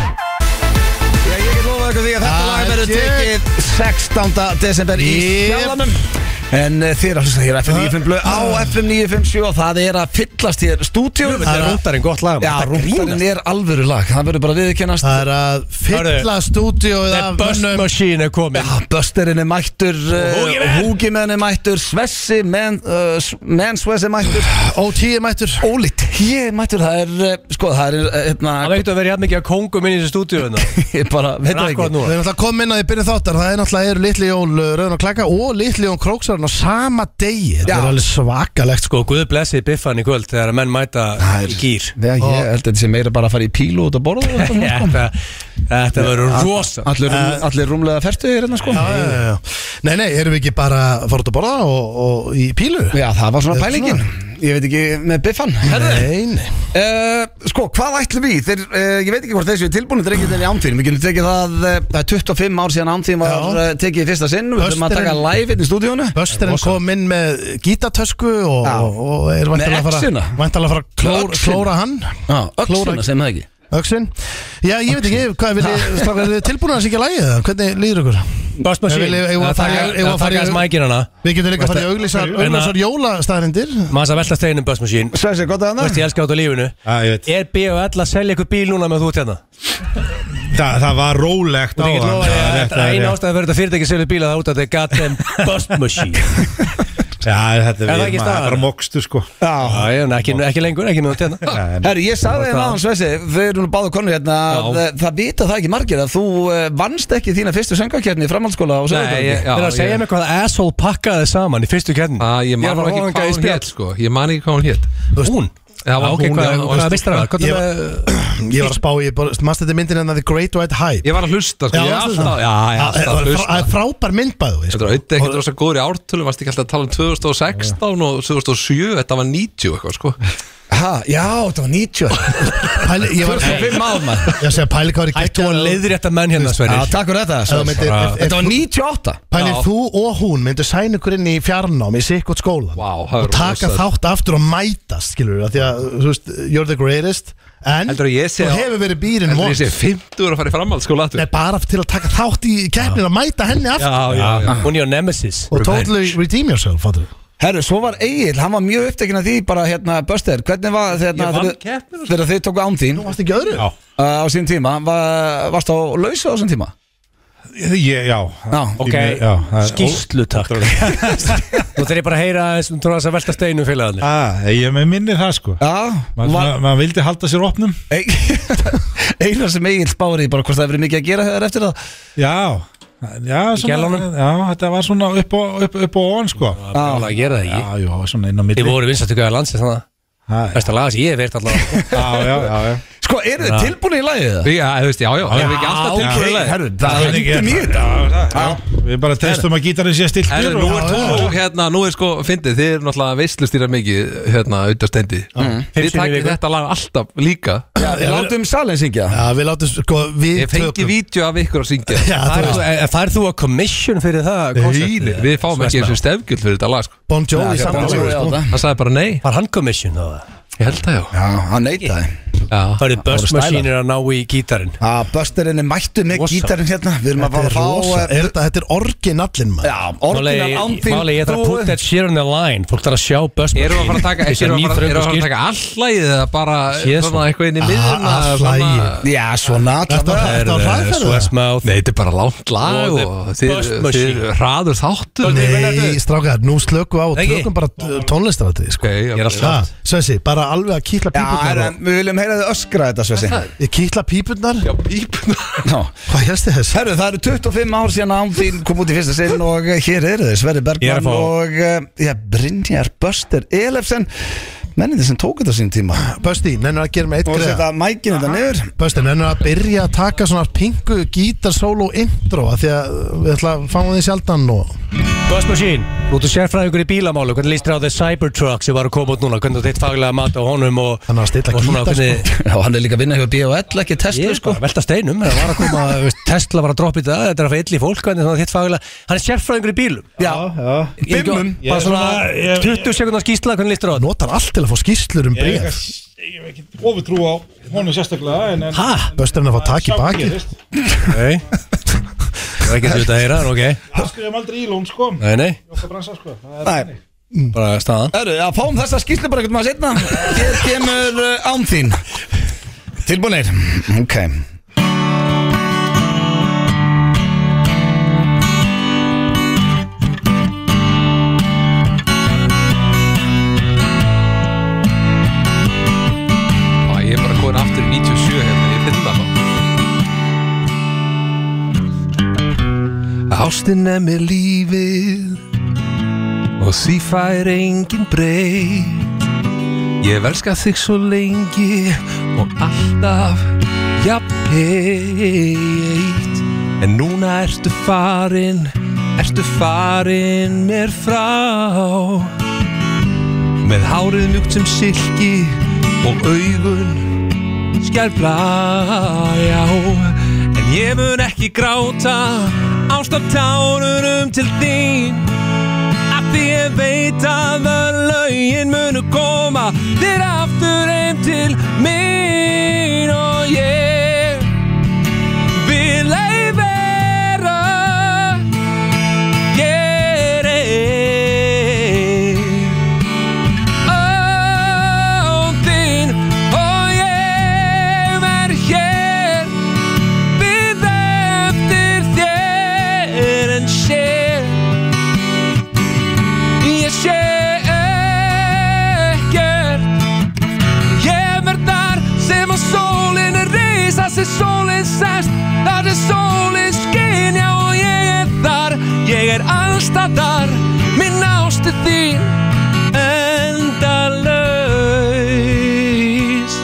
S1: Já, ég get lofað ykkur því að þetta
S3: Ah,
S1: lag verður
S3: ég-
S1: tekið 16. desember í
S3: Yep.
S1: Sjálanum En uh, þið er að hlusta hér á FM 95 blöð á FM 957 og það er að fyllast hér stúdíu
S2: Þetta er rúndarinn gott lag
S1: Já, rúndarinn er alvöru lag, það verður bara viðkennast
S3: Það er að fylla
S2: Hörðu,
S3: stúdíóið
S2: The
S3: af
S2: bust
S3: mönnum.
S2: machine er komin
S1: Já, Bösterinn er mættur,
S2: Húgi
S1: uh,
S2: menn.
S1: Húgimenn er mættur, Svessi, menn, uh, S- menn Svessi er mættur
S3: OT er mættur
S1: Óli, ég er mættur, það er, uh, sko, það er, uh, hérna,
S2: Það veit að vera jafn mikið að kóngum inn í þessu stúdíu hérna.
S1: ég bara, veit það
S2: Akkurat
S1: ekki
S2: nú
S3: Við erum alltaf komin inn að því byrjun þáttar Það er náttúrulega eru Litli Jón Rauðun og Klaka og Litli Jón Króksarinn á sama degi Þetta
S1: Já.
S3: er alveg svakalegt sko
S2: Sko, Guð blessi biffan í kvöld þegar að menn mæta í gýr
S1: Já, ég held að þetta sé meira bara að fara í pílu út að borða og eitthvað svona, sko.
S2: Þetta þetta verður rosa
S1: Allir, uh, allir rúmlega fertuðir hérna sko
S3: Já, já, já, já. Nei, nei, erum við ekki bara að fara út að borða og, og í pílu?
S1: Já, það var svona
S3: Þetta
S1: pælingin Ég veit ekki með biffan
S3: Nei, nei
S1: uh, Sko, hvað ætlum við? Þeir, uh, ég veit ekki hvort þessu er tilbúin Þetta er ekki þenni ánþýrin Við getum tekið það uh, það er 25 ár síðan ánþýrin var
S3: Já.
S1: uh, tekið í fyrsta sinn Við þurfum að
S3: Österinn-
S1: taka live inn í stúdíónu
S3: Bösterinn kom inn með gítatösku og,
S1: Já.
S3: og, og er væntanlega að
S1: exina?
S3: fara, væntanlega að fara að klóra,
S1: Öxin?
S3: klóra hann
S1: Já, ölluna sem það ekki
S3: Öxin Já, ég veit ekki, hvað vil ég, strákar, er þið tilbúin að syngja lagið? eða? Hvernig líður ykkur?
S2: Bust
S3: Ef
S2: machine
S3: við- ef við
S2: Það
S3: að taka- ef við að
S2: taka
S3: fara í-
S2: þess mækin hana
S3: Við getum líka að fara í auglýsar,
S2: En að-
S3: auglýsar jólastæðrindir
S2: Maður að velta steginum Bust machine
S1: Sversi, gott að
S2: Þú veist,
S1: hana
S2: ég elska át á lífinu Er B.O.L. að selja ykkur bíl núna með þú út hérna?
S9: Þa, það var rólegt
S2: Þú
S9: á
S2: tekið
S9: hann
S2: lofa
S9: Já,
S2: að
S9: þetta
S2: eina
S9: er-
S2: ástæðan fyrir þetta fyrirtæki selja bíla það er út að þetta er goddamn bust machine
S9: Já, þetta
S2: Er það ekki
S9: er við- maður
S2: staðan?
S9: er bara mokstu sko
S1: Já.
S2: Já, já, en ekki, ekki lengur, ekki með hérna. þetta
S9: En-
S1: Herri, ég sagði þér náðan Svesi, við erum nú báðu konur hérna að,
S2: Já.
S1: eh, Það vita það ekki margir að þú eh, vannst ekki þína fyrstu söngarkerni í framhaldsskóla á
S10: Nei,
S1: Söðurkvöldi
S10: ég, já,
S2: Það er að segja
S10: ég,
S2: mig hvað asshole pakkaði saman í fyrstu kjærni
S10: að, ég man nú ekki hvað hún hétt sko. Ég man ekki hvað hún hétt
S2: Hún? Ah,
S10: Já, var
S2: ok,
S10: hún,
S2: hvað-
S10: já,
S2: hvað
S10: varstu-
S2: veist það? Hvað er
S3: Ég var-
S2: með-
S3: Ég var að spá, ég bara, mannst þetta myndin en það The Great White Hype
S10: Ég var að hlusta sko.
S3: Já,
S10: Ég er
S3: varstu
S10: alltaf,
S3: það?
S10: já, ég er
S3: Það
S10: alltaf að
S3: það er
S10: hlusta
S3: frá- frábær mynd bæðu
S10: Þetta
S3: sko.
S10: er auðvitað ekkert rosa góður í ártölum varst ekki alltaf að tala um 2016 og 2007 Þetta var 90 eitthvað sko
S1: Ha, já, þetta var 90
S3: Pæli- Ég var að
S1: 45 ár maður
S3: Ég segi að pæli hvað er ekki
S2: Ættu að leiðrétta menn hérna,
S1: Já,
S2: Sverrir
S1: takk fyrir þetta Svens.
S3: myndir-
S10: Ah.
S3: ef- ef
S1: Þetta var
S3: þú-
S1: 98
S3: Pæli
S10: Já.
S3: þú og hún myndu sæn ykkur inn í fjarnám í sikkot skólan
S10: Vá, það er
S3: og taka
S10: rosa.
S3: þátt aftur og mætast skilur við, því að þú veist, you're the greatest en
S10: Heldur að ég sé
S3: þú
S10: á-
S3: hefur verið býrin
S10: Þetta er
S3: once
S10: þessi 50 að fara í framhald sko
S3: Nei, bara til að taka þátt í keppnin og mæta henni aftur
S2: Já, já,
S10: Ah.
S2: já. Hún er á Nemesis
S3: og totally redeem yourself, fattur
S1: Herru, svo var Egil, hann var mjög upptekinn af því bara hérna, Böster, hvernig var hérna,
S10: Ég vann
S1: þegar-
S10: keppnina, sko.
S1: þegar þið tóku án þín
S3: Þú varst ekki öðru?
S9: Já.
S1: uh, á sín tíma, var, varst á lausu á sín tíma?
S9: Ég, já
S1: Já,
S2: Ok,
S9: Ég- já, það er-
S2: skýslu takk Nú þarf ég bara að heyra aðeins um tróðans að velta steinu félagarnir
S9: Ah, Ég með minnir það sko
S1: Já,
S9: Maður
S1: var,
S9: ma vildi halda sér opnum
S1: eina sem Egil spári bara hvort það hefur verið mikið að gera hefur eftir það
S9: Já Já, svona,
S2: gælunum?
S9: já, þetta var svona upp og, upp, upp og ofan sko
S2: Það að gera það ekki
S9: Já, já, svona inn á milli
S2: Þið voru vinsast ykkur að landsins þannig
S9: Ha,
S2: Besta laga sem ég hef veirt alltaf
S9: Já, já, já, já.
S1: Sko, eru þið tilbúin í lagið það?
S10: Já, þú veist, já, já, það er ekki alltaf
S1: ok,
S10: tilbúin í lagi.
S1: herru, það er
S9: Já,
S1: ekki mjög
S9: það- já, Við bara testum að gítarinn sé stiltur
S10: Herru,
S9: og-
S10: nú er
S9: Já,
S10: þú, hérna, nú er sko, fyndið, þið eru náttúrulega veislustýra mikið, hérna, auðvitað stendi Þið
S2: Fimm sinnum í
S10: takir
S2: viku.
S10: þetta lag alltaf líka
S1: Við látum salin syngja
S3: Já, við látum, sko, við
S10: Ég fengi vídeo af ykkur að syngja
S3: Já, þú veist,
S2: Færðu þú að commission fyrir það?
S10: Hýli, við fáum ekki eins og stefgjöld fyrir þetta lag, sko
S3: Bon Jovi
S1: Já,
S3: samt
S1: já, já, það.
S10: Hann sagði bara nei,
S2: Var hann commission þá það?
S10: ég held það já
S1: Já, hann neytaði
S10: Já,
S2: Færðu
S1: voru
S2: börnsmasínir að ná í gítarinn
S1: Já, Bösterinn er mættu með
S2: Rosa.
S1: gítarinn hérna Við erum að
S3: Þetta er
S1: fá
S3: rosa,
S1: eh,
S3: er þetta, þetta er orginallin maður
S1: Já, orginal án þín
S2: Máli, ég þarf að put that shit on the line Fólk þarf að sjá börnsmasín
S10: erum við að fara að taka, erum við að fara- erum við að fara að taka all lagið eða bara
S2: Jésu.
S10: svona eitthvað inn í miðuna
S3: Ah, allt
S10: svona-
S3: lagið.
S1: Já, svona
S3: Þetta
S1: allavega
S3: var- þetta var hræðferð það?
S2: Sweatmouth
S10: Nei, þetta er bara langt lag
S2: Og the
S10: og þið
S2: best
S10: þið
S2: machine.
S10: hraður þáttur
S3: Nei, strákar, nú slökum við á og
S2: Nei, ekki.
S3: tökum bara tónlistratrið, sko
S10: Ok,
S2: Ég er
S10: ok.
S2: alltaf
S3: Já, Sveinsi, bara alveg að kýtla
S1: Já, herru,
S3: pípurnar
S1: en við viljum heyra þið öskra þetta, Svesi
S3: Ég kýtla pípurnar?
S10: Já, pípuna
S1: Já
S3: Hvað helst þið þess?
S1: Herru, það eru 25 ár síðan án þín kom út í fyrsta sinn og eh, hér eru þeir Sverri
S2: Ég er að
S1: Bergman
S2: fá-
S1: og eh, já, Brynjar Böster Elefsen menninni sem tók þetta á sín tíma
S3: Bösti, nennur að gera með eitt
S1: og
S3: greða
S1: setja mækinn þetta niður
S3: Bösti, nennur að byrja að taka svona pingu gítarsólu intro af Því að við ætla að fáum því sjaldan og
S2: Börsmasín, nú þú sérfræðingur í bílamálu Hvernig líst þér á The Cybertruck sem var að koma út núna Hvernig þú þitt faglega mat á honum og,
S3: Hann var að stilla
S2: og svona,
S3: gítar,
S2: hvernig,
S1: Já, hann er líka að vinna hjá B&L, ekki
S2: Ég
S1: Tesla
S10: sko.
S2: er bara að velta steinum Það var að koma, veist, Tesla var að droppa í þetta Þetta er að fá ill í fólk Hvernig þannig að þitt faglega Hann er sérfræðingur í bílum
S1: Já,
S9: já.
S2: Ég er ekki-
S1: Bimmum.
S2: Bara
S9: Ég-
S2: svona
S9: ég-
S2: 20 sekundar skýsla Hvernig líst þér á þetta
S3: notar allt til að fá skýrslur um
S9: Ég er
S3: bregð
S9: eitthvað- ég hef ekki ofutrú á honum sérstaklega en, en,
S2: Ha?
S3: Bösti er að fá takk í baki
S2: Nei Það er ekki þetta að heyra en ok
S9: Askriðum aldrei í lón sko
S2: Nei, nei
S9: Í okkar bransa, sko. Það er
S1: Nei.
S9: þannig.
S2: Bara staðan
S1: Herru, já, fáum þessa skýrslu bara eitthvað maður setna Hér kemur uh, án þín Tilbúinir Ok
S10: Á, Ég er bara komin aftur í 97 hérna, ég finn það bara Ástin er með lífið og því fær engin breyt Ég velska þig svo lengi og alltaf jafnheit En núna ertu farin, ertu farin mér frá Með hárið mjúkt sem silki og augun skjærblá Já, en ég mun ekki gráta ástaftárunum til þín Af því ég veit að að lögin munu koma þér aftur heim til mín Og ég vil ei vera Ég er ein án þín og ég er hér við eftir þér en sé ég sé best Þar er sólin skinja og ég er þar Ég er allstaðar Minn ástu þín Endalaus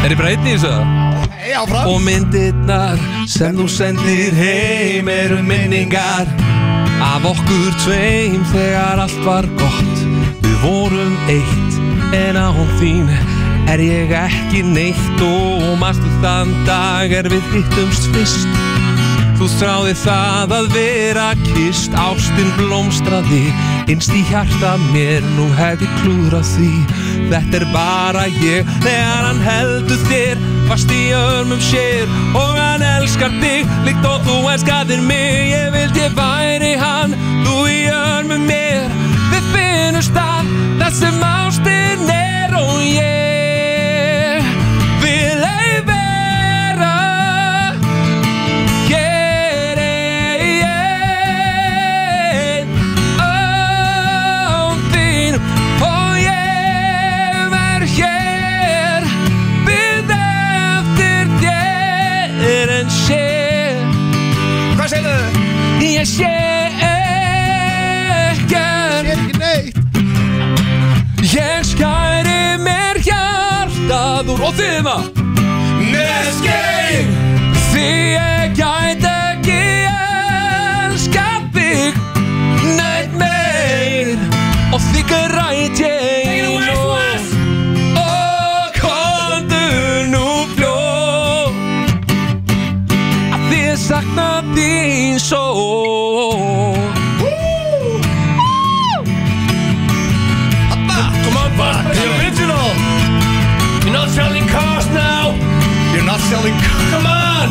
S10: Er ég breytni í þessu það? Og myndirnar sem þú sendir heim eru minningar Af okkur tveim þegar allt var gott Við vorum eitt en á þín er ég ekki neitt Og mastu þann dag er við hittumst fyrst Þú þráði það að vera kist Ástin blómstraði Innst í hjarta mér Nú hef ég klúðrað því Þetta er bara ég Þegar hann heldur þér Fast í örmum sér Og hann elskar þig Líkt og þú elskaðir mig Ég vildi ég væri hann Þú í örmum mér Við finnum stað Það sem ástin er Og ég Vil ei vera Hér er ég án þín og ég er hér við eftir þér en sé
S1: Hvað segir þau?
S10: ég sé ekkert
S1: Ekki neitt
S10: ég skæri mér hjartað úr og þima
S1: Neskeið
S10: Því ég gæti ekki elskað þig Neitt meir Og því græt ég nú Og komdu nú fljóð Að því ég sakna þín svo Come on, boss, the original You're not selling cars now
S1: You're not selling
S10: Come on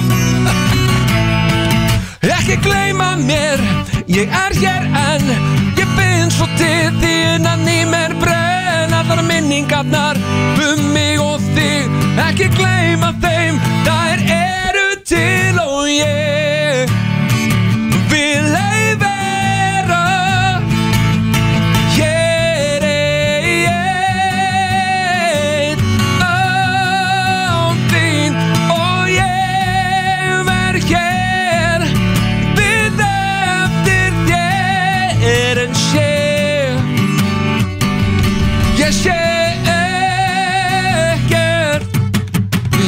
S10: Ekki gleyma mér Ég er hér enn Ég finn svo til því innan í mér brenn Allar minningarnar um mig og þig Ekki gleyma þeim Þær eru til og ég Vil ei vera Hér er ég án þín og ég verð hér við eftir þér en sé ég sé ekkert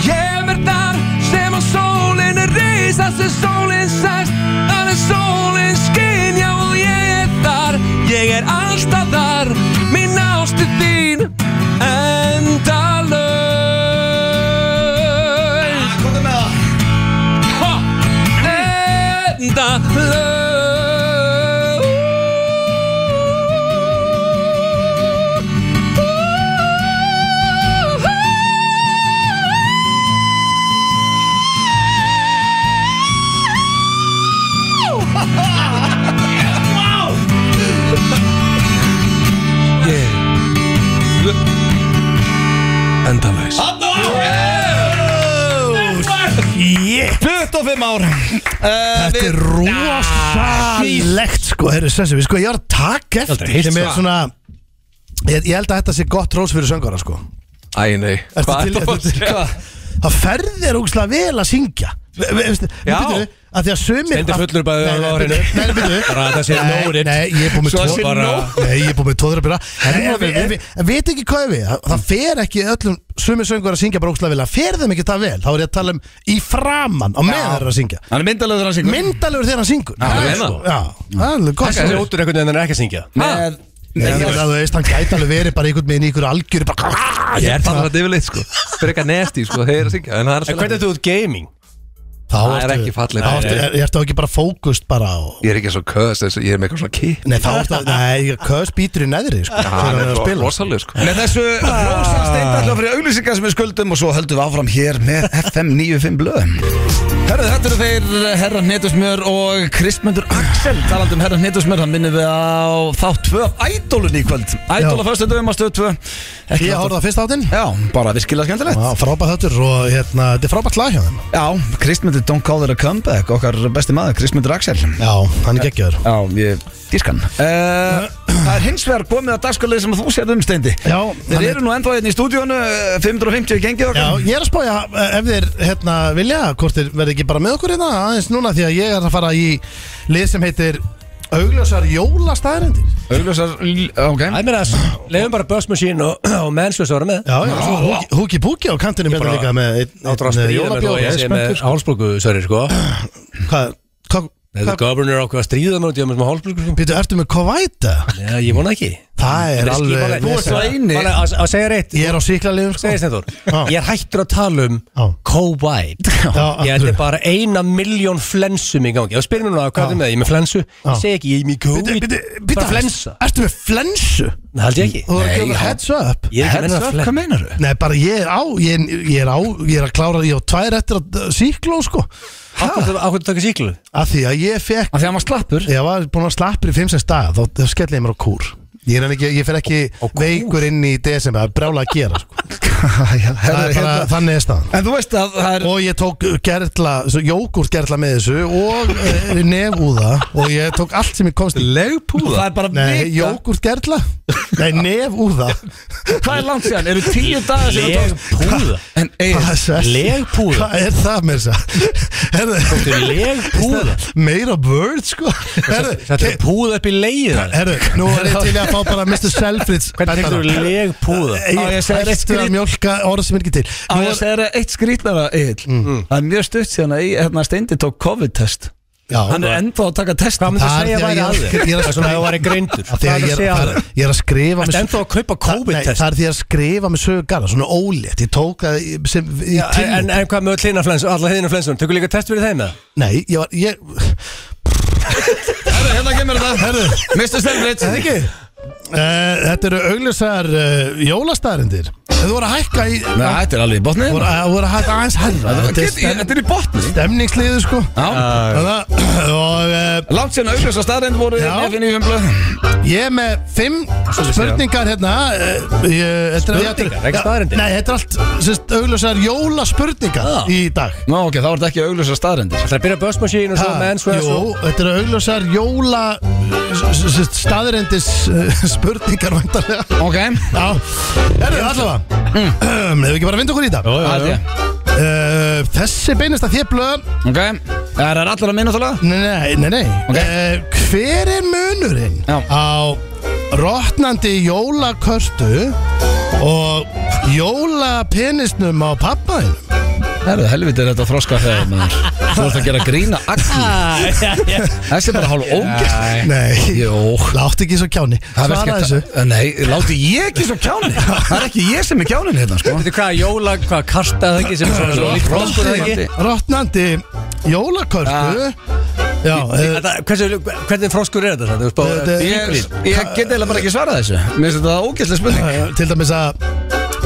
S10: ég verð þar sem að sólin er reisa sem sólin sæst þannig sólin skinja og ég er þar ég er allstaðar minn ástu þín endalaus
S1: Komðu með það
S10: Ha! endalaus
S2: yeah. Endalaus
S3: yeah.
S1: 25 ár
S3: Þetta er rosalegt sko, herru Sessi, við sko, ég var að taka
S2: Aldrei
S3: eftir
S2: heyrt
S3: sem er
S2: það.
S3: svona ég, ég held að þetta sé gott rós fyrir söngara sko
S10: Æ, nei
S3: Ertu
S10: Hvað
S3: til-
S10: ertu að fara að
S3: ertu-
S10: segja?
S3: Það ferðir ógslag vel að syngja Ve- ve- veistu, nú
S10: Já.
S3: byrju, að því að sömir
S2: Stendur fullur bæði
S3: Nei,
S2: á
S3: nei,
S2: árinu.
S3: byrju, nei, byrju.
S2: Bara að það sé
S3: Nei,
S2: nóg it.
S3: Nei, ég er búin með
S2: Svo
S3: tvo-
S2: sé nóg.
S3: Nei, ég er búin með tóður að byrja En veit ekki hvað er við Það- Það fer ekki öllum sömur söngur að syngja bara ógslag vel Það fer þeim ekki það vel Þá er ég að tala um í framann á meðan þeir eru að syngja
S1: Hann er myndalöður hans ykkur
S3: Myndalegur þegar hann syngur Það er
S10: meina.
S3: sko- Já, það er alveg gott
S2: Þessi er út úr einhvern veginn en er ekki að syngja
S1: Með
S3: Nei, ég veit að þú veist, hann gæti alveg verið bara einhvern veginn í einhverju algjöru bara
S10: Ég er bara yfirleitt sko Frekar nesti sko, þeir eru að syngja En það er
S2: En hvernig er þú út gaming?
S3: Þá
S10: Það er
S3: ertu-
S10: ekki fallegt.
S3: Þá ertu- er- ertu ekki bara fókust bara á
S10: Ég er ekki svo köst, þessu- ég er með eitthvað svona kýtt
S3: Nei, þá ertu að, nei, köðs býtur í neðri, sko
S10: Það
S3: Þegar hann
S10: er
S3: er að spila
S10: rosalega sko
S1: Með þessu rosa steindallu fyrir auglýsingar sem við skuldum og svo höldum við áfram hér með FM 95 blöðum Herðu, þetta eru þeir Herra Hnetusmjör og Kristmundur Axel talandi um Herra Hnetusmjör, hann minnum við á þátt 2 af Ædólun í kvöld Ædóla fyrstu dögum á stöð 2 Ekki
S3: Ég
S1: hægt að-
S3: horfði á fyrsta átinn
S1: Já, bara við skilja skemmtilegt
S3: Já, frábæð þáttur og hérna, þetta er frábætt lag hjá þeim
S1: Já, Kristmundur Don't Call It A Comeback okkar besti maður, Kristmundur Axel
S3: Já, hann er geggjöður
S1: Já, ég Dískan uh, Það er hins vegar komið að dagskalið sem þú sér umstendi
S3: Já,
S1: Þeir
S3: hann er-
S1: eru nú ennþá hérna í stúdíónu eh, 550 í gengið
S3: Já,
S1: okkar
S3: ég er að spája eh, ef þeir hérna, vilja, hvort þeir verði ekki bara með okkur hérna aðeins núna því að ég er að fara í lið sem heitir Augljósar jólastæðarindir
S1: Augljósar, ok
S2: Það meina að leiðum bara Buzz Machine og, og Mansfield ára með
S3: Já, já, svo húki- húki púki á kantinum hérna
S2: bara-
S3: líka með einn-
S2: Áttur að
S3: einn, eh,
S2: stríða með
S3: jólabjór.
S2: þú
S3: Ég
S2: Ég
S3: er
S2: sé
S3: spenntur.
S2: með hálsbólgu, sorry sko
S3: Hvað, hvað,
S2: Þegar governor ákveð að stríða með þú með hálsbólgu sko
S3: býtu, ertu með kovæta?
S2: Já, ég vona ekki
S3: Það er
S2: Þú
S3: alveg
S2: ert
S3: vesen.
S2: svo eini Bara að að segja reitt
S3: Ég er á síklarlegum sko
S2: Segir Stenþór
S3: Já.
S2: Ég er hættur að tala um
S3: Já.
S2: Co-White Ég
S3: Já,
S2: ætti
S3: akkurat.
S2: bara eina miljón flensum í gangi Og spyrir mér núna hvað er með það, ég er með flensu Ég segi ekki, ég er með
S3: Býtu,
S2: COVID
S3: býtu,
S2: Bara
S3: býtu,
S2: flensa
S3: Ertu með flensu?
S2: Það held ég ekki
S3: Þú er ekki með heads up
S2: Ég er ekki að menna að flensa
S1: meinar þau?
S3: Nei, bara ég er á, ég er, ég er á, ég er að klára, ég á tvær eftir að uh, síkló, sko
S2: Ákveð að taka síklu
S3: Af því að ég fekk,
S1: Af því að hann var slappur
S3: ég var búin að slappir í 5-6 daga, þá, þá skelli ég mér á kúr Ég er enn ekki, ég fer ekki veikur inn í desember, það er brjála að gera, sko
S1: Já, hérna.
S3: Það er bara, þannig er staðan
S1: En þú veist að það er
S3: Og ég tók gerla, jógurt gerla með þessu og uh, nefúða og ég tók allt sem ég komst í
S1: Legpúða Það er bara
S3: Nei,
S1: vika
S3: jógurt gerla Nei, nefúða
S1: Hvað er langt síðan? Eru tíu dagar síðan þú tókst-
S2: Legpúða
S1: En eh, eigin
S3: Hvað er svers?
S2: Legpúða
S3: Hvað er það með þess að? Herðu,
S2: Legpúða
S3: meira word sko Herðu,
S2: Þetta er púða upp í leiðan
S3: herðu, nú er ég til í að fá bara Mr. Selfridge
S2: Hvernig tekur þú legpúða?
S1: Á, ég
S3: Ég
S1: segi
S3: er
S1: eitt
S3: eftir
S1: skrít-
S3: að mjölka orð sem er ekki til
S1: Á ég
S3: Nú
S1: að
S3: er,
S1: segja þér eitt skrítnara Egil Það er mjög stutt síðan að Egill- hérna Steindi tók COVID-test
S3: já,
S1: Hann er ennþá að taka test
S2: Hvað myndir
S3: Það-
S2: segja
S3: þegar
S2: væri
S3: ég-
S2: að þér?
S3: ég er að
S2: Það er svona að
S3: skrifa-
S2: það væri greindur
S3: af
S2: Hvað
S3: því að
S2: er
S3: ég
S2: að
S3: er,
S2: segja að
S3: það
S2: þér?
S3: er, ég er að skrifa
S2: Ertu ennþá að kaupa
S3: Nei,
S2: COVID-test?
S3: það er því að skrifa með sögu garða svona ólétt, ég tók það í- sem, í
S2: Já,
S3: tillit.
S2: En, en hvað með öll hina flensu, alla hina flensunum, tökur líka test fyrir þeim eða?
S3: nei, ég var ég,
S1: Herru, hérna kemur þetta Herru Mr. Stenbrit
S3: það ekki Uh, þetta eru augljósar uh, jólastæðarindir Þú voru að hækka í
S1: Nei, þetta er alveg í botni
S3: Þú voru að, voru að hækka aðeins hærra Þetta er stem,
S1: Þetta er Ah. í botni
S3: stemningsliðu sko
S1: Já
S3: Það, og uh,
S1: Langt síðan augljósa staðrind voru
S3: Já.
S1: FN í umblöð
S3: ég er með fimm spurningar hérna uh, ég,
S2: Spurningar, ekki staðreyndir?
S3: Nei, þetta er allt sérst, augljósar jólaspurningar
S2: Já.
S3: í dag
S1: Ná ok, þá er þetta ekki augljósa staðrindir
S2: Það er að byrja börsmaskín og svo
S3: Ha,
S2: mensveð
S3: Jú,
S2: og
S3: þetta eru augljósar jóla s- s- s- staðrendis uh, spurningar vantarlega
S1: Ok
S3: Já, herru, allavega um, Hefur ekki bara að vinda okkur í þetta
S1: Það er ég
S3: uh, Þessi beinist að þér blöðum
S1: Ok Það er allar að minna þálega
S3: Nei, nei, nei, nei.
S1: Ok.
S3: Eh, Hver er munurinn
S1: Já.
S3: á rotnandi jólakörtu og jólapenisnum á pappaðinu?
S1: Herru, helviti er þetta þroska þegar maður Þú ert að gera grína agni Þessi er bara hálf ógæst
S3: Nei,
S1: Jó
S3: látt ekki svo kjáni Svara þessu
S1: Nei, láti ég ekki svo kjáni Það er ekki ég sem er kjánin hérna, sko
S2: Þetta er hvað, jóla, hvað, karta það ekki sem er svona svo líkt roskur það ekki?
S3: Rotnandi jólakörtu Já, eh,
S2: Þetta, hversu, hvernig froskur er þetta? samt? Þú veist, bara-
S3: Þetta-
S1: Ég, ég get eiginlega bara ekki svarað þessu Mér finnst þetta ógæstlega spurning
S3: eh, til dæmis að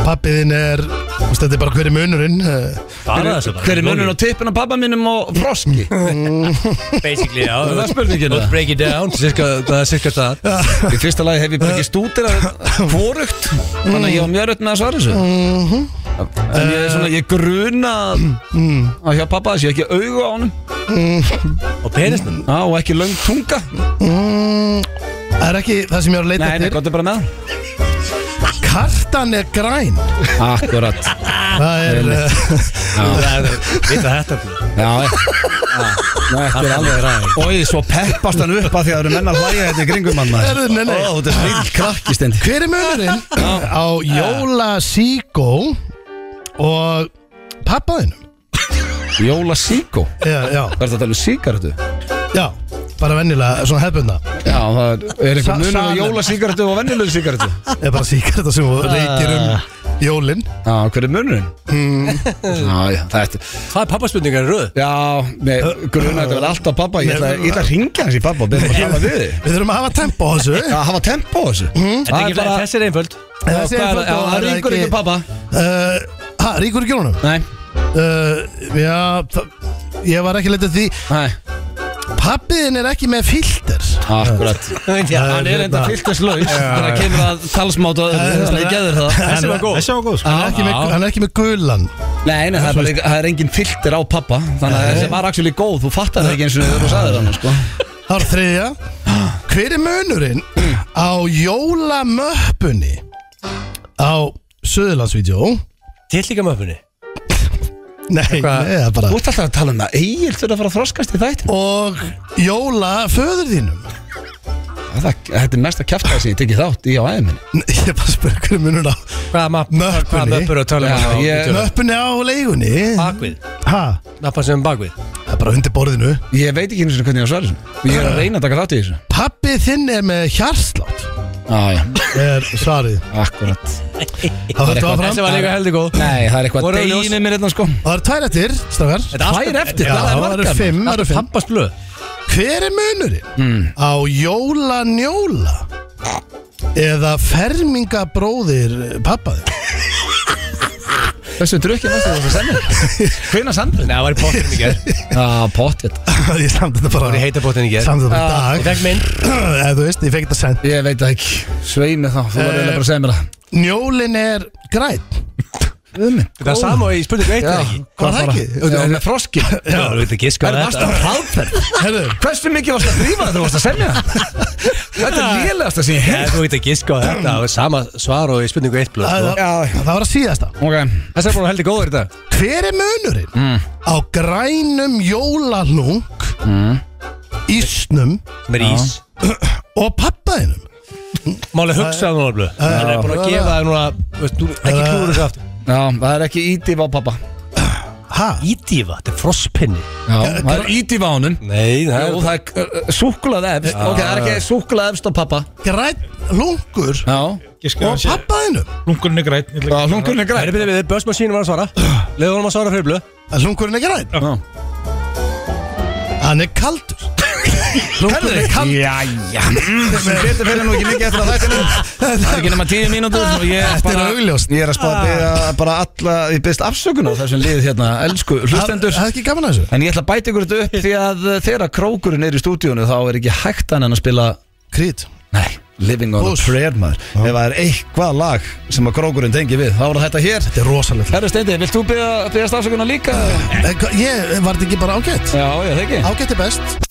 S3: pappiðin er þú veist, Þetta er bara hver er munurinn eh,
S2: Bara þessu bara.
S1: Hver er munun á tippin af pappa mínum og froski?
S2: Basically, já.
S1: Það er spurningin,
S2: Don't
S1: það.
S2: break it down, cirka, það er cirka það.
S1: Í fyrsta lagi hef ég bara ekki stútir að fórugt Þannig að ég var mjög raut með að svara þessu En ég, er svona, ég gruna að hjá pappa þessi, ég ekki auga á honum
S2: Og penisnum.
S1: Já, og ekki löng tunga
S3: Það er ekki það sem ég er að leita
S1: Nei, nei,
S3: eftir
S1: gott er bara með það.
S3: Kartan er græn
S1: Akkurat
S3: Það er eh,
S2: Það er, vita þetta.
S1: Já, ég- Já, þetta er alveg ræði Ói, svo peppast hann upp að því að það eru menn að hlæja þetta í kringum hann maður.
S3: Herðu, nei, nei.
S1: Ó, þetta er snill krakki stendi
S3: Hver er munurinn á Jóla Seagull og pappaðinum?
S1: Jóla Síkó
S3: Já, já,
S1: Það er þetta alveg síkartu
S3: já, bara venjulega, svona hefbundna
S1: Já, það er, er
S3: Sa-
S1: eitthvað munur á
S3: saman.
S1: jólasíkartu og venjulegu síkartu
S3: Eða bara síkarta sem þú reykir
S1: Ah.
S3: um jólin
S1: Já, hver er munurinn? Já, já, það er þetta
S2: Hvað er pappaspurningar í röð?
S1: Já, með grunna þetta vel alltaf pappa Ég ætla, ég ætla að ringja hans í pappa og byrja að tala við þig
S3: Við þurfum að hafa tempo á þessu
S1: Já, hafa tempo á þessu
S2: Þetta er ekki- Þessi er einföld.
S1: hvað
S3: Þessi
S1: er-
S3: einföld
S1: já,
S3: og
S1: það ríkur ekki pabba.
S3: Uh, Ha, ríkur ekki honum?
S1: Nei,
S3: Uh, já, það- ég var ekki leitað því
S1: nei,
S3: Pappiðin er ekki með filter
S1: akkurat
S2: Já,
S1: Hann er enda fylltislaus Þannig að kemur að talsmáta Þannig að ég geður það
S2: Þessi var góð.
S9: Þessi var góð sko
S3: Hann er ekki með,
S2: já.
S3: hann er ekki með gulan
S1: Nei, nei, það er, bara, það er engin filter á pappa Þannig að þessi var actually góð Þú fattar það ekki eins og þegar þú sagðir hann sko.
S3: Það er þriðja Hver er munurinn á jólamöppunni á Suðurlandsvídeó?
S2: Til líka möpunni
S3: Nei, nei, það er bara
S1: Þú ert alltaf að tala um það Egil þurfa að fara að þroskast í þættin
S3: Og jóla föður þínum
S1: Það- Þetta er næsta kjaftaði sem ég tekið þátt í á aðeins minni
S3: Nei, Ég er bara að spyrja hverju munur á
S2: Hvaða mapp-
S3: Möppunni.
S2: hvaða möppur og tölum
S1: Já,
S2: hann á
S1: ég-
S2: bíltjórnum?
S3: Möppunni á leigunni
S2: um? Bakvið
S3: Ha,
S2: Nappan sem er bakvið
S3: það er bara undir borðinu
S1: Ég veit ekki einu sinni hvernig ég á svari þessu Ég er að reyna að taka þátt í þessu
S3: Pappi þinn er með hjarslátt
S1: Já, já,
S3: Er svarið
S1: akkurat
S3: Það var það fram
S2: Þessi var líka heldig góð
S1: Nei, það er eitthvað
S2: Voru
S1: deginir
S2: ljós?
S1: mér hérna sko
S3: Það eru tvær eftir, strafgar
S2: Þetta er
S1: Tvær
S2: alltaf-
S1: eftir,
S3: Já,
S1: það er
S3: það eru
S1: margar
S3: fimm, það eru fimm
S2: Pampast blöð
S3: Hver er munurinn
S1: Hmm.
S3: á jólanjóla eða fermingabróðir pappaði?
S1: Þessu drukkin varstu þess að semja Hvena sandur
S2: Nei, það var í pottinni í gerð
S1: Já, pottet
S3: ég samt þetta bara
S2: Það var í heita pottinni í gerð
S3: Samt þetta
S2: Ah,
S3: bara
S2: Ég
S3: í dag
S2: fekk mynd
S3: Eða þú veist, ég fekk þetta sent Eh,
S1: Ég veit það ekki Svei mig þá, þú var eiginlega bara að segja mér það
S3: Njólin er græn
S2: Þetta er sama og ég spurði hvað eitt er ekki
S3: Var það ekki?
S1: Já, með froskin
S2: Já, þú veit ekki sko
S1: Er það alltaf ráðferð?
S3: Herðu,
S1: Hversu mikið varst að þrýfa þegar þú varst að semja? Þetta er lélegast að segja
S2: Nei, þú veit ekki sko þetta, það var sama svar og í spurningu eitt blöð
S3: það
S2: sko.
S3: það var að síðasta
S1: Ok,
S2: Þessi er búin að heldur góður í dag
S3: Hver er munurinn
S1: Mm.
S3: á grænum jólalung
S1: Mm.
S3: ísnum
S2: sem er ís
S3: og pappaðinum?
S2: Máli hugsaði núna um blöð Það er búin að gefa það núna veist, þú- ekki klúður þessu aftur
S1: já, það er ekki ídýf á pappa
S3: Ha?
S2: Ídífa, þetta er frosspinni
S1: Já, það er ídýf á honum
S2: Nei, það
S1: Jú,
S2: er
S1: það er súkulað efst Ok, það er ekki súkulað efst á pappa
S3: Græn lungur
S1: Já,
S9: Giska
S3: og
S9: að sé
S3: pappaðinum?
S9: Lunkurinn er græn
S1: já hlunkurinn er
S2: Það
S1: græn
S2: er byrðið við, börsmaskínum var að svara Leðu honum að svara fyrir blöð
S3: Að lungurinn er græn?
S1: Já.
S3: Hann er kaldur Lungurinn er kaldur
S1: Jæja Sem betur fyrir nú ekki mikið eftir að þættinum Það er ekki nema tíu mínútur og ég
S3: Þetta er
S1: bara-
S3: augljóst.
S1: Ég er að spá að byrja bara alla Ég byrst afsökunar þessum liðið hérna Elsku hlustendur
S3: Ah. Það er ekki gaman að þessu
S1: En ég ætla að bæta ykkur þetta upp Því að eh, þegar krókurinn er í stúdíónu Þá er ekki hægt hann að spila
S3: Krít
S1: Nei, Living on a
S3: Puss.
S1: Prayer maður Ef það er eitthvað lag sem að krókurinn tengi við Þá er það þetta hér
S3: Þetta er rosalegt
S1: Herra Steindi, vilt þú byrja, byrja stafsökunar líka?
S3: En hva- Eh, Ég var þetta ekki bara ágætt
S1: Já, já, það ekki
S3: Ágætt er best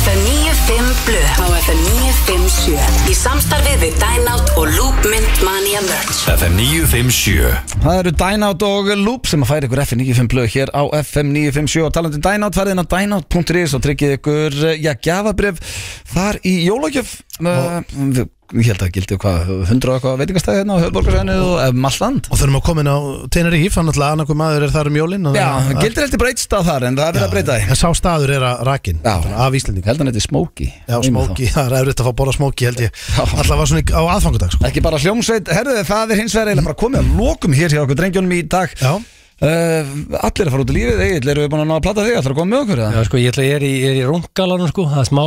S8: FM 95 Blu á FM 957 í samstarfið við Dynout og Loopmynd Mania Merch
S11: FM 957
S1: Það eru Dynout og Loop sem að færa ykkur FM 95 blöð hér á FM 957 og talandi um Dynout, farið inn á dynout.is og tryggið ykkur, eh, já, gafabrif þar í jólagjöf uh, ég held að gildi hvað 100 og eitthvað veitingastæði hérna á Hölborgarsæðinu og um allt land
S3: Og þurfum að koma inn á Tenerife Þannig að annarkur maður er þar um jólin og
S1: Já,
S3: það-
S1: gildir heldur breytst að þar en það er verið að breyta því
S3: En sá staður er að rakin
S1: Já.
S3: Af Íslending
S1: Ég held að hann heiti Smokey
S3: Já,
S1: Einmitt
S3: smóki, það er efriðt að fá að borða smóki held ég
S1: Já.
S3: Alltaf var svona í- á aðfangadag sko.
S1: þá. Ekki bara hljómsveit, herðu það er hins vegar eiginlega bara komið að lokum hér hjá okkur drengjunum í dag
S3: Já.
S1: Eh, Allir er að fara út í lífið, Egil, erum við búin að ná að platta þig, ætlar að koma með okkur eða?
S2: Já, sko, ég, ætla, ég er í, ég er í rungalanum, sko, það er smá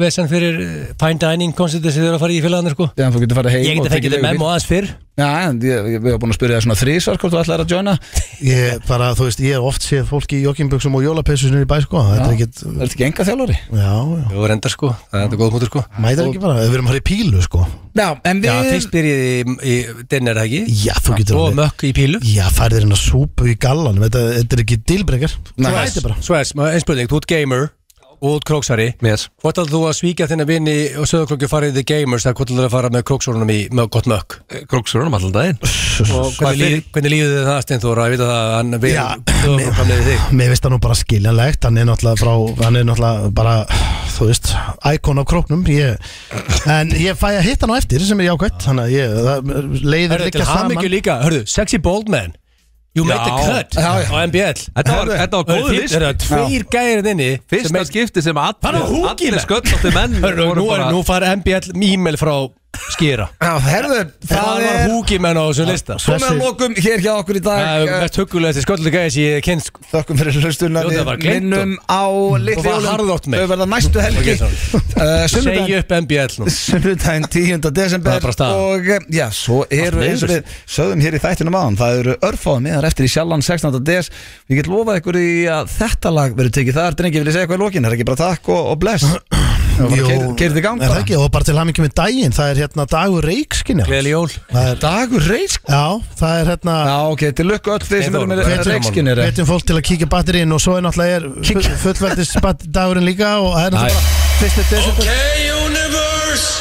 S2: vesen fyrir eh, fine dining koncertið sem þau eru að fara í félagarnir, sko.
S1: Já, en þú getur farið heim
S2: Ég
S1: og
S2: geti
S1: tekið
S2: fengið þið
S1: leigubíl.
S2: memo aðeins fyrr.
S1: Já, en ég, ég, við erum búin að spyrja það svona þrísvar hvort þú ætlar að joina Það
S3: Ég bara, þú veist, ég hef oft séð fólki í jogginbuxum og jólapeysu sinni í bæ sko. Þetta er ekkit,
S1: er ekki enga þjálfari
S3: já, já
S2: Jú, reyndar, sko, það er þetta góð punktur, sko.
S3: Mæta ekki bara, við erum að fara í pílu sko.
S1: Já, en
S2: Já, fyrst byrjið í, í dinner, ekki?
S3: Já, þú getur
S2: Og
S3: alveg-
S2: mökk í pílu.
S3: Já, færðir hérna súpu í gallanum Þetta, þetta er ekki dílbrekar Þú
S1: Nice.
S3: ættir bara
S2: Svo er, eins spurning, þú ert gamer og þú ert króksari.
S1: Yes.
S2: Hvort ætlar þú að svíkja þinna vini og söðurklokki farið í The Gamers eða hvort ætlar þú að fara með króksorunum í mö, gott mökk?
S11: Króksurunum allan daginn
S2: Og hvernig, líf, hvernig lífið þið það, Steinþóra? Ég veit að það, hann vil,
S3: Já,
S2: þú erum framleiðið þig.
S3: Mér veist það nú bara skiljanlegt Hann er náttúrulega frá, hann er náttúrulega bara Þú veist, íkon á króknum ég, En ég fæ að hitta hann á eftir sem er jákvæmt Þannig að ég, það leiðir
S2: Hörru, til
S3: líka saman
S2: hamingju líka, hörru, sexy bold man You made the cut
S1: Já, já.
S2: á MBL
S11: Þetta var- þetta var góður listi.
S2: Það er tveir gærin inni sem
S11: Fyrsta
S2: er-
S11: skipti sem
S2: Hann á
S11: allir,
S2: húkið,
S11: allir
S2: menn.
S11: sköllóttu menn
S2: Hörru,
S11: voru
S2: nú, er,
S11: bara-
S2: nú far MBL e-mail frá skýra
S1: Já, herðu,
S2: Það
S1: það
S2: var
S1: er
S2: húkimenn á þessum lista
S1: Svona að lokum hér hjá okkur í
S2: Það
S1: dag
S2: er mest huggulegasti sköllu gæði sem ég kynst
S1: Þökkum fyrir hlustunna
S2: Jú, það var
S1: Við
S2: Clinton.
S1: minnum á litli
S2: Og var harðátt
S1: jólum
S2: mig.
S1: Þau verða næstu helgi
S2: Ok, sorry.
S1: Eh,
S2: Segj
S1: Sunnudaginn
S2: upp MBL nú
S1: Sunnudaginn 10.
S2: Það
S1: desember
S2: er bara staðan.
S1: og eh, já, svo eru
S2: Allt
S1: eins og
S2: niður.
S1: við sögðum hér í þættinum aðan það eru örfáðum meðar eftir í sjallan 16. des ég get lofað ykkur í að þetta lag verður tekið þar, drengi, vil ég segja eitthvað í lokin er ekki bara takk og, og bless keirði í gang
S3: er það
S1: bara.
S3: ekki, og bara til hamingju með daginn Það er hérna dagur reikskinja
S2: Gleðli jól
S3: það er,
S1: Dagur reysk
S3: Já, það er hérna
S1: Já, ok, til lukku öll þeir sem eru með
S2: Þetta er-
S1: reykskinir
S3: Vettum fólk til að kíkja batterín og svo er náttúrulega er fullveldis dagurinn líka og það er náttúrulega bara fyrstu desember
S11: Hey universe
S12: Bruce